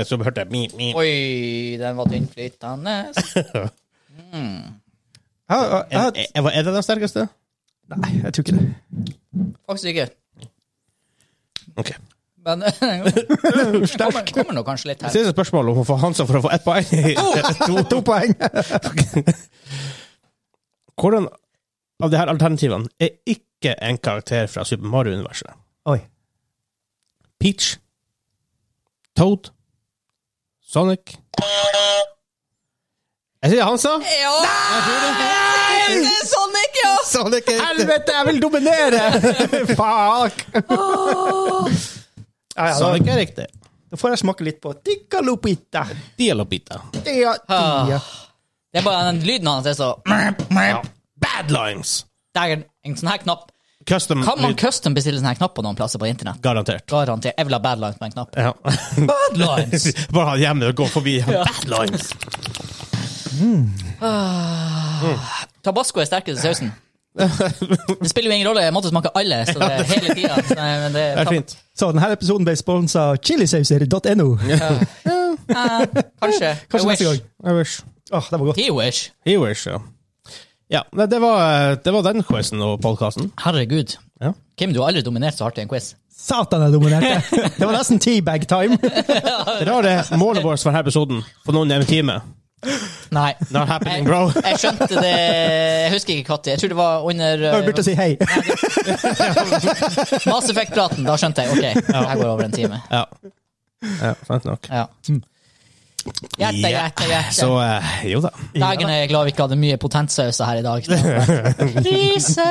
[SPEAKER 1] så hørte jeg mip, mip.
[SPEAKER 2] Oi, den var tynnflytende.
[SPEAKER 3] Ja, ja, ja.
[SPEAKER 1] Er, er, er det den sterkeste?
[SPEAKER 3] Nei, jeg tror ikke det.
[SPEAKER 2] Faktisk ikke.
[SPEAKER 1] Ok.
[SPEAKER 2] Men kommer, kommer nå kanskje litt her.
[SPEAKER 1] Siste spørsmål om å få Hansa for å få ett poeng. to,
[SPEAKER 3] To poeng.
[SPEAKER 1] Hvordan av de her alternativene er ikke en karakter fra Super Mario-universet?
[SPEAKER 3] Oi.
[SPEAKER 1] Peach, Toad, Sonic Jeg sier Hansa.
[SPEAKER 2] Ja! Nei, det er sånn ikke, ja!
[SPEAKER 1] Sonic er
[SPEAKER 3] Helvete, jeg vil dominere! Fuck! Ja, ja, da-
[SPEAKER 1] Sonic er riktig.
[SPEAKER 3] Da får jeg smake litt på tikka lupita.
[SPEAKER 1] Dialobita.
[SPEAKER 3] Dia,
[SPEAKER 2] Ah.
[SPEAKER 3] dia.
[SPEAKER 2] Det er bare den lyden hans er så
[SPEAKER 1] Badlines!
[SPEAKER 2] Dægen, en sånn her knapp.
[SPEAKER 1] Custom
[SPEAKER 2] Kan man
[SPEAKER 1] lyd,
[SPEAKER 2] custom bestille sånn her knapp på noen plasser på internett?
[SPEAKER 1] garantert.
[SPEAKER 2] Garantert. Jeg vil ha Badlines på en knapp.
[SPEAKER 1] Ja.
[SPEAKER 2] Badlines!
[SPEAKER 1] Bare ha hjemme og gå forbi. Badlines!
[SPEAKER 2] Tabasco er sterkest i sausen. Det spiller jo ingen rolle, jeg måtte smake alle, så det er hele tida. så nei, men det-
[SPEAKER 1] Det er fint.
[SPEAKER 3] Så denne episoden ble sponsa av chilisauser.no.
[SPEAKER 2] Kanskje. I
[SPEAKER 3] Kanskje
[SPEAKER 2] wish.
[SPEAKER 3] neste gang.
[SPEAKER 1] I wish.
[SPEAKER 3] Åh, det var godt.
[SPEAKER 2] He wish.
[SPEAKER 1] He wish, ja. Ja, nei, det var, det var den quizen og podkasten.
[SPEAKER 2] Herregud.
[SPEAKER 1] Ja.
[SPEAKER 2] Kim, du har aldri dominert så hardt i en quiz.
[SPEAKER 3] Satan, jeg dominerte. Det var nesten teabag time.
[SPEAKER 1] Det rare målet vårt for denne episoden på noen en time.
[SPEAKER 2] Nei.
[SPEAKER 1] Not happening, bro.
[SPEAKER 2] Jeg skjønte det Jeg husker ikke når. Jeg tror det var under
[SPEAKER 3] Jeg begynte å si hei.
[SPEAKER 2] uh, Mass Effect-praten. Da skjønte jeg. Ok, det her går over en time.
[SPEAKER 1] Ja. ja sant nok.
[SPEAKER 2] Ja. Hjerte,
[SPEAKER 1] Hmm. Ja,
[SPEAKER 2] hjerte, hjerte.
[SPEAKER 1] Så eh, jo da.
[SPEAKER 2] Dagen er jeg glad vi ikke hadde mye potentsauser her i dag. Krise!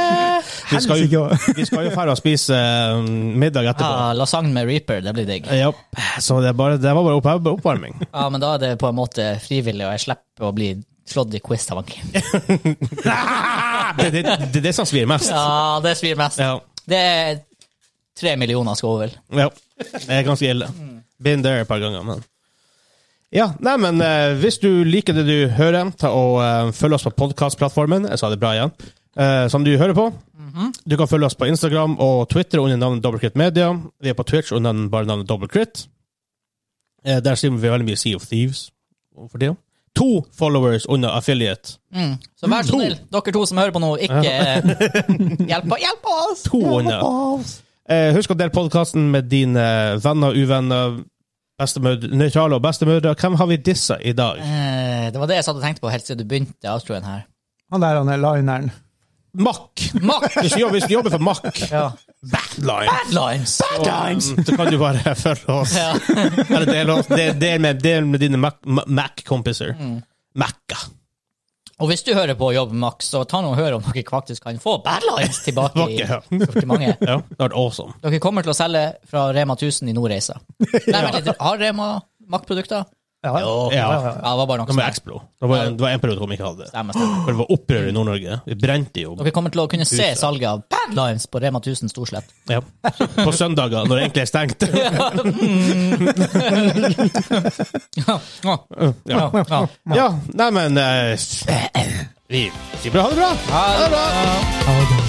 [SPEAKER 1] Vi skal jo,
[SPEAKER 3] Helsike.
[SPEAKER 1] vi skal jo fære og spise eh, middag etterpå.
[SPEAKER 2] Ah, lasagne med reaper, det blir digg.
[SPEAKER 1] Ja, så det, er bare, det var bare opp, oppvarming.
[SPEAKER 2] Ja, men da er det på en måte frivillig, og jeg slipper å bli slått i quiz av han Kim.
[SPEAKER 1] Det, det, det er det som svir mest.
[SPEAKER 2] Ja, det svir mest.
[SPEAKER 1] Ja.
[SPEAKER 2] Det er tre millioner skal over.
[SPEAKER 1] ja. Det er ganske ille. Been there et par ganger, men Ja, nei, men eh, hvis du liker det du hører, ta og eh, følg oss på podkastplattformen. Jeg sa det bra igjen. Eh, som du hører på. Du kan følge oss på Instagram og Twitter under navnet Dobbeltkritt Media. Vi er på Twitch under navnet- bare navnet Dobbeltkritt. Eh, der streamer vi veldig mye Sea of Thieves. Hvorfor det? To followers under affiliate.
[SPEAKER 2] Mm. Så vær så
[SPEAKER 1] To.
[SPEAKER 2] snill, dere to som hører på nå, ikke eh, hjelp, hjelp oss!
[SPEAKER 1] To under. Eh, husk å dele podkasten med dine venner, uvenner, bestemødre, nøytrale og bestemødre. Hvem har vi dissa i dag?
[SPEAKER 2] Eh, Det var det jeg satt og tenkte på helt siden du begynte outroen her.
[SPEAKER 3] Han der, han er lineren.
[SPEAKER 1] Mack!
[SPEAKER 2] Mack!
[SPEAKER 1] Hvis du jobber, hvis du jobber for Mack,
[SPEAKER 2] Ja.
[SPEAKER 1] Badline,
[SPEAKER 2] Badlines!
[SPEAKER 1] så, så kan du bare følge oss.
[SPEAKER 2] Ja.
[SPEAKER 1] Eller del, oss- del, del, med, del med dine Mac- Ma- Mac-kompiser. Macca.
[SPEAKER 2] Og hvis du hører på Jobb Max, så ta nå og hør om dere faktisk kan få Badlines tilbake i
[SPEAKER 1] Ja.
[SPEAKER 2] sortimentet.
[SPEAKER 1] Ja, det har vært awesome.
[SPEAKER 2] Dere kommer til å selge fra Rema 1000 i Nordreisa. Nei, vent litt. Har Rema Mack-produkter?
[SPEAKER 3] Ja.
[SPEAKER 1] Ja, ja.
[SPEAKER 2] Ja, det var bare noe
[SPEAKER 1] Det
[SPEAKER 2] som
[SPEAKER 1] var Explo. Det var, det var en periode hvor vi ikke hadde det.
[SPEAKER 2] stemmer. stemmer.
[SPEAKER 1] For det var opprør i Nord-Norge. Vi brente jo.
[SPEAKER 2] Dere kommer til å kunne se salget av Badlines på Rema 1000 Storslett.
[SPEAKER 1] Ja. På søndager, når det egentlig er stengt.
[SPEAKER 2] Ja, ja,
[SPEAKER 1] Ja.
[SPEAKER 2] ja.
[SPEAKER 1] Ja, nei, men eh, Vi sier bare ha det bra! Ha det bra!
[SPEAKER 3] Ja, det-